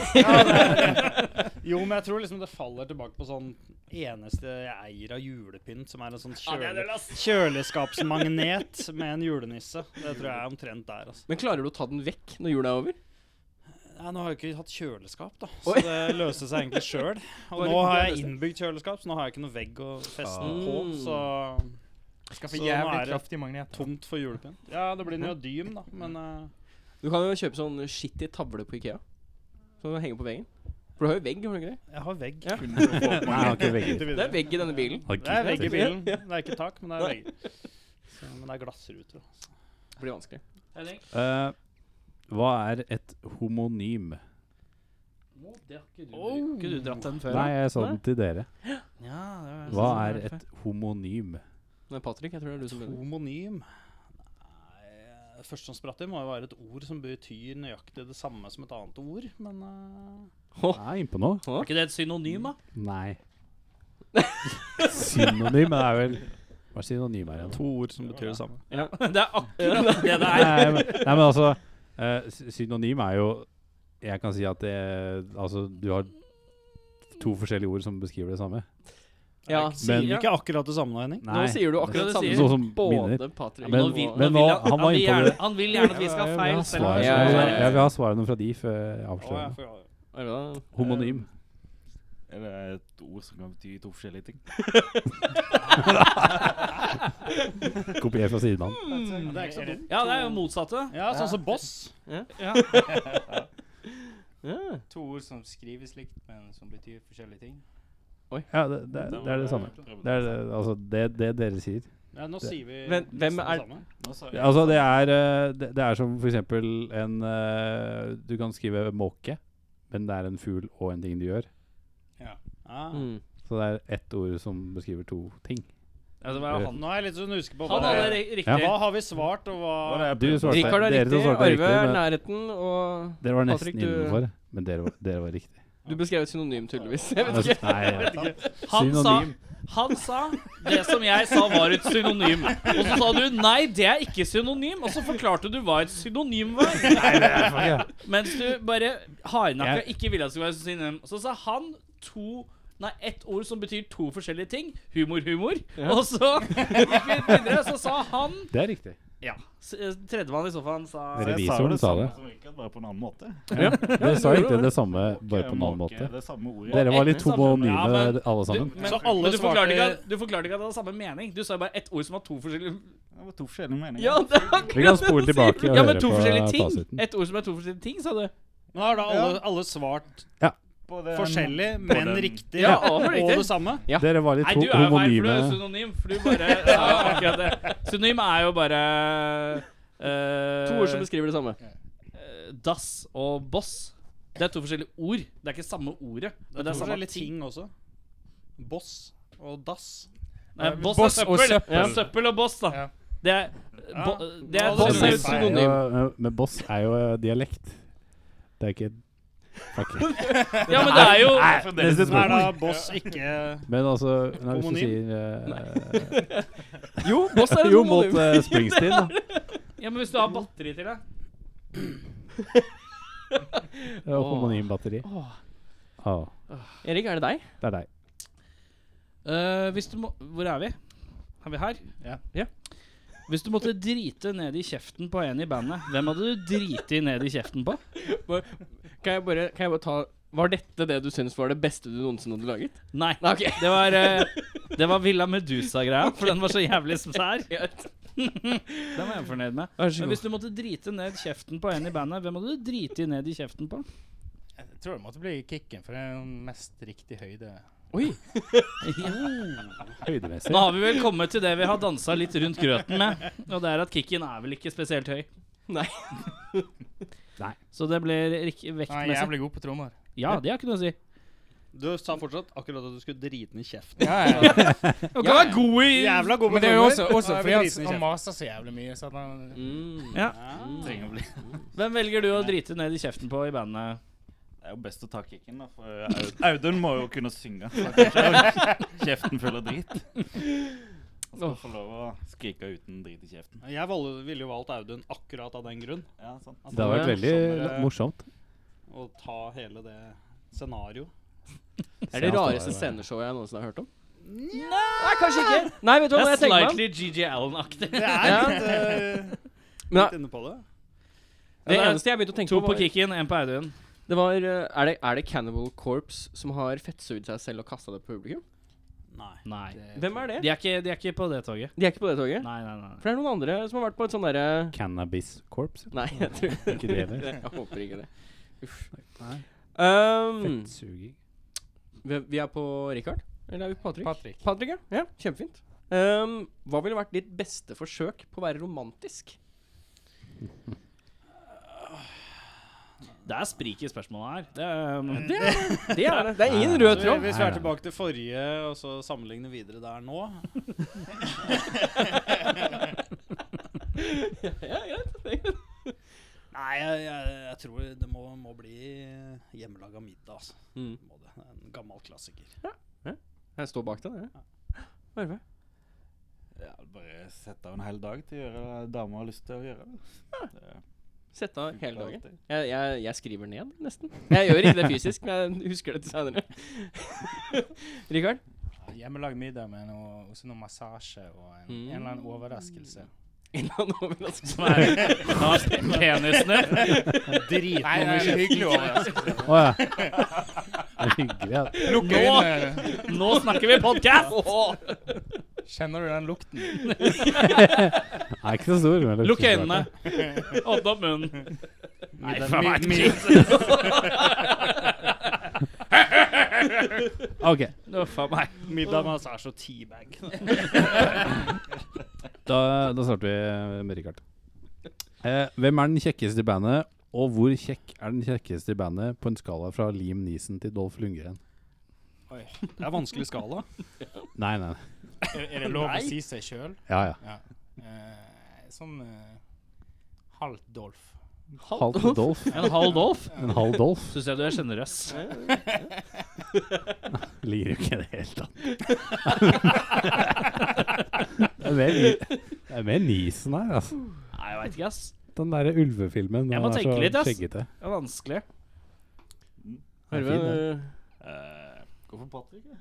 Speaker 7: Jo, men jeg tror liksom det faller tilbake på sånn eneste jeg eier av julepynt, som er en sånn kjøle, kjøleskapsmagnet med en julenisse. Det tror jeg er omtrent der, altså.
Speaker 2: Men klarer du å ta den vekk når jula er over?
Speaker 7: Nei, nå har jeg ikke hatt kjøleskap, da, så
Speaker 2: Oi.
Speaker 7: det løste seg egentlig sjøl. Og
Speaker 2: Bare
Speaker 7: nå har
Speaker 2: god
Speaker 7: jeg
Speaker 2: løsning.
Speaker 7: innbygd kjøleskap, så nå har jeg ikke noe vegg å feste den på.
Speaker 2: Ah.
Speaker 7: Så
Speaker 9: Skal
Speaker 7: Så
Speaker 9: få
Speaker 7: nå er
Speaker 9: jævlig
Speaker 7: det
Speaker 9: kraftig magnet.
Speaker 7: tomt for julepynt. Ja, det blir neodym, da, men eh,
Speaker 2: Du kan jo kjøpe sånn skittig tavle på Ikea. Som du henger på veggen. For du har jo vegg, har du ikke det?
Speaker 7: jeg har vegg.
Speaker 2: Ja.
Speaker 4: Nei, han har ikke vegger.
Speaker 7: Inntil
Speaker 2: Det
Speaker 7: videre.
Speaker 2: er vegg i denne bilen.
Speaker 7: Det er vegg i
Speaker 4: Har
Speaker 7: bilen. Det er ikke tak, men det er
Speaker 2: Nei.
Speaker 7: vegger. Så, men det er glassruter. da.
Speaker 2: Det blir vanskelig.
Speaker 3: Henning?
Speaker 4: Eh, hva er et homonym?
Speaker 3: Å, det har ikke du, ikke du dratt den før?
Speaker 4: Nei, jeg sa den til dere.
Speaker 3: Ja, det
Speaker 2: Sånn
Speaker 3: var-
Speaker 4: Hva er et homonym?
Speaker 2: Men Patrick, jeg tror det er du som begynner.
Speaker 7: Homonym. eh, første som spratt inn, må jo være et ord som betyr nøyaktig det samme som et annet ord, men eh,
Speaker 4: Jeg er innpå noe.
Speaker 7: Er ikke det et synonym, da?
Speaker 4: Nei. Synonym det er vel Hva er synonym her igjen?
Speaker 7: To ord som betyr det samme.
Speaker 3: Det er akkurat det det er.
Speaker 4: Nei, men, nei, men altså eh, sy- Synonym er jo Jeg kan si at det Altså, du har to forskjellige ord som beskriver det samme.
Speaker 2: Ja,
Speaker 7: Men
Speaker 2: sier-
Speaker 7: ikke akkurat det samme, Henning.
Speaker 2: Nå sier du akkurat det
Speaker 4: det
Speaker 2: samme
Speaker 4: Noe
Speaker 2: som
Speaker 4: Sånn som minner.
Speaker 2: både Patrick
Speaker 4: Men-
Speaker 2: og
Speaker 3: vil-
Speaker 4: men
Speaker 3: vil
Speaker 4: hva-
Speaker 3: han-
Speaker 4: han var
Speaker 3: vil
Speaker 4: inne på
Speaker 3: gjerne-
Speaker 4: det.
Speaker 3: Han vil gjerne at vi skal ha feil. selv om
Speaker 4: Svar,
Speaker 3: det
Speaker 2: Ja,
Speaker 3: er-
Speaker 2: ja, ja.
Speaker 4: Jeg vil ha svarene fra de før jeg avslører. det.
Speaker 2: Arve,
Speaker 4: Homonym.
Speaker 8: Er det et ord som kan bety to forskjellige ting?
Speaker 4: Kopier fra sidemannen.
Speaker 7: det er ikke så dumt.
Speaker 3: Ja, det er jo motsatte.
Speaker 7: Ja, sånn som boss.
Speaker 2: ja.
Speaker 9: To ord som skrives likt, men som betyr forskjellige ting.
Speaker 4: Ja, det, det, er- det er det samme. Det er det, altså det, det dere sier.
Speaker 7: Ja, nå sier vi
Speaker 2: Men hvem
Speaker 7: nesten
Speaker 2: er-
Speaker 7: det samme.
Speaker 4: Ja, Altså, det er, eh, det, det er som for eksempel en eh, Du kan skrive måke, men det er en fugl og en ting du gjør.
Speaker 7: Ja.
Speaker 2: Mm.
Speaker 4: Så det er ett ord som beskriver to ting.
Speaker 7: Altså, hva er han? Nå er jeg litt sånn usikker på hva,
Speaker 3: Han hadde det riktig.
Speaker 7: hva har vi svart, og hva
Speaker 4: Du svarte,
Speaker 2: Rikard er
Speaker 4: dere
Speaker 2: riktig,
Speaker 4: som svarte
Speaker 2: Arve
Speaker 4: riktig,
Speaker 2: er
Speaker 4: men
Speaker 2: nærheten, og
Speaker 4: dere var nesten
Speaker 2: Patrick, du-
Speaker 4: innenfor. Men dere, var- dere var riktig.
Speaker 2: Du beskrev et synonym, tydeligvis. Jeg vet
Speaker 4: Altså,
Speaker 2: ikke.
Speaker 4: Nei, ja.
Speaker 3: Han sa,
Speaker 4: synonym.
Speaker 3: han sa det som jeg sa var et synonym. Og så sa du nei, det er ikke synonym. Og så forklarte du hva et synonym var. Mens du bare hardnakka ikke ville at det skulle være synonym. Så sa han to Nei, ett ord som betyr to forskjellige ting. Humor, humor. Og så gikk vi videre, så sa han
Speaker 4: Det er riktig.
Speaker 3: Ja. s- eh, Tredjemann i sofaen sa
Speaker 4: Revisoren sa det.
Speaker 8: Som Rikard, bare på en annen måte.
Speaker 4: Dere sa egentlig det samme, bare på en annen
Speaker 8: Måke,
Speaker 4: måte.
Speaker 8: Det samme ordet.
Speaker 4: Dere var litt
Speaker 3: samme- Ja, men-
Speaker 4: homonyme, alle sammen.
Speaker 3: men, men du, forklarte ikke at, du forklarte ikke at det hadde samme mening. Du sa bare ett ord som har to forskjellige
Speaker 8: Det var to forskjellige meninger.
Speaker 3: Ja, det er akkurat
Speaker 4: Vi kan spole
Speaker 3: det du
Speaker 4: tilbake
Speaker 3: sier.
Speaker 4: og
Speaker 3: ja,
Speaker 4: høre
Speaker 3: men to
Speaker 4: på
Speaker 3: forskjellige ting.
Speaker 4: fasiten.
Speaker 3: Et ord som er to forskjellige ting, sa du.
Speaker 7: Nå har da alle, alle svart
Speaker 8: På den-
Speaker 7: forskjellig,
Speaker 8: på
Speaker 7: men
Speaker 8: den-
Speaker 7: riktig.
Speaker 2: Ja, og for
Speaker 7: Og
Speaker 2: riktig.
Speaker 7: det samme.
Speaker 4: Dere var litt
Speaker 3: Nei,
Speaker 4: ho-
Speaker 3: du er jo feil, for du
Speaker 4: homonyme.
Speaker 3: er synonym. For du bare sa jo akkurat det. Synonym er jo bare eh,
Speaker 2: To ord som beskriver det samme.
Speaker 3: eh, Dass og boss. Det er to forskjellige ord. Det er ikke samme ordet. Men det er samme
Speaker 7: forskjellige
Speaker 3: ting.
Speaker 7: ting også. Boss og dass.
Speaker 3: Nei, boss,
Speaker 9: Boss
Speaker 3: er
Speaker 9: og
Speaker 3: søppel. Og søppel.
Speaker 9: søppel.
Speaker 3: Ja. søppel og boss, da.
Speaker 9: Ja.
Speaker 3: Det er, bo, det er sånn-
Speaker 4: Boss
Speaker 3: det
Speaker 4: er
Speaker 3: er
Speaker 4: jo
Speaker 3: jo
Speaker 9: feil.
Speaker 3: synonym.
Speaker 4: synonym. Men boss er jo eh, dialekt. Det er ikke Fuck.
Speaker 3: Ja, men det er jo
Speaker 4: Neste
Speaker 7: Nå er da
Speaker 4: spørsmål.
Speaker 7: boss ikke
Speaker 4: Men altså Nei, hvis du
Speaker 7: Homonym?
Speaker 4: sier eh,
Speaker 2: Jo, boss er et
Speaker 4: Jo, mot
Speaker 2: homonym.
Speaker 4: eh, Springsteen, da.
Speaker 3: Ja, men hvis du har batteri til det
Speaker 4: Det var homonym batteri. Å,
Speaker 2: Erik, er det deg?
Speaker 4: det er deg.
Speaker 3: Eh, hvis du må Hvor er vi? Er vi her?
Speaker 9: Ja.
Speaker 3: Hvis du måtte drite ned i kjeften på en i bandet, hvem hadde du driti ned i kjeften på?
Speaker 2: Kan jeg bare, kan jeg bare ta Var dette det du syns var det beste du noensinne hadde laget?
Speaker 3: Nei,
Speaker 2: Nei, ok.
Speaker 3: det var eh, Det var Villa Medusa-greia, for den var så jævlig sær. Den var jeg fornøyd med.
Speaker 2: Vær
Speaker 3: Men hvis du måtte drite ned kjeften på en i bandet, hvem hadde du driti ned i kjeften på?
Speaker 9: Jeg tror det måtte bli kicken, for det er jo mest riktig høyde.
Speaker 2: Oi.
Speaker 4: Høydemessig.
Speaker 3: Nå har vi vel kommet til det vi har dansa litt rundt grøten med, og det er at kicken er vel ikke spesielt høy.
Speaker 2: Nei.
Speaker 4: Nei.
Speaker 3: Så det blir rik-
Speaker 9: Nei, jeg er
Speaker 3: vektmessig.
Speaker 9: jævlig god på trommer.
Speaker 3: Ja, det har ikke noe å si.
Speaker 7: Du sa fortsatt akkurat at du skulle drite den i kjeften.
Speaker 9: Ja, ja.
Speaker 2: Oh,
Speaker 3: Du kan være god i
Speaker 7: Jævla god
Speaker 9: Men det er jo også, også
Speaker 7: sånn, Ja, jeg
Speaker 9: fordi
Speaker 7: blir driten i
Speaker 9: han, han
Speaker 7: kjeften.
Speaker 9: maser så jævlig mye. Så at han,
Speaker 2: Mm.
Speaker 3: Ja.
Speaker 8: Trenger å bli.
Speaker 3: Hvem velger du å drite ned i kjeften på i bandet?
Speaker 8: Det er jo best å ta kicken, da. For Aud- Audun må jo kunne synge. så kanskje Kjeften full av drit. Han skal få lov å skrike uten drit i kjeften.
Speaker 7: Jeg valg- ville jo valgt Audun akkurat av den grunn.
Speaker 8: Ja, sant.
Speaker 4: Det hadde vært veldig la- morsomt.
Speaker 7: Å ta hele det scenarioet.
Speaker 2: Er det
Speaker 4: Se, han
Speaker 2: rareste
Speaker 4: står der.
Speaker 2: sceneshowet jeg noensinne har hørt om? Nei, kanskje ikke. Nei, vet du hva
Speaker 3: Det
Speaker 2: når
Speaker 3: er
Speaker 2: jeg tenker meg om?
Speaker 3: slightly GG Allen-aktig.
Speaker 7: Det er
Speaker 2: Ja.
Speaker 7: litt, eh,
Speaker 2: Men
Speaker 7: litt inne på det.
Speaker 2: Det
Speaker 3: Ja, det er
Speaker 2: eneste jeg begynte å tenke
Speaker 3: To
Speaker 2: på,
Speaker 3: på
Speaker 2: var,
Speaker 3: kicken, én på Audun.
Speaker 2: det var eh, er det, er det Cannibal Corpse som har fettsugd seg selv og kasta det på publikum?
Speaker 7: Nei.
Speaker 3: Nei.
Speaker 2: Hvem er det?
Speaker 3: De er ikke, de er ikke på det toget.
Speaker 2: De er ikke på det toget?
Speaker 3: Nei, nei, nei. nei.
Speaker 2: For det er noen andre som har vært på et sånn derre
Speaker 4: Cannabis Corps.
Speaker 2: Nei, jeg tror
Speaker 4: Ikke det heller.
Speaker 2: Jeg håper ikke det. Uff.
Speaker 4: Nei.
Speaker 2: Um,
Speaker 4: Fettsuging.
Speaker 2: vi, vi er på Richard? Eller er vi på Patrick?
Speaker 9: Patrick.
Speaker 2: Patrick, ja. ja kjempefint. Um, hva ville vært ditt beste forsøk på å være romantisk?
Speaker 3: Det er sprik i spørsmålet her. Det er, um,
Speaker 2: Det er det. Det er, det. Det er ingen rød
Speaker 7: Så
Speaker 2: tråd.
Speaker 7: hvis vi er tilbake til forrige, og så sammenligne videre der nå
Speaker 2: Ja, greit. Det
Speaker 5: Nei, jeg, jeg, jeg tror det må, må bli hjemmelaga middag, altså.
Speaker 2: Mm.
Speaker 5: Må det. En gammel klassiker.
Speaker 2: Jeg står bak deg, jeg. Arve?
Speaker 8: Ja, bare sette av en hel dag til å gjøre det dama har lyst til å gjøre. Det
Speaker 2: Sette av
Speaker 8: funker
Speaker 2: hele dagen.
Speaker 8: alltid.
Speaker 2: Jeg, jeg, jeg skriver ned, nesten. Jeg gjør ikke det fysisk, men jeg husker det til seinere. Rikard?
Speaker 9: Hjemmelagd middag med noe, også noe massasje og en,
Speaker 2: Mm.
Speaker 9: en eller annen overraskelse.
Speaker 2: Innlandet overraskelse.
Speaker 3: Penisene.
Speaker 9: Nei, nei, det er hyggelig overraskelse.
Speaker 4: Å ja. Det er hyggelig. Ja.
Speaker 9: Lukke øynene.
Speaker 3: Nå snakker vi podkast!
Speaker 9: Kjenner du den lukten?
Speaker 4: Den er ikke så stor. men det er
Speaker 3: Lukk
Speaker 4: ikke så
Speaker 3: øynene.
Speaker 4: svært,
Speaker 3: Åpne opp munnen.
Speaker 5: Nei,
Speaker 4: ja. OK.
Speaker 3: Uff a meg.
Speaker 5: middag, massasje og teabag.
Speaker 4: Da, da starter vi med Richard. Eh, hvem er den kjekkeste i bandet, og hvor kjekk er den kjekkeste i bandet på en skala fra Liam Neeson til Dolph Lundgren?
Speaker 5: Det er vanskelig skala.
Speaker 4: Nei, nei.
Speaker 9: Er, er det lov å si seg sjøl?
Speaker 4: Ja, ja.
Speaker 9: sånn eh, halvt Dolf.
Speaker 4: Halv Dolph.
Speaker 3: En halv Dolf?
Speaker 4: En halv Dolph
Speaker 3: Syns jeg du er sjenerøs.
Speaker 4: ligger jo ikke i det hele tatt. det, er mer, det er mer Neeson her, altså.
Speaker 3: Nei, jeg veit ikke, ass.
Speaker 4: Den derre ulvefilmen.
Speaker 3: Jeg
Speaker 4: den
Speaker 3: må
Speaker 4: er
Speaker 3: tenke
Speaker 4: så
Speaker 3: litt, ass.
Speaker 4: Skjeggete.
Speaker 3: Det er vanskelig.
Speaker 4: Den er fin, den.
Speaker 8: Eh, Hvorfor Patrick? da?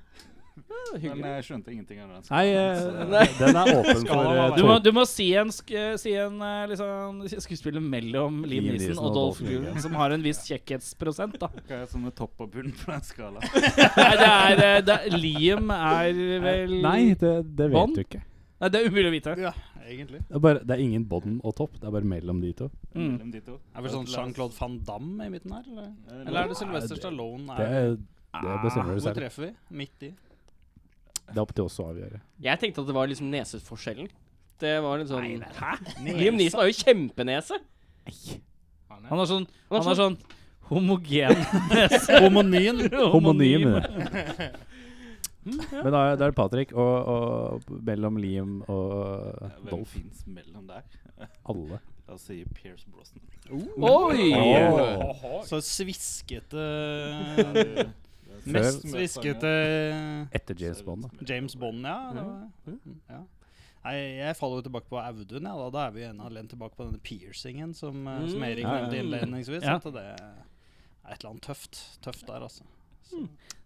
Speaker 8: Men
Speaker 2: Hyggelig.
Speaker 8: jeg skjønte ingenting av den.
Speaker 4: Nei, eh, den er åpen for eh,
Speaker 3: Du må,
Speaker 4: tolk.
Speaker 3: du må si en, sk si en eh, liksom, skuespiller mellom Liam
Speaker 4: Liam
Speaker 3: Neeson
Speaker 4: Neeson og
Speaker 3: og Dolph
Speaker 4: Dolph
Speaker 3: Lundgren,
Speaker 4: Lundgren.
Speaker 3: som har en viss kjekkhetsprosent, da.
Speaker 8: Hva er som er topp og bunn på den skala?
Speaker 3: Nei, det er, eh, det er Liam er vel
Speaker 4: Nei, det, det
Speaker 3: Bånd?
Speaker 4: vet du ikke.
Speaker 3: Nei, det er umulig å vite.
Speaker 5: Ja, egentlig.
Speaker 4: Det er, bare, det er ingen bånd og topp, det er bare mellom de to.
Speaker 3: Mm.
Speaker 8: Mellom de to. Eh,
Speaker 5: Er vel sånn Jean-Claude van Damme i midten her? Eller, eller er det Sylvester Stallone?
Speaker 4: Det,
Speaker 5: Er,
Speaker 4: det bestemmer du
Speaker 5: hvor
Speaker 4: selv.
Speaker 5: treffer vi? Midt i?
Speaker 4: Det er opp til oss å avgjøre.
Speaker 2: Jeg tenkte at det var liksom neseforskjellen. Det var litt sånn Hæ? Liam Neeson har jo kjempenese.
Speaker 3: Han har
Speaker 2: Han
Speaker 3: sånn,
Speaker 2: har
Speaker 3: han har sånn homogen
Speaker 5: Homonyen.
Speaker 4: Homonym. det. Men da, er- da er det Patrick og, og mellom Liam og
Speaker 8: Hvem
Speaker 4: Dolph.
Speaker 8: fins mellom der?
Speaker 4: Alle.
Speaker 8: La oss si Pierce Brosnan.
Speaker 2: Oi!
Speaker 4: Åh.
Speaker 5: Så sviskete
Speaker 4: Mest
Speaker 5: Mest sviskete
Speaker 4: Etter James Bond, da.
Speaker 5: James Bond, ja. Det
Speaker 3: Mm.
Speaker 5: var, Mm, ja. Nei, jeg faller jo tilbake på Audun. Ja, da. da er vi igjen alene tilbake på denne piercingen som, eh, som Erik
Speaker 4: Ja, ja.
Speaker 5: nevnte innledningsvis.
Speaker 3: Mm. Ja.
Speaker 5: At det er et eller annet tøft. Tøft der, altså.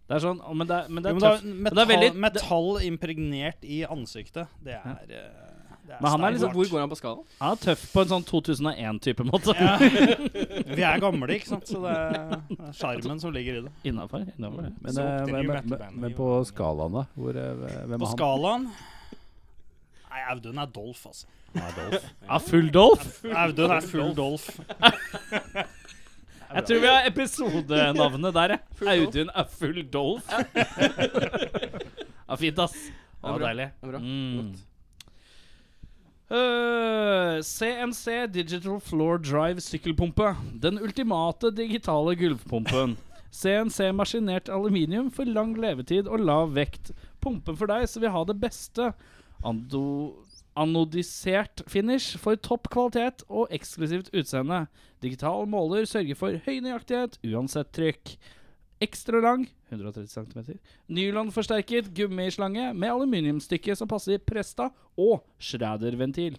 Speaker 3: Det er sånn, å, men det er, men det
Speaker 5: Jo,
Speaker 3: er
Speaker 5: men da,
Speaker 3: tøft.
Speaker 5: metall,
Speaker 3: det er veldig-
Speaker 5: metall impregnert i ansiktet, det er, eh, det
Speaker 3: Men han er
Speaker 5: steinhardt.
Speaker 3: liksom-
Speaker 2: Hvor går han på skala?
Speaker 3: Han er tøff på en sånn 2001-type måte.
Speaker 5: Ja. Vi er gamle, ikke sant? Så det er det er sjarmen som ligger i det.
Speaker 3: Innafor. Innafor det.
Speaker 4: Men,
Speaker 9: Så
Speaker 4: eh,
Speaker 9: opp
Speaker 4: men,
Speaker 9: til new
Speaker 4: men,
Speaker 9: metal-band.
Speaker 4: men på skalaen, da? Hvor, eh, hvem
Speaker 5: På
Speaker 4: er han?
Speaker 5: skalaen Nei, Audun er Dolf, altså.
Speaker 4: Ja, Dolph.
Speaker 3: Ja, full Dolph?
Speaker 5: Audun er full Dolf.
Speaker 3: Jeg tror vi har episodenavnet der, jeg. Audun er full Dolph. ja, fint, ass. Det var
Speaker 2: bra.
Speaker 3: deilig.
Speaker 2: Det er bra.
Speaker 3: Mm. Øh, CNC Digital Floor Drive sykkelpumpe. Den ultimate digitale gulvpumpen. CNC maskinert aluminium for lang levetid og lav vekt. Pumpen for deg som vil ha det beste. Ando anodisert finish for topp kvalitet og eksklusivt utseende. Digital måler sørger for høy nøyaktighet uansett trykk. Ekstra lang 130 cm. Nylonforsterket gummislange med aluminiumstykke som passer i presta og schræderventil.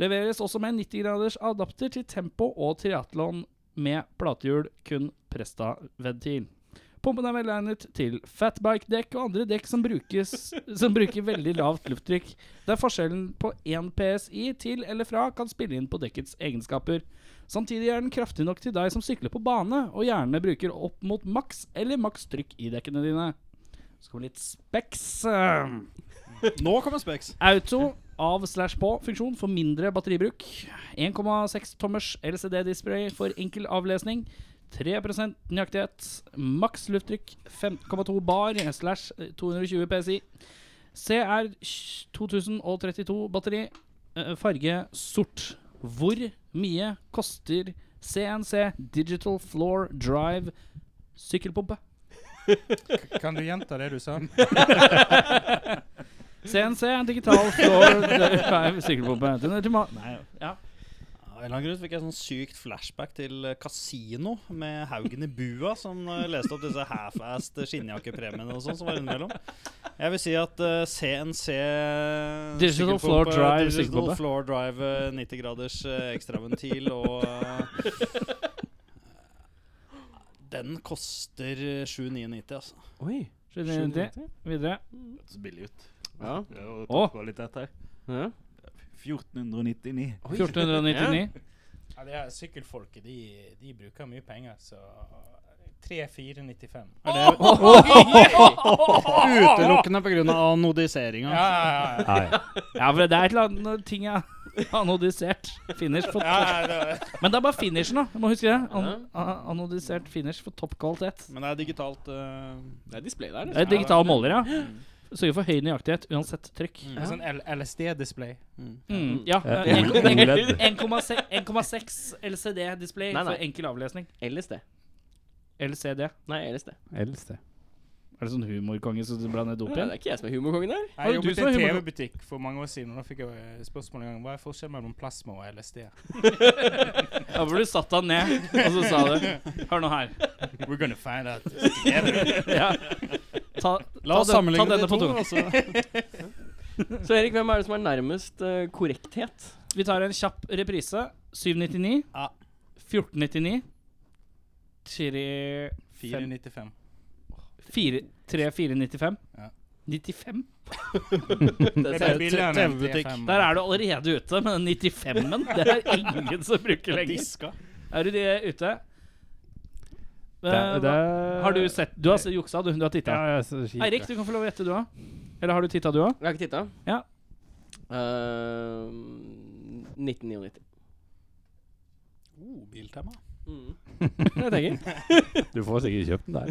Speaker 3: Leveres også med 90 graders adapter til tempo og triatlon med platehjul, kun presta-ventil. Pumpen er velegnet til fatbike-dekk og andre dekk som, brukes, som bruker veldig lavt lufttrykk, der forskjellen på 1 PSI til eller fra kan spille inn på dekkets egenskaper. Samtidig er den kraftig nok til deg som sykler på bane, og gjerne bruker opp mot maks eller maks trykk i dekkene dine. Så kommer litt eh? speks.
Speaker 5: Nå kommer Specs.
Speaker 3: Auto av slash på funksjon for mindre batteribruk. 1,6 tommers LCD-display for enkel avlesning. 3 nøyaktighet. Maks lufttrykk 5,2 bar slash 220 PSI. CR 2032 batteri. eh, Farge sort. Hvor mye koster CNC Digital Floor Drive sykkelpumpe?
Speaker 9: Kan du gjenta det du sa?
Speaker 3: CNC Digital Floor Drive sykkelpumpe. Den er til ma- Nei, ja.
Speaker 7: Av en eller annen grunn så fikk jeg sånn sykt flashback til eh, Casino med Haugen i bua, som eh, leste opp disse half-assed skinnjakkepremiene og sånn som var innimellom. Jeg vil si at eh, CNC
Speaker 3: Digital
Speaker 7: sikkerpumpe-
Speaker 3: Floor Drive
Speaker 7: Digital
Speaker 3: sikkerpumpe.
Speaker 7: Floor Drive eh, 90 graders eh, ekstraventil og eh, Den koster eh, 7990, altså.
Speaker 2: Oi.
Speaker 3: 79. Videre.
Speaker 8: Hørtes billig ut.
Speaker 2: Ja.
Speaker 8: Det er jo
Speaker 3: Å.
Speaker 8: toppkvalitet her.
Speaker 2: ja.
Speaker 8: 1499.
Speaker 3: 1499.
Speaker 9: Ja, det her sykkelfolket, de, de bruker mye penger, så 3495.
Speaker 7: Er det utelukkende pga. anodiseringa?
Speaker 9: Ja, ja, ja.
Speaker 4: Nei.
Speaker 3: Ja, for det er et eller annet ting jeg anodisert finish for topp.
Speaker 9: ja, ja det var,
Speaker 3: Men det er bare finishen, da. Du må huske det. An a- anodisert finish for topp kvalitet.
Speaker 7: Men det er digitalt. eh,
Speaker 2: Det er display der.
Speaker 3: Det er digital måler, ja. Sørger for høy nøyaktighet uansett trykk.
Speaker 9: en sånn L- LSD-display.
Speaker 3: Mm, ja.
Speaker 4: Ja.
Speaker 3: eh,
Speaker 4: Ol- OLED.
Speaker 3: 1,6 1,6 LCD-display
Speaker 2: Nei, nei.
Speaker 3: for enkel avlesning.
Speaker 2: LSD.
Speaker 3: LCD.
Speaker 2: Nei, LSD. Nei,
Speaker 4: Eldst, det.
Speaker 3: Er det sånn humorkonge som du blandet dop
Speaker 2: det
Speaker 3: i?
Speaker 2: er ikke jeg som er humorkongen her.
Speaker 9: Jeg
Speaker 3: du
Speaker 9: jobbet i
Speaker 3: som
Speaker 9: en
Speaker 3: er humor-
Speaker 9: TV-butikk for mange år siden, og da fikk jeg eh, spørsmål en gang hva er forskjellen mellom plasma og LSD.
Speaker 3: Ja, hvor du satte han ned, og så sa du Hør nå her.
Speaker 9: We're gonna find out.
Speaker 3: Ja. Ta,
Speaker 7: La oss
Speaker 3: ta den-
Speaker 7: sammenligne
Speaker 3: ta denne
Speaker 7: de
Speaker 3: på
Speaker 7: to.
Speaker 3: tunga.
Speaker 7: altså.
Speaker 2: Så Erik, hvem er det som er nærmest eh, korrekthet?
Speaker 3: Vi tar en kjapp reprise. 799.
Speaker 7: Ja.
Speaker 3: 1499. 3
Speaker 9: 495.
Speaker 3: 4 3495.
Speaker 9: Ja.
Speaker 3: 95?
Speaker 9: Det
Speaker 2: Det
Speaker 9: er billigere enn
Speaker 7: TV-butikk.
Speaker 9: 95.
Speaker 3: Der er du allerede ute med den 95-en. Det er ingen som bruker lenger. Er du de ute? Eh,
Speaker 4: Det-
Speaker 3: hva-
Speaker 4: det-
Speaker 3: Har du sett Du har se- juksa, du. Du har titta.
Speaker 4: Ja, jeg så kjipt.
Speaker 3: Eirik, du kan få lov å gjette, du òg. Eller har du titta, du òg?
Speaker 2: Jeg har ikke titta.
Speaker 3: Ja.
Speaker 2: Eh, 1999.
Speaker 7: Oh, Biltema.
Speaker 2: Mm. Det tenker jeg.
Speaker 4: Du får sikkert kjøpt den der.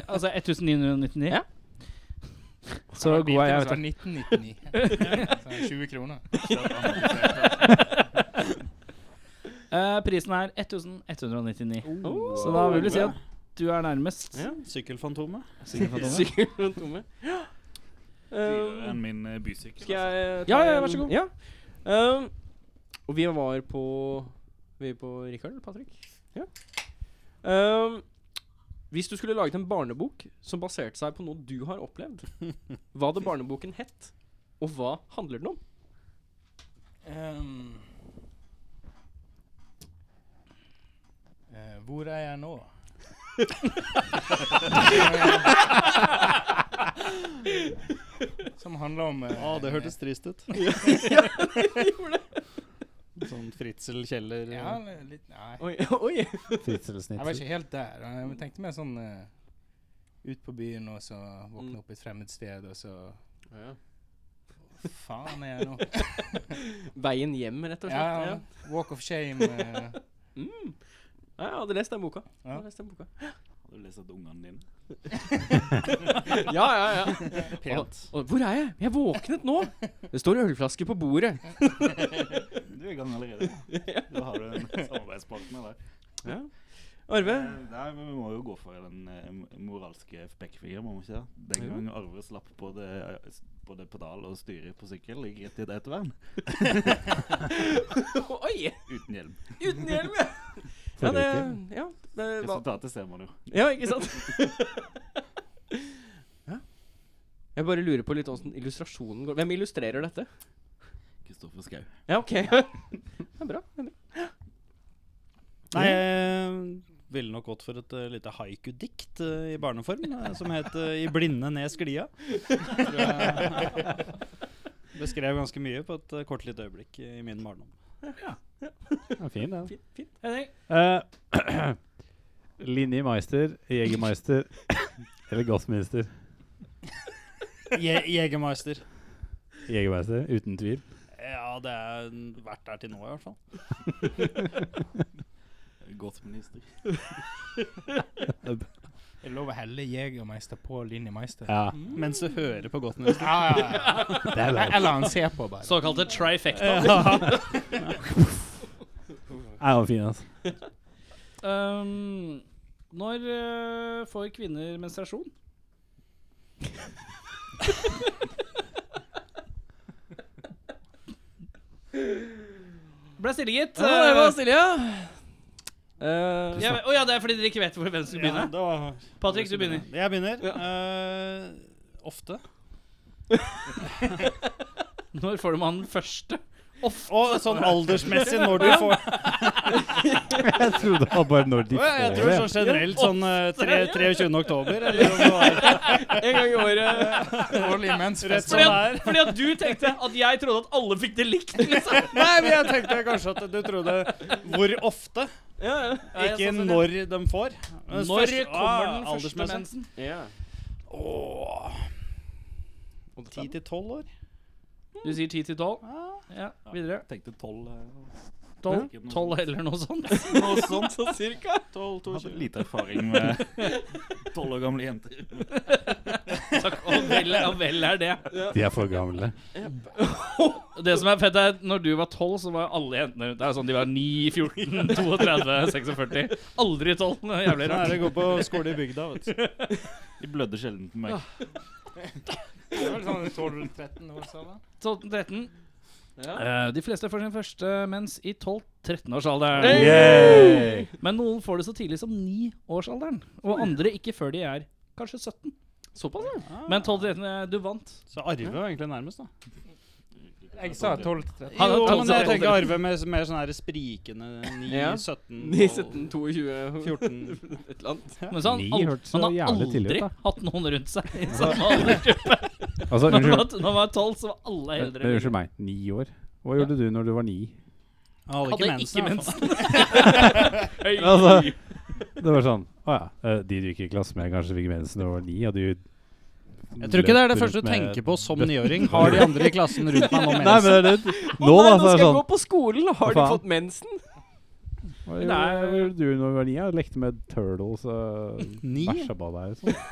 Speaker 3: 1999 Altså 1999.
Speaker 2: Ja.
Speaker 3: Så god er jeg, vet du.
Speaker 9: 1999. Sånn 20 kroner.
Speaker 3: Eh, prisen er 1199. Oh. Så da vil du si at du er nærmest.
Speaker 2: Ja.
Speaker 7: Sykkelfantomet.
Speaker 2: Sikkert noen tomme.
Speaker 8: Dyrere
Speaker 2: Eh,
Speaker 8: enn min eh, bysykkel.
Speaker 2: Skal jeg ta
Speaker 3: Ja, ja,
Speaker 2: en-
Speaker 3: vær så god.
Speaker 2: Ja. Ehm, og vi var på Vi er på Rikard eller Patrick? Ja. Ehm, hvis du skulle laget en barnebok som baserte seg på noe du har opplevd, hva hadde barneboken hett, og hva handler den om?
Speaker 9: Ehm. Eh, hvor er jeg nå? Som handler om eh,
Speaker 7: Ja, Ah, det hørtes trist ut. Sånn Fritzel Kjeller
Speaker 9: Ja, litt Nei.
Speaker 2: Oi, oi.
Speaker 4: Fritzelsnitzel.
Speaker 9: Jeg var ikke helt der. Jeg tenkte mer sånn eh, ut på byen og så våkne opp i et fremmed sted, og så Faen er jeg nå?
Speaker 2: Veien hjem, rett og slett.
Speaker 9: Ja,
Speaker 2: Ja,
Speaker 9: ja. walk of shame. eh,
Speaker 2: Ja, jeg hadde lest den boka. Jeg
Speaker 9: Ja.
Speaker 2: hadde lest den boka.
Speaker 8: Har du lest at ungene dine?
Speaker 2: Ja, ja, ja.
Speaker 9: pent.
Speaker 2: Og, hvor er jeg? Jeg våknet nå! Det står ølflasker på bordet.
Speaker 8: Du er i gang allerede. Da har du en samarbeidspartner der.
Speaker 2: Ja. Arve?
Speaker 8: Eh, Nei, men vi må jo gå for den eh, m- moralske pekkefingeren, må vi ikke det? Den
Speaker 2: Jo.
Speaker 8: gang Arve slapp både, eh, s- både pedal og styre på sykkel, gikk rett i et ettervern
Speaker 2: Oi!
Speaker 8: uten hjelm.
Speaker 2: Uten hjelm, ja! Ja, det,
Speaker 4: Forrige uke.
Speaker 2: ja, det var,
Speaker 8: Resultatet ser man jo.
Speaker 2: ja, ikke sant? ja. Jeg bare lurer på litt åssen illustrasjonen går. Hvem illustrerer dette?
Speaker 8: Kristoffer Schau.
Speaker 2: Ja, OK. det er bra. Det er bra.
Speaker 7: Nei, jeg ville nok gått for et eh, lite haiku-dikt eh, i barneform, eh, som het eh, 'I blinde ned sklia'. Tror jeg Beskrev ganske mye på et eh, kort lite øyeblikk i min barndom.
Speaker 4: Ja, fin, den.
Speaker 2: Fint, fint.
Speaker 4: Eh, Linjemeister, Jegermeister eller Gassminister?
Speaker 7: Je Jegermeister.
Speaker 4: Jegermeister, uten tvil.
Speaker 7: Ja, det er vært der til nå, i hvert fall.
Speaker 8: Godt minister.
Speaker 9: Det er lov å helle Jegermeister på Linjemeister.
Speaker 4: Ja,
Speaker 7: Mm. Mens du hører på godt nytt.
Speaker 9: Ja, ja, ja.
Speaker 4: det er lov.
Speaker 9: Eller han ser på, bare.
Speaker 3: Såkalte trifecta.
Speaker 4: Nei, den var fin, altså.
Speaker 3: Um, når eh, får kvinner menstruasjon? Ble stille, gitt.
Speaker 2: Ja, det var
Speaker 3: Eh,
Speaker 2: stille, ja. Eh,
Speaker 3: ja, å ja, det er fordi dere ikke vet hvor hvem som skal begynne.
Speaker 7: da,
Speaker 3: Patrick, du begynner.
Speaker 7: Jeg begynner. Eh, ofte.
Speaker 3: Når får du mannen første?
Speaker 7: Og sånn aldersmessig når du får
Speaker 4: Jeg trodde det var bare når de
Speaker 7: Å, ja, Jeg tror sånn generelt sånn eh, tre, 23. oktober. Eller om det var
Speaker 3: En gang i året.
Speaker 9: Årlig
Speaker 7: rett
Speaker 9: mensfest.
Speaker 7: som
Speaker 3: Fordi
Speaker 7: det
Speaker 3: at,
Speaker 7: er.
Speaker 3: fordi at du tenkte at jeg trodde at alle fikk det likt, liksom.
Speaker 7: Nei, men jeg tenkte kanskje at du trodde hvor ofte,
Speaker 3: Ja, ja.
Speaker 7: ikke når de får. Men
Speaker 3: Når
Speaker 7: først-
Speaker 3: kommer
Speaker 7: ah,
Speaker 3: den første
Speaker 7: aldersmessig.
Speaker 3: mensen?
Speaker 7: Åh, 10 til 12 år?
Speaker 3: Du sier 10 til 12. Ja, videre.
Speaker 8: Tenkte tolv. eh,
Speaker 3: 12,
Speaker 8: Ikke noe
Speaker 3: 12 eller noe sånt.
Speaker 8: Noe sånt, så cirka. 12, 22. Hadde lite erfaring med tolv år gamle jenter.
Speaker 3: Takk. Og vel, og vel er det.
Speaker 7: sånn-
Speaker 4: De er for gamle.
Speaker 3: Det som er fett, er at når du var 12, så var alle jentene rundt deg sånn. De var 9, 14, 32, 46. Aldri 12. Det er Jævlig
Speaker 7: Sånn er
Speaker 3: rart.
Speaker 7: det å gå på skole i bygda, vet du.
Speaker 8: De blødde sjelden på meg.
Speaker 9: Det var sånn 12-13 år, sa
Speaker 3: 12-13. Eh, de fleste får sin første mens i 12-13-årsalderen. Men noen får det så tidlig som 9-årsalderen. Og andre ikke før de er kanskje 17.
Speaker 2: såpass, ja.
Speaker 3: Men 12-13, eh, du vant.
Speaker 7: Så Arve var egentlig nærmest, da.
Speaker 9: Jeg sa 12-13.
Speaker 3: Han
Speaker 7: Jo,
Speaker 3: har tatt
Speaker 7: men
Speaker 3: seg
Speaker 7: jeg tenker
Speaker 3: 12-13.
Speaker 7: Arve med mer sånn her sprikende 9,
Speaker 2: Ja.
Speaker 7: 17
Speaker 2: 9,
Speaker 7: og
Speaker 2: 17, 22,
Speaker 7: 14
Speaker 2: et eller annet.
Speaker 3: Men så har han
Speaker 4: Ni
Speaker 3: al-
Speaker 4: hørtes så
Speaker 3: han har
Speaker 4: jævlig tidlig ut,
Speaker 3: aldri
Speaker 4: da.
Speaker 3: hatt noen rundt seg i samme aldersgruppe.
Speaker 4: Altså,
Speaker 3: Når han
Speaker 4: unnskyld,
Speaker 3: var- når han var 12, så var alle
Speaker 4: men,
Speaker 3: eldre.
Speaker 4: men unnskyld meg. Ni år. Hva gjorde du når du var ni?
Speaker 7: Han hadde
Speaker 3: Hadde
Speaker 7: ikke mensen. i hvert fall.
Speaker 3: Høy.
Speaker 4: Altså, det var sånn Å ja. eh, De du gikk i klasse med, kanskje fikk mensen da du var ni, og du
Speaker 7: Jeg tror ikke det er det
Speaker 4: løp
Speaker 7: første
Speaker 4: rundt
Speaker 7: du
Speaker 4: med-
Speaker 7: tenker på som niåring. Har de andre i klassen rundt meg nå
Speaker 4: Nei, men
Speaker 7: mensen?
Speaker 4: det er det.
Speaker 2: Å
Speaker 4: Nå,
Speaker 2: nei, nå
Speaker 4: da, så er
Speaker 2: skal
Speaker 4: det
Speaker 2: jeg
Speaker 4: sånn
Speaker 2: gå på skolen! Har du
Speaker 4: Hva faen?
Speaker 2: fått mensen?
Speaker 4: Hva
Speaker 3: Men det er-
Speaker 4: gjorde- hva gjorde du når du var ni? Jeg lekte med turtles og
Speaker 7: Ni?
Speaker 4: bæsja på deg og sånn.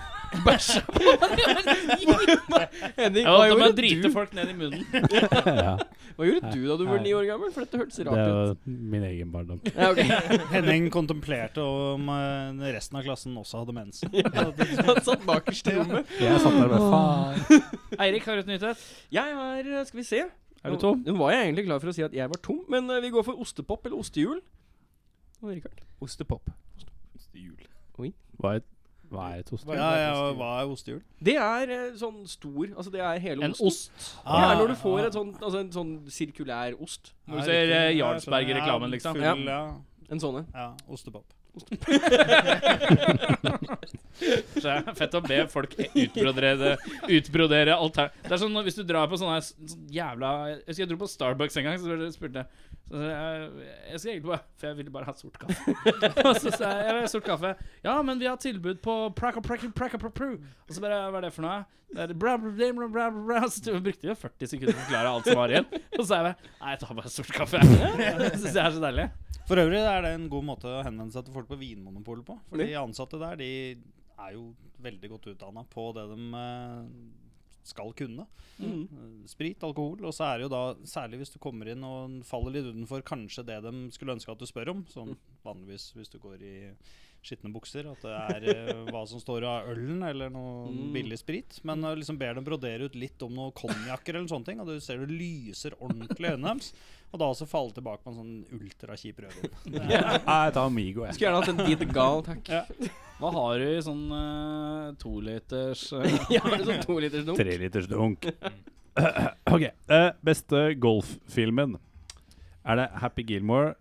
Speaker 2: Henning,
Speaker 3: Ja,
Speaker 2: hva,
Speaker 3: da må jeg
Speaker 2: gjorde
Speaker 3: drite
Speaker 2: du,
Speaker 3: folk ned i munnen.
Speaker 4: ja,
Speaker 2: hva gjorde du da du var
Speaker 4: Nei.
Speaker 2: ni år gammel? For dette hørtes
Speaker 4: det
Speaker 2: rart ut.
Speaker 4: var min egen barndom.
Speaker 2: Ja, ok.
Speaker 7: Henning kontemplerte om eh, resten av klassen også hadde mensen.
Speaker 2: Han satt bakerst i rommet.
Speaker 4: Jeg satt der og bare faen.
Speaker 3: Eirik har utnyttet.
Speaker 2: Jeg har eh, Skal vi se.
Speaker 3: Er du tom?
Speaker 2: Nå var jeg egentlig klar for å si at jeg var tom, men eh, vi går for ostepop eller ostehjul. Å, Rikard.
Speaker 4: Ostepop.
Speaker 8: Jul.
Speaker 4: Hva er, hva er et ostepop?
Speaker 7: Ja, ja, og hva er ostehjul?
Speaker 2: Det er eh, sånn stor Altså, det er hele
Speaker 3: En
Speaker 2: osten.
Speaker 3: ost.
Speaker 2: Ja,
Speaker 7: Ah,
Speaker 2: når du får et sånt, altså en sånn sirkulær ost.
Speaker 3: Når du ser eh, Jarlsberg-reklamen, liksom.
Speaker 7: Ja, full, ja.
Speaker 2: En sånn en.
Speaker 7: ja, ostepop.
Speaker 3: Så det er fett å be folk utbrodere, utbrodere alter... Det er sånn når- hvis du drar på sånne her s- sånn jævla Jeg husker jeg dro på Starbucks en gang, så spurte jeg så sa jeg, jeg skal egentlig bare For jeg ville bare ha sort kaffe. og så sa jeg jeg vil ha sort kaffe. Ja, men vi har tilbud på praka, praka, praka, pra, pru. Og så bare Hva er det for noe? Det er bra, bra, bra, bra, bra, bra. Så jeg brukte jo 40 sekunder på å forklare alt som var igjen. Og så sa jeg bare Nei, jeg tar bare sort kaffe. Det syns jeg er så deilig.
Speaker 7: For øvrig er det en god måte å henvende seg til folk på Vinmonopolet på. For de ansatte der de er jo veldig godt utdanna på det de eh, skal kunne. Eh, Sprit, alkohol, og så er det jo da særlig hvis du kommer inn og faller litt utenfor kanskje det de skulle ønske at du spør om, som vanligvis hvis du går i skitne bukser, at det er eh, hva som står av ølen eller noe billig sprit. Men eh, liksom ber dem brodere ut litt om noe konjakker eller sånne ting, og du ser det lyser ordentlig i øynene deres. Og da også falle tilbake på en sånn ultrakjip rødvin.
Speaker 4: Nei, jeg tar Amigo, jeg.
Speaker 2: Skulle gjerne hatt en Did Gal, takk.
Speaker 3: Hva har du i sånn uh, toliters eh,
Speaker 2: Ja, var det sånn to liters dunk?
Speaker 4: Treliters dunk. OK. eh, beste golffilmen. Er det Happy Gilmore,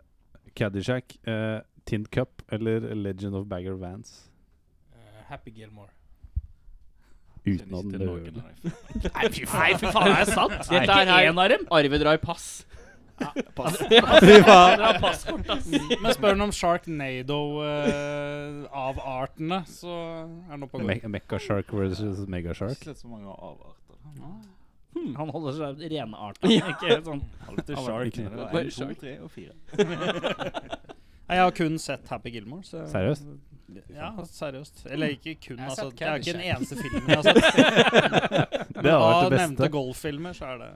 Speaker 4: Caddyshack, uh, Tin Cup eller Legend of Bagger Vans?
Speaker 9: Happy Gilmore.
Speaker 4: Uten at den
Speaker 8: Kjenner
Speaker 4: røde.
Speaker 8: ikke til noen.
Speaker 3: Nei, fy faen, fy faen, er det sant?
Speaker 2: Dette
Speaker 3: Dette
Speaker 2: er her-
Speaker 3: er en av dem.
Speaker 2: Arve drar pass.
Speaker 3: Dere har passkort, ass.
Speaker 9: Men spør han om Sharknado eh, av artene, så er han oppe og går.
Speaker 4: Me Mekashark versus Megashark.
Speaker 8: Slett så mange avarter.
Speaker 3: Hmm, Han holder seg renarta. Ikke sånn.
Speaker 8: Alltid
Speaker 4: shark.
Speaker 8: shark.
Speaker 2: Bare
Speaker 8: En, to,
Speaker 2: shark.
Speaker 8: tre og fire.
Speaker 7: Nei, Jeg har kun sett Happy Gilmore. Så
Speaker 4: Seriøst?
Speaker 7: Ja, seriøst. Eller ikke kun,
Speaker 9: Jeg har
Speaker 7: altså.
Speaker 9: sett
Speaker 7: Det er ikke en
Speaker 9: Caddyshack.
Speaker 7: eneste film jeg har sett.
Speaker 4: Det hadde vært
Speaker 7: Av
Speaker 4: det
Speaker 7: nevnte
Speaker 4: beste.
Speaker 7: golffilmer, så er det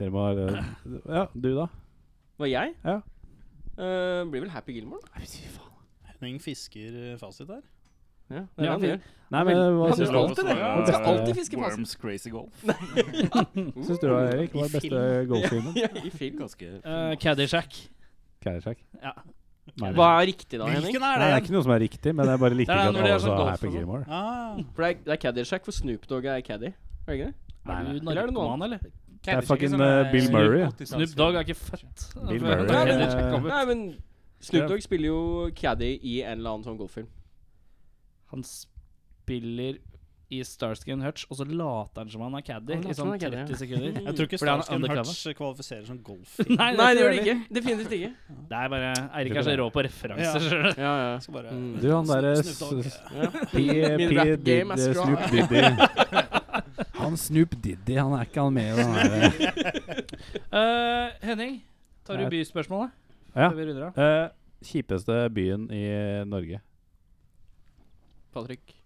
Speaker 4: Dere må ha Ja, du, da?
Speaker 2: Var jeg?
Speaker 4: Ja.
Speaker 2: Eh, blir vel Happy Gilmore. da.
Speaker 7: Henning fisker eh, fasit her.
Speaker 2: Ja, det er
Speaker 4: Ja,
Speaker 2: det han gjør.
Speaker 4: Nei, men Eh, hva
Speaker 2: Han
Speaker 4: syns
Speaker 2: blir
Speaker 4: du?
Speaker 2: alltid det. Han skal alltid fiske pass.
Speaker 8: Worms Crazy Golf.
Speaker 4: Syns Mm. du da, Erik? Hva er beste golffilmen?
Speaker 2: Ja, I film.
Speaker 8: Ganske
Speaker 3: Uh, Caddyshack.
Speaker 4: Caddyshack?
Speaker 3: Ja.
Speaker 4: Nei,
Speaker 2: Hva er riktig da, Henning?
Speaker 7: Hvilken
Speaker 4: Nei,
Speaker 7: er
Speaker 4: det
Speaker 7: det?
Speaker 4: er ikke noe som er riktig, men jeg bare likte
Speaker 3: Det er
Speaker 4: ikke at
Speaker 3: når de
Speaker 4: alle
Speaker 3: er sånn
Speaker 4: sa
Speaker 3: golf og
Speaker 4: Happy
Speaker 3: sånn.
Speaker 4: Gilmore.
Speaker 7: Ah.
Speaker 2: For det er, det er Caddyshack, for Snoop Dogg er caddy. Er det ikke det?
Speaker 4: Nei,
Speaker 3: Er
Speaker 4: nei.
Speaker 3: du
Speaker 2: Eller er det noe
Speaker 3: narkoman, eller?
Speaker 4: Det er fucking eh, Bill Murray. ja.
Speaker 3: sånn, Snoop Dogg er ikke født.
Speaker 4: Bill Murray,
Speaker 2: Nei, men,
Speaker 4: eh,
Speaker 2: nei, men Snoop Dogg spiller jo caddy i en eller annen sånn golffilm.
Speaker 3: Han spiller i Starsky and Hutch, og så later han som han er caddy
Speaker 2: Han later
Speaker 3: i
Speaker 2: som
Speaker 3: sånn
Speaker 2: han er caddy, ja.
Speaker 3: 30 sekunder.
Speaker 7: Jeg tror ikke
Speaker 3: Fordi han er
Speaker 7: Starsky and
Speaker 3: undercover.
Speaker 7: Hutch kvalifiserer som golf.
Speaker 3: Nei,
Speaker 2: Nei, det gjør det ikke. Definitivt ikke.
Speaker 3: Det er bare Eirik er så rå på referanser. skjønner du.
Speaker 2: Ja, ja.
Speaker 7: Skal bare
Speaker 2: Mm.
Speaker 4: Du, han derre
Speaker 7: Snoop Dogg,
Speaker 4: s- s-
Speaker 2: ja.
Speaker 4: P-
Speaker 2: Min
Speaker 4: P-
Speaker 2: rap game
Speaker 4: Diddy-
Speaker 2: er strong.
Speaker 4: Snoop Diddy. Han Snoop Diddy, han er ikke han med i den her
Speaker 3: Eh, Henning, tar du
Speaker 4: Nei.
Speaker 3: byspørsmålet?
Speaker 4: Ja.
Speaker 3: Før vi runder av?
Speaker 4: Eh, Kjipeste byen i Norge.
Speaker 2: Patrick.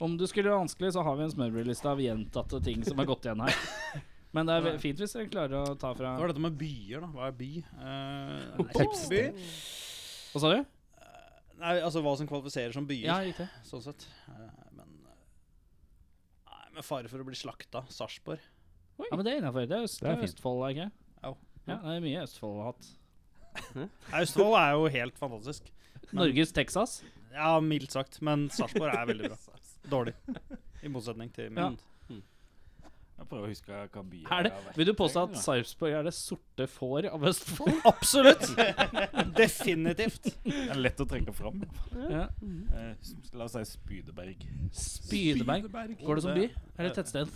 Speaker 3: Om du skulle være vanskelig, så har vi en smørbrødliste av gjentatte ting som har gått igjen her. Men det er ve- fint hvis dere klarer å ta fra
Speaker 7: Hva er dette med byer, da? Hva er by? Uh, by?
Speaker 3: Hva sa du?
Speaker 7: Nei, altså hva som kvalifiserer som byer,
Speaker 3: Ja, riktig.
Speaker 7: sånn sett. Eh, men Nei, med fare for å bli slakta. Sarpsborg.
Speaker 3: Ja, men det er innafor. Det er, øst,
Speaker 4: Det er
Speaker 3: det er
Speaker 4: fint.
Speaker 3: Østfold, er det ikke?
Speaker 7: Au.
Speaker 3: Ja, det er mye Østfold har hatt.
Speaker 7: Austevoll er jo helt fantastisk.
Speaker 3: Norges Texas.
Speaker 7: Ja, mildt sagt. Men Sarpsborg er veldig bra. Dårlig. I motsetning til
Speaker 3: Ja.
Speaker 7: min.
Speaker 8: Jeg prøver å huske hva byen
Speaker 3: Er det,
Speaker 8: jeg har vært
Speaker 3: vil du påstå
Speaker 8: i,
Speaker 3: at
Speaker 8: da.
Speaker 3: Sarpsborg er det sorte får av Østfold?
Speaker 7: Absolutt! Definitivt.
Speaker 8: Det er lett å trekke fram.
Speaker 3: Ja.
Speaker 8: Eh, s- la oss si Spydeberg.
Speaker 3: Spydeberg. Går det som by? Eller tettsted?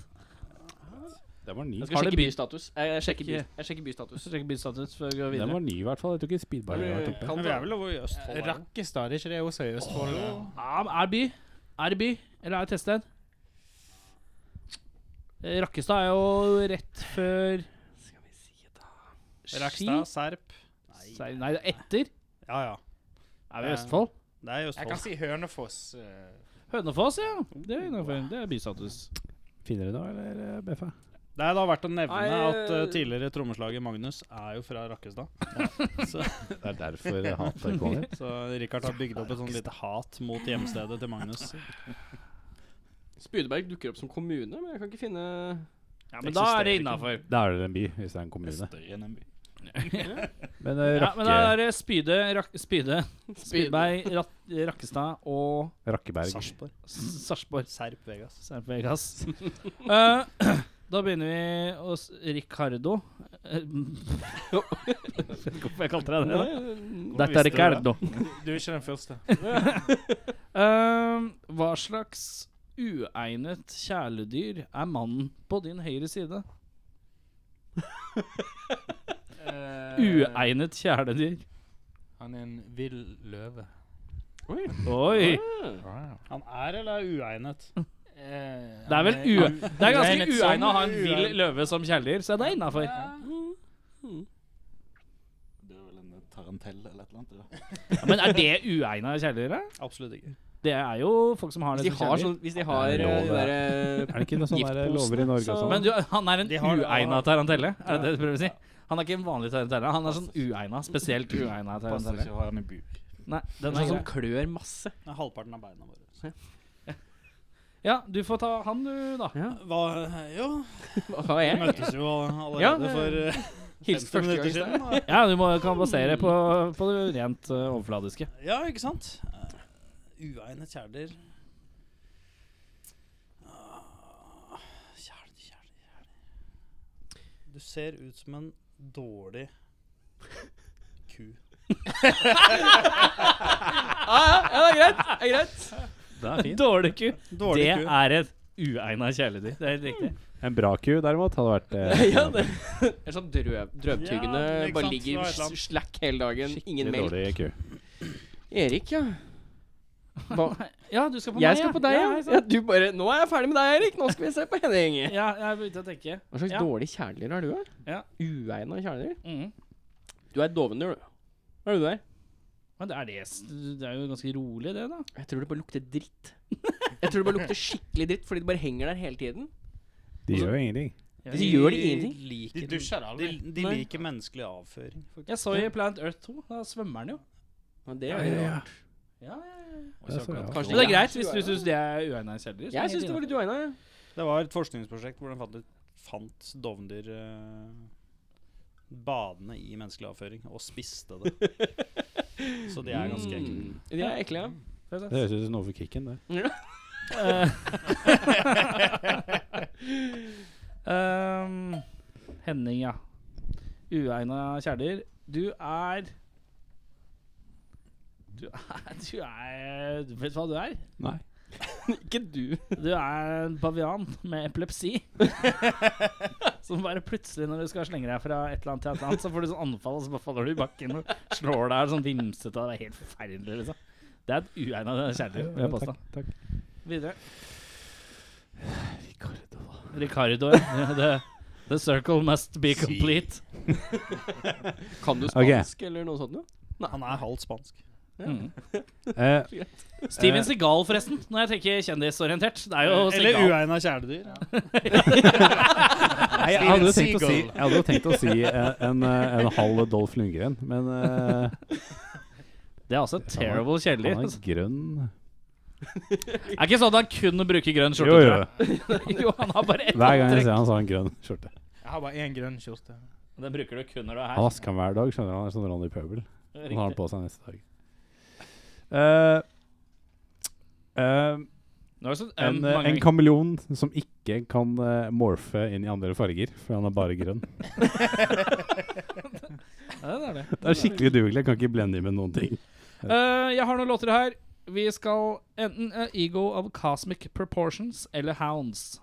Speaker 4: Den var ny.
Speaker 2: Jeg
Speaker 4: Den
Speaker 2: skal
Speaker 3: Har det
Speaker 2: sjekke
Speaker 3: by-
Speaker 2: bystatus. Jeg, jeg, sjekker by,
Speaker 3: Ikke-
Speaker 2: jeg sjekker bystatus.
Speaker 3: Så sjekker bystatus før vi går videre.
Speaker 4: var ny i hvert fall. Jeg tror ikke Speedbar har vært oppe.
Speaker 2: Kan
Speaker 7: Men vi
Speaker 2: ta.
Speaker 7: er vel over i Østfold. her, da.
Speaker 9: Rakkestad, er ikke det også i Østfold?
Speaker 3: Ja, Ah, men er det by? Er det by? Eller er det tettsted? Eh, Rakkestad er jo rett før Ski?
Speaker 7: Rakkestad, Eh, Serp.
Speaker 3: Nei, nei det er etter.
Speaker 7: Ja, ja.
Speaker 3: Er vi i Østfold?
Speaker 7: Det er i
Speaker 9: Jeg kan
Speaker 7: Østfold.
Speaker 9: si Hønefoss. eh,
Speaker 3: Hønefoss, ja. Det er innenfor. Det er bystatus.
Speaker 4: Finner du det, eller, eh, Beffa?
Speaker 7: Det er da verdt å nevne
Speaker 2: Nei,
Speaker 7: at eh,
Speaker 2: eh,
Speaker 7: tidligere trommeslager Magnus er jo fra Rakkestad.
Speaker 4: Det er derfor jeg hater Kvalheim.
Speaker 7: Så Richard har bygd opp et sånt lite hat mot hjemstedet til Magnus.
Speaker 2: Spydeberg dukker opp som kommune, men jeg kan ikke finne
Speaker 3: Ja, men da er det innafor.
Speaker 4: Da er det en by, hvis det er en kommune.
Speaker 8: Større enn en by.
Speaker 4: Men eh,
Speaker 3: Ja, men da
Speaker 4: Rakke,
Speaker 3: er det Spyde, rak, Spyde, Spydberg, Rat, Rakkestad og
Speaker 4: Rakkeberg.
Speaker 7: Sarpsborg.
Speaker 3: S- Sarpsborg.
Speaker 7: Serp Vegas.
Speaker 3: Serp Vegas. Eh, da begynner vi hos Ricardo. Eh, Hvorfor jeg kalte deg det? da? Dette er Ricardo.
Speaker 9: Du er ikke den første.
Speaker 3: Eh, hva slags uegnet kjæledyr er mannen på din høyre side? Uegnet kjæledyr.
Speaker 9: eh, Han er en vill løve.
Speaker 3: Oi!
Speaker 7: Han er eller er uegnet?
Speaker 2: Mm.
Speaker 3: Det er vel u Det er ganske uegnet å ha en vill løve som kjæledyr, så det er innafor.
Speaker 8: Det er vel en eh, tarantell eller et eller annet. Ja.
Speaker 3: Ja, men er det uegna kjæledyr? da?
Speaker 7: Absolutt ikke.
Speaker 3: Det er jo folk som har
Speaker 2: Hvis
Speaker 3: det
Speaker 2: de
Speaker 3: som
Speaker 2: har,
Speaker 3: kjæledyr.
Speaker 2: sånn, hvis de har
Speaker 4: Det
Speaker 2: eh,
Speaker 4: er lov,
Speaker 2: de
Speaker 4: det.
Speaker 2: der,
Speaker 4: Er det ikke noen sånne
Speaker 2: Giftposene,
Speaker 4: lover i Norge
Speaker 2: så-
Speaker 4: og sånn?
Speaker 3: Men du, han er en
Speaker 7: De har-
Speaker 3: uegna tarantelle? Er det det du prøver å si? Han er ikke en vanlig tarantelle. Han er sånn uegna, spesielt uegna
Speaker 8: Passer
Speaker 3: tarantelle.
Speaker 8: ikke å ha den i bur.
Speaker 3: Nei, den
Speaker 2: eh,
Speaker 3: er
Speaker 2: som
Speaker 3: grei.
Speaker 2: klør masse.
Speaker 7: Det er halvparten av beina våre.
Speaker 3: Ja, du får ta han, du, da.
Speaker 7: Hva Jo,
Speaker 2: Hva
Speaker 7: vi
Speaker 2: er jeg?
Speaker 7: møttes jo allerede
Speaker 2: Ja, det-
Speaker 7: for eh,
Speaker 2: Hilste
Speaker 7: 50
Speaker 2: første
Speaker 7: minutter
Speaker 2: gang.
Speaker 7: siden. da.
Speaker 3: Ja, du må, kan basere på, på det rent eh, overfladiske.
Speaker 7: Ja, ikke sant? Eh, Uegnet kjæledyr. Ah, Kjæledyr, kjæledyr, kjæledyr Du ser ut som en dårlig ku.
Speaker 2: Ah, ja, det er greit. Det er greit.
Speaker 3: Dårlig ku.
Speaker 7: Dårlig
Speaker 3: Det
Speaker 7: ku.
Speaker 3: er et uegna kjæledyr. Det er helt riktig.
Speaker 4: En bra ku, derimot, hadde vært eh,
Speaker 2: Ja, det det er sånn drøv, drøvtyggende.
Speaker 7: Ja, ikke
Speaker 2: bare
Speaker 7: sant,
Speaker 2: ligger
Speaker 7: det var et eller annet.
Speaker 2: slack hele dagen. Ingen
Speaker 4: en
Speaker 2: melk.
Speaker 4: dårlig ku.
Speaker 2: Erik, ja. Hva-
Speaker 3: Ja, du skal på
Speaker 2: Jeg
Speaker 3: meg.
Speaker 2: skal
Speaker 3: ja.
Speaker 2: på deg,
Speaker 3: ja.
Speaker 2: ja. ja. Du bare Nå er jeg ferdig med deg, Erik. Nå skal vi se på Henning.
Speaker 3: Ja, jeg begynte å tenke.
Speaker 2: Hva slags
Speaker 3: Ja.
Speaker 2: dårlig kjæledyr er du, da?
Speaker 3: Ja.
Speaker 2: Uegna kjæledyr?
Speaker 3: Mhm.
Speaker 2: Du er et dovendyr, du. Hva er det du er?
Speaker 3: Men det er, det, s- det er jo ganske rolig, det, da.
Speaker 2: Jeg tror det bare lukter dritt. Jeg tror det bare lukter skikkelig dritt fordi det bare henger der hele tiden.
Speaker 4: De gjør jo ingenting.
Speaker 2: De gjør det ingenting.
Speaker 7: Liker,
Speaker 9: De dusjer det aldri.
Speaker 7: de, de
Speaker 2: Nei.
Speaker 7: liker menneskelig avføring.
Speaker 3: Jeg så i Plant Earth 2. Da svømmer den jo.
Speaker 2: Ja, det er jo rart.
Speaker 3: Ja, ja, ja.
Speaker 4: Det så jeg.
Speaker 2: Kanskje
Speaker 3: Men det er greit hvis du syns det er uegna kjelderi.
Speaker 2: Jeg syns det var litt uegna. jeg.
Speaker 5: Det var et forskningsprosjekt hvor de fant, fant dovndyr eh, badende i menneskelig avføring, og spiste det. Så de er ganske ekle.
Speaker 2: Mm. De er ekle, ja.
Speaker 4: Det høres ut som noe for kicken, det.
Speaker 3: Mm. Eh, Ehm, Henning, ja. Uegna kjæler. Du er Du er Du er Vet du hva du er?
Speaker 4: Nei.
Speaker 3: Ikke du. Du er en bavian med epilepsi. Som bare plutselig, når du skal slenge deg fra et eller annet til et eller annet, så får du sånn anfall, og så bare faller du i bakken og slår deg sånn vimsete, og det er helt forferdelig, liksom. Det er et uegna kjæledyr, vil jeg påstå.
Speaker 4: Takk, takk.
Speaker 3: Videre. Ricardo. Ricardo, ja. The, the circle must be complete.
Speaker 2: Kan du
Speaker 4: Ok.
Speaker 2: spansk eller noe sånt? Ja?
Speaker 5: Han er halvt spansk.
Speaker 3: Mm.
Speaker 4: Eh,
Speaker 3: Steven Seagal, forresten, når jeg tenker kjendisorientert. Det er jo
Speaker 5: Eller
Speaker 3: Seagal.
Speaker 5: uegna kjæledyr.
Speaker 4: Nei, jeg hadde jo tenkt å si, jeg hadde jo tenkt å si eh, en, eh, en halv Dolph Lundgren, men eh,
Speaker 3: Det er altså et terrible kjæledyr.
Speaker 4: han er grønn.
Speaker 3: Det er ikke sånn at han kun bruker grønn skjorte.
Speaker 4: Jo, jo.
Speaker 3: tror jeg. jo, han har bare ett
Speaker 4: Hver gang jeg
Speaker 3: antrekk.
Speaker 4: ser han, så har han grønn skjorte.
Speaker 9: Jeg har bare én grønn skjorte.
Speaker 3: Den bruker du kun når du er
Speaker 4: Han
Speaker 3: her.
Speaker 4: vasker han hver dag, skjønner du. Han er sånn Ronny Pøbel. Han har den
Speaker 3: Riktig.
Speaker 4: på seg neste dag. Eh, eh,
Speaker 3: Nå er det sånn, um,
Speaker 4: en, eh, en
Speaker 3: mange ganger.
Speaker 4: kameleon som ikke kan eh, morfe inn i andre farger, for han er bare grønn.
Speaker 3: Ja, det er det.
Speaker 4: Det er skikkelig udugelig. jeg Kan ikke blende inn med noen ting.
Speaker 3: Eh, jeg har noen låter her. Vi skal enten eh, Ego of Cosmic Proportions eller Hounds.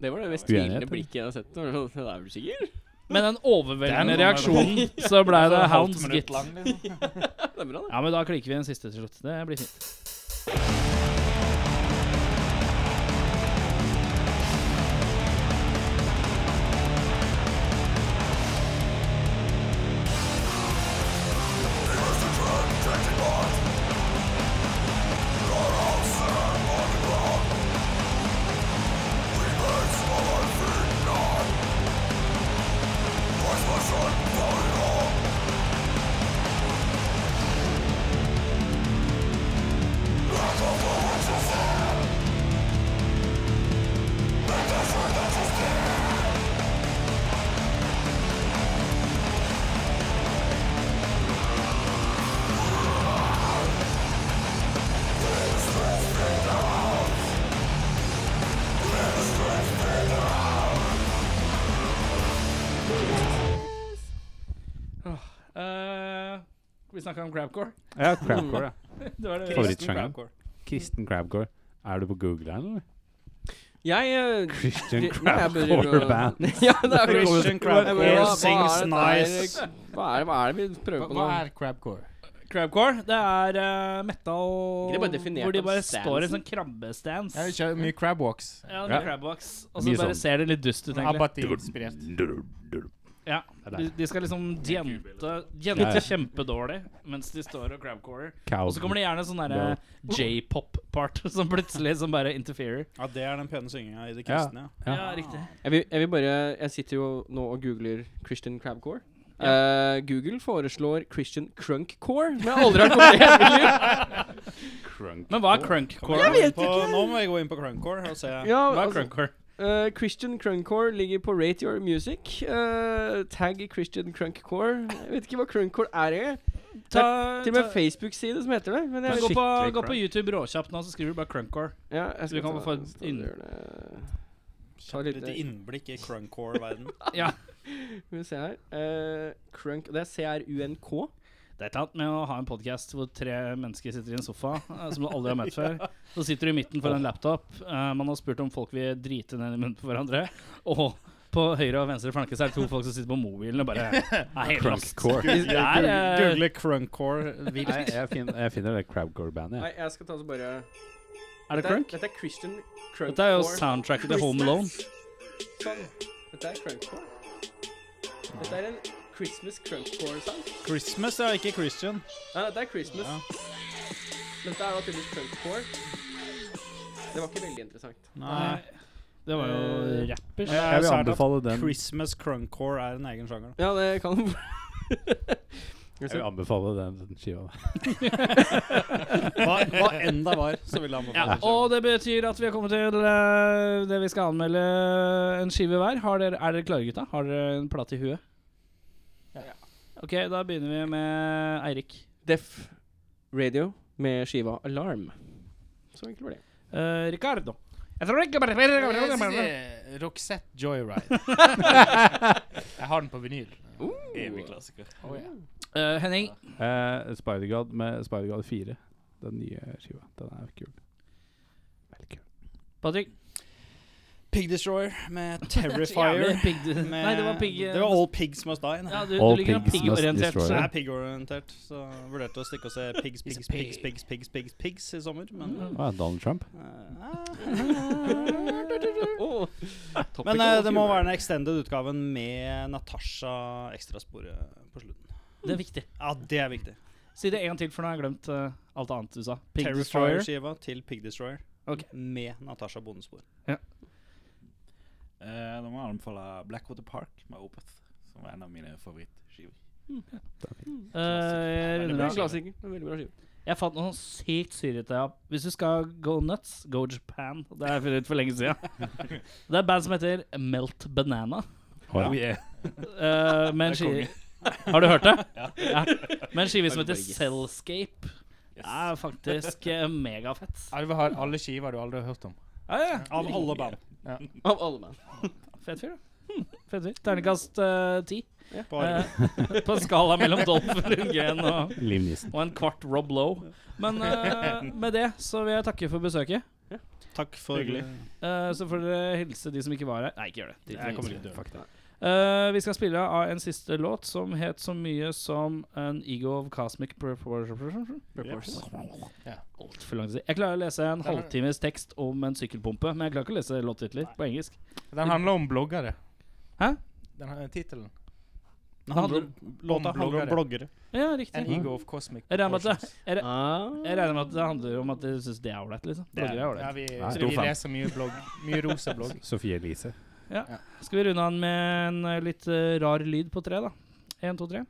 Speaker 2: Det var det mest
Speaker 4: Uenighet,
Speaker 2: tvilende
Speaker 4: eller?
Speaker 2: blikket jeg har sett. Det var sånn, "Det er du sikker?
Speaker 3: Med den overveldende
Speaker 8: Det er noe
Speaker 3: reaksjonen så ble det Hounds,
Speaker 8: altså, Halvt
Speaker 3: gitt.
Speaker 8: minutt lang, liksom.
Speaker 2: Det er bra, det.
Speaker 3: Ja, men da klikker vi en siste til slutt. Det blir fint. Eh, vi snakka om crabcore.
Speaker 4: Ja, crabcore, ja.
Speaker 3: Det var det.
Speaker 4: Favorittsjangeren. Kristen crabcore. Er du på Google her, eller?
Speaker 2: Jeg eh,
Speaker 4: Christian
Speaker 2: dri- nei, jeg burde-
Speaker 4: crabcore band.
Speaker 2: ja, det er akkurat
Speaker 5: Christian
Speaker 2: Jeg
Speaker 5: Crabcore
Speaker 2: bare, hva- hva
Speaker 5: sings
Speaker 2: er dette her?
Speaker 5: nice.
Speaker 2: Hva er, det, hva er det vi prøver
Speaker 9: Hva,
Speaker 2: på nå?
Speaker 9: hva er crabcore?
Speaker 3: Crabcore, det er eh, metal
Speaker 2: Ikke det bare definert
Speaker 3: hvor de
Speaker 2: av
Speaker 3: bare
Speaker 2: stansen?
Speaker 3: står i en sånn krabbestance.
Speaker 9: Jeg kjører mye crabwalks.
Speaker 3: Ja, med
Speaker 4: Ja.
Speaker 3: crabbox. Og så
Speaker 4: Mye
Speaker 3: bare
Speaker 4: sånn.
Speaker 3: ser det litt dust ut, egentlig.
Speaker 9: Abati-inspirert.
Speaker 3: Ja,
Speaker 4: er
Speaker 3: de, de skal liksom jente, jente
Speaker 4: Ja, ja.
Speaker 3: kjempedårlig mens de står og crabcore.
Speaker 4: Cow.
Speaker 3: Og så kommer det gjerne sånn derre j-pop-part som plutselig som bare interferer.
Speaker 5: Ja, det er den pene synginga i de
Speaker 4: Ja.
Speaker 5: kristne, ja.
Speaker 4: Ja.
Speaker 3: Ja, riktig.
Speaker 2: Jeg vil, jeg vil bare Jeg sitter jo nå og googler Christian Crabcore. Eh, Google foreslår Christian Crunkcore, men jeg har aldri hørt om det. i hele mitt liv.
Speaker 3: Men hva er crunkcore?
Speaker 2: Jeg vet
Speaker 5: På,
Speaker 2: ikke.
Speaker 5: nå må jeg gå inn på Crunkcore og se.
Speaker 2: Ja,
Speaker 3: Hva er
Speaker 2: altså,
Speaker 3: crunkcore?
Speaker 2: eh, Christian Crunkcore ligger på Rate Your Music. Eh, tagg Christian Crunkcore. Jeg vet ikke hva Crunkcore er. Jeg.
Speaker 3: Ta,
Speaker 2: Til og med en Facebook-side som heter det. Men
Speaker 3: ta,
Speaker 2: jeg,
Speaker 3: gå, på,
Speaker 4: Skikkelig
Speaker 3: gå på YouTube råkjapt nå, så skriver du bare crunkcore.
Speaker 2: ja, jeg
Speaker 3: Du kan
Speaker 2: ta-
Speaker 3: få et
Speaker 2: ta-
Speaker 3: inn-
Speaker 2: gjøre det. Ta litt-
Speaker 5: Litt innblikk i Crunkcore-verden.
Speaker 2: Skal vi se her. Eh, crunk Det er CRUNK.
Speaker 3: Det er et eller annet med å ha en podkast hvor tre mennesker sitter i en sofa eh, som du aldri har møtt før. Så sitter du i midten foran en laptop. eh, man har spurt om folk vil drite ned i munnen på hverandre. Og på høyre og venstre flanke så er det to folk som sitter på mobilen og bare er helt lost.
Speaker 4: Crunkcore.
Speaker 3: Det er, eh,
Speaker 5: Google Crunkcore vilt.
Speaker 4: Nei, jeg, fin jeg finner det crabcore-bandet, jeg.
Speaker 2: Nei, jeg skal ta så bare
Speaker 3: er det
Speaker 2: Dette er-
Speaker 3: crunk?
Speaker 2: Dette er Christian Crunkcore.
Speaker 3: Dette er jo soundtracket til Home Alone.
Speaker 2: Sånn. Dette er crunkcore. Dette er en Christmas crunkcore-sang.
Speaker 5: Christmas, ja, ikke Christian.
Speaker 2: Nei, dette er Christmas. Dette er naturligvis crunkcore. Det var ikke veldig interessant.
Speaker 5: Nei.
Speaker 3: Det var jo
Speaker 2: Eh,
Speaker 5: Men
Speaker 3: rappers.
Speaker 5: det er
Speaker 4: Jeg vil
Speaker 5: svært at
Speaker 4: anbefale den.
Speaker 5: Christmas Crunkcore er en egen sjanger. da.
Speaker 2: Ja, det kan
Speaker 4: Jeg vil anbefale den skiva.
Speaker 7: Hva, hva enn det var, så vil jeg anbefale det.
Speaker 3: Og det betyr at vi har kommet til eh, det vi skal anmelde en skive hver. Har dere, er dere klare, gutta? Har dere en plate i huet? Ja. Ok, da begynner vi med Eirik.
Speaker 2: Deaf Radio med skiva Alarm. Så enkelt var det.
Speaker 3: Eh, Ricardo.
Speaker 9: Jeg synes det er Roxette Joyride. jeg har den på vinyl.
Speaker 8: Evig klassiker.
Speaker 3: Eh, Henning.
Speaker 4: Eh, Spider-God med Spider-God 4. Den nye skiva. Den er kul. Veldig kul.
Speaker 3: Patrick.
Speaker 7: Pig Destroyer med Terrifier.
Speaker 3: Jævlig pigg du-
Speaker 7: med-
Speaker 3: Nei, det var pigg. eh,
Speaker 7: Det var All Pigs Must Die. Nei.
Speaker 3: ja, du,
Speaker 4: All
Speaker 3: du ligger
Speaker 4: pigs must
Speaker 3: pigg-orientert.
Speaker 4: destroy.
Speaker 7: Så jeg
Speaker 3: så-
Speaker 7: er pig-orientert, så jeg vurderte å stikke og se pigs, pigs, pigs, pigs, pigs, pigs, pigs i sommer, men
Speaker 3: Mm.
Speaker 4: Å
Speaker 7: eh,
Speaker 4: ja, Donald Trump.
Speaker 2: Åh.
Speaker 7: Oh. Men eh, det må være den extended utgaven med Natasha ekstrasporet på slutten.
Speaker 3: Det er viktig.
Speaker 7: Ja, det er viktig.
Speaker 3: Si det en til, for nå har jeg glemt eh, alt annet du sa. Pig Destroyer.
Speaker 7: Terrifier-skiva til Pig Destroyer
Speaker 3: Ok. Eh,
Speaker 7: med Natasha Bondespor.
Speaker 8: Eh, da må jeg anbefale Blackwater Park med Opeth, som er en av mine favorittskiver.
Speaker 3: Eh, jeg
Speaker 2: Det
Speaker 3: runder
Speaker 2: blir en
Speaker 3: av.
Speaker 2: klassiker. Det er en Veldig bra skive.
Speaker 3: Jeg fant noe sånn sykt syrete ja. Hvis du skal go nuts, go Japan. Det har jeg funnet ut for lenge siden. Det er et band som heter Melt Banana.
Speaker 4: Å ja.
Speaker 8: Oh, yeah.
Speaker 3: Eh, med en
Speaker 8: Det er
Speaker 3: skive Har du hørt det? Ja. Med en skive som heter Cellscape. Det er faktisk eh, megafett.
Speaker 9: Arve har alle skiver du aldri har hørt om.
Speaker 3: Ja, ja.
Speaker 7: Av alle band.
Speaker 2: Av alle band.
Speaker 3: Fet fyr, da. Hm, Fet fyr. Ternekast eh, ti.
Speaker 7: På
Speaker 3: Eh, på en skala mellom Dolph Lundgren og,
Speaker 4: Liv Nissen.
Speaker 3: og en kvart Rob Lowe. Men eh, med det så vil jeg takke for besøket.
Speaker 7: Takk for
Speaker 8: Hyggelig.
Speaker 3: Eh, så får dere hilse de som ikke var her. Nei, ikke gjør det. Drit i det.
Speaker 7: Jeg kommer ikke til å
Speaker 3: Eh, vi skal spille av en siste låt som het så mye som An Ego of Cosmic Proportion.
Speaker 9: Ja.
Speaker 3: Altfor lang tid. Jeg klarer å lese en halvtimes tekst om en sykkelpumpe, men jeg klarer ikke å lese låttitler på engelsk.
Speaker 9: Den handler om bloggere.
Speaker 3: Hæ?
Speaker 9: Den har Tittelen.
Speaker 7: Den handler om, låta handler om bloggere.
Speaker 3: Ja,
Speaker 9: An
Speaker 3: riktig.
Speaker 9: ego of cosmic
Speaker 3: Jeg regner med at
Speaker 9: proportions.
Speaker 3: det,
Speaker 2: Ah.
Speaker 3: jeg regner med at det handler om at dere syns det er ålreit, liksom. Blogger er
Speaker 9: Ja,
Speaker 3: ålreit.
Speaker 9: vi,
Speaker 4: Nei,
Speaker 9: så
Speaker 4: stor
Speaker 9: vi
Speaker 4: fan.
Speaker 9: leser mye blogg. Mye rosa blogg.
Speaker 4: Sophie Elise.
Speaker 3: Skal vi runde an med en eh, litt eh, rar lyd på tre, da? Én, to, tre.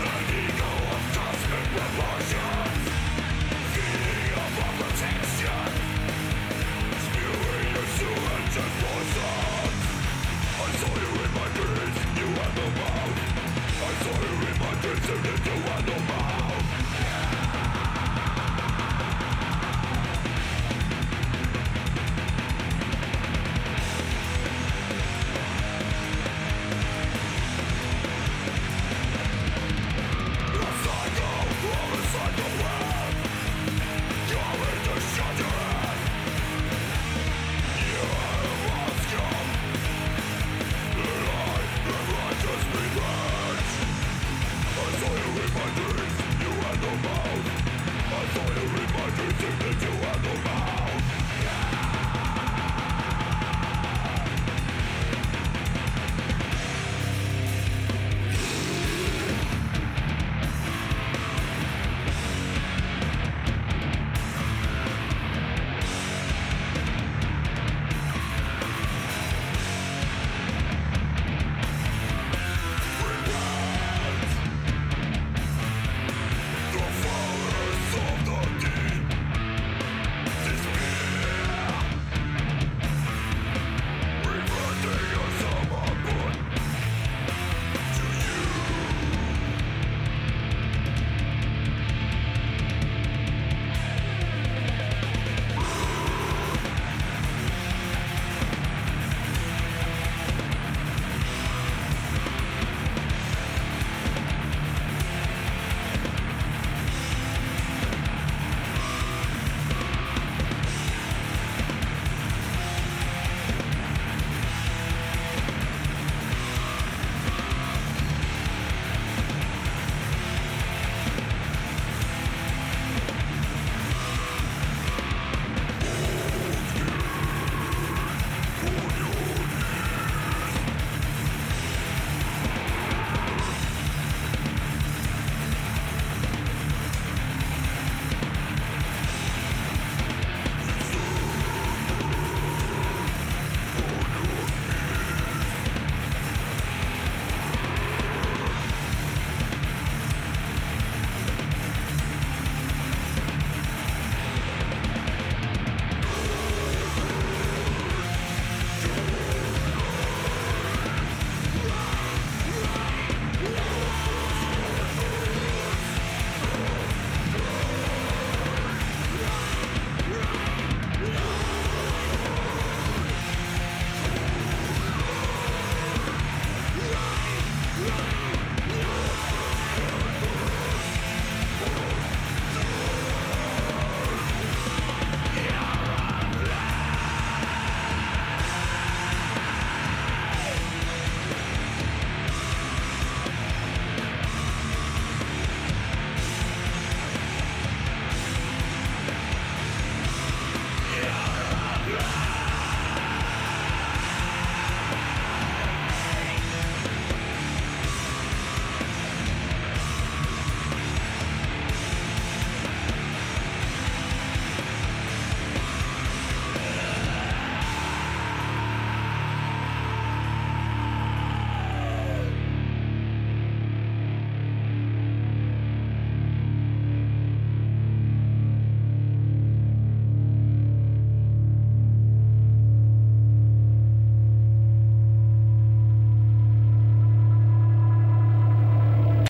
Speaker 10: An ego of cosmic proportion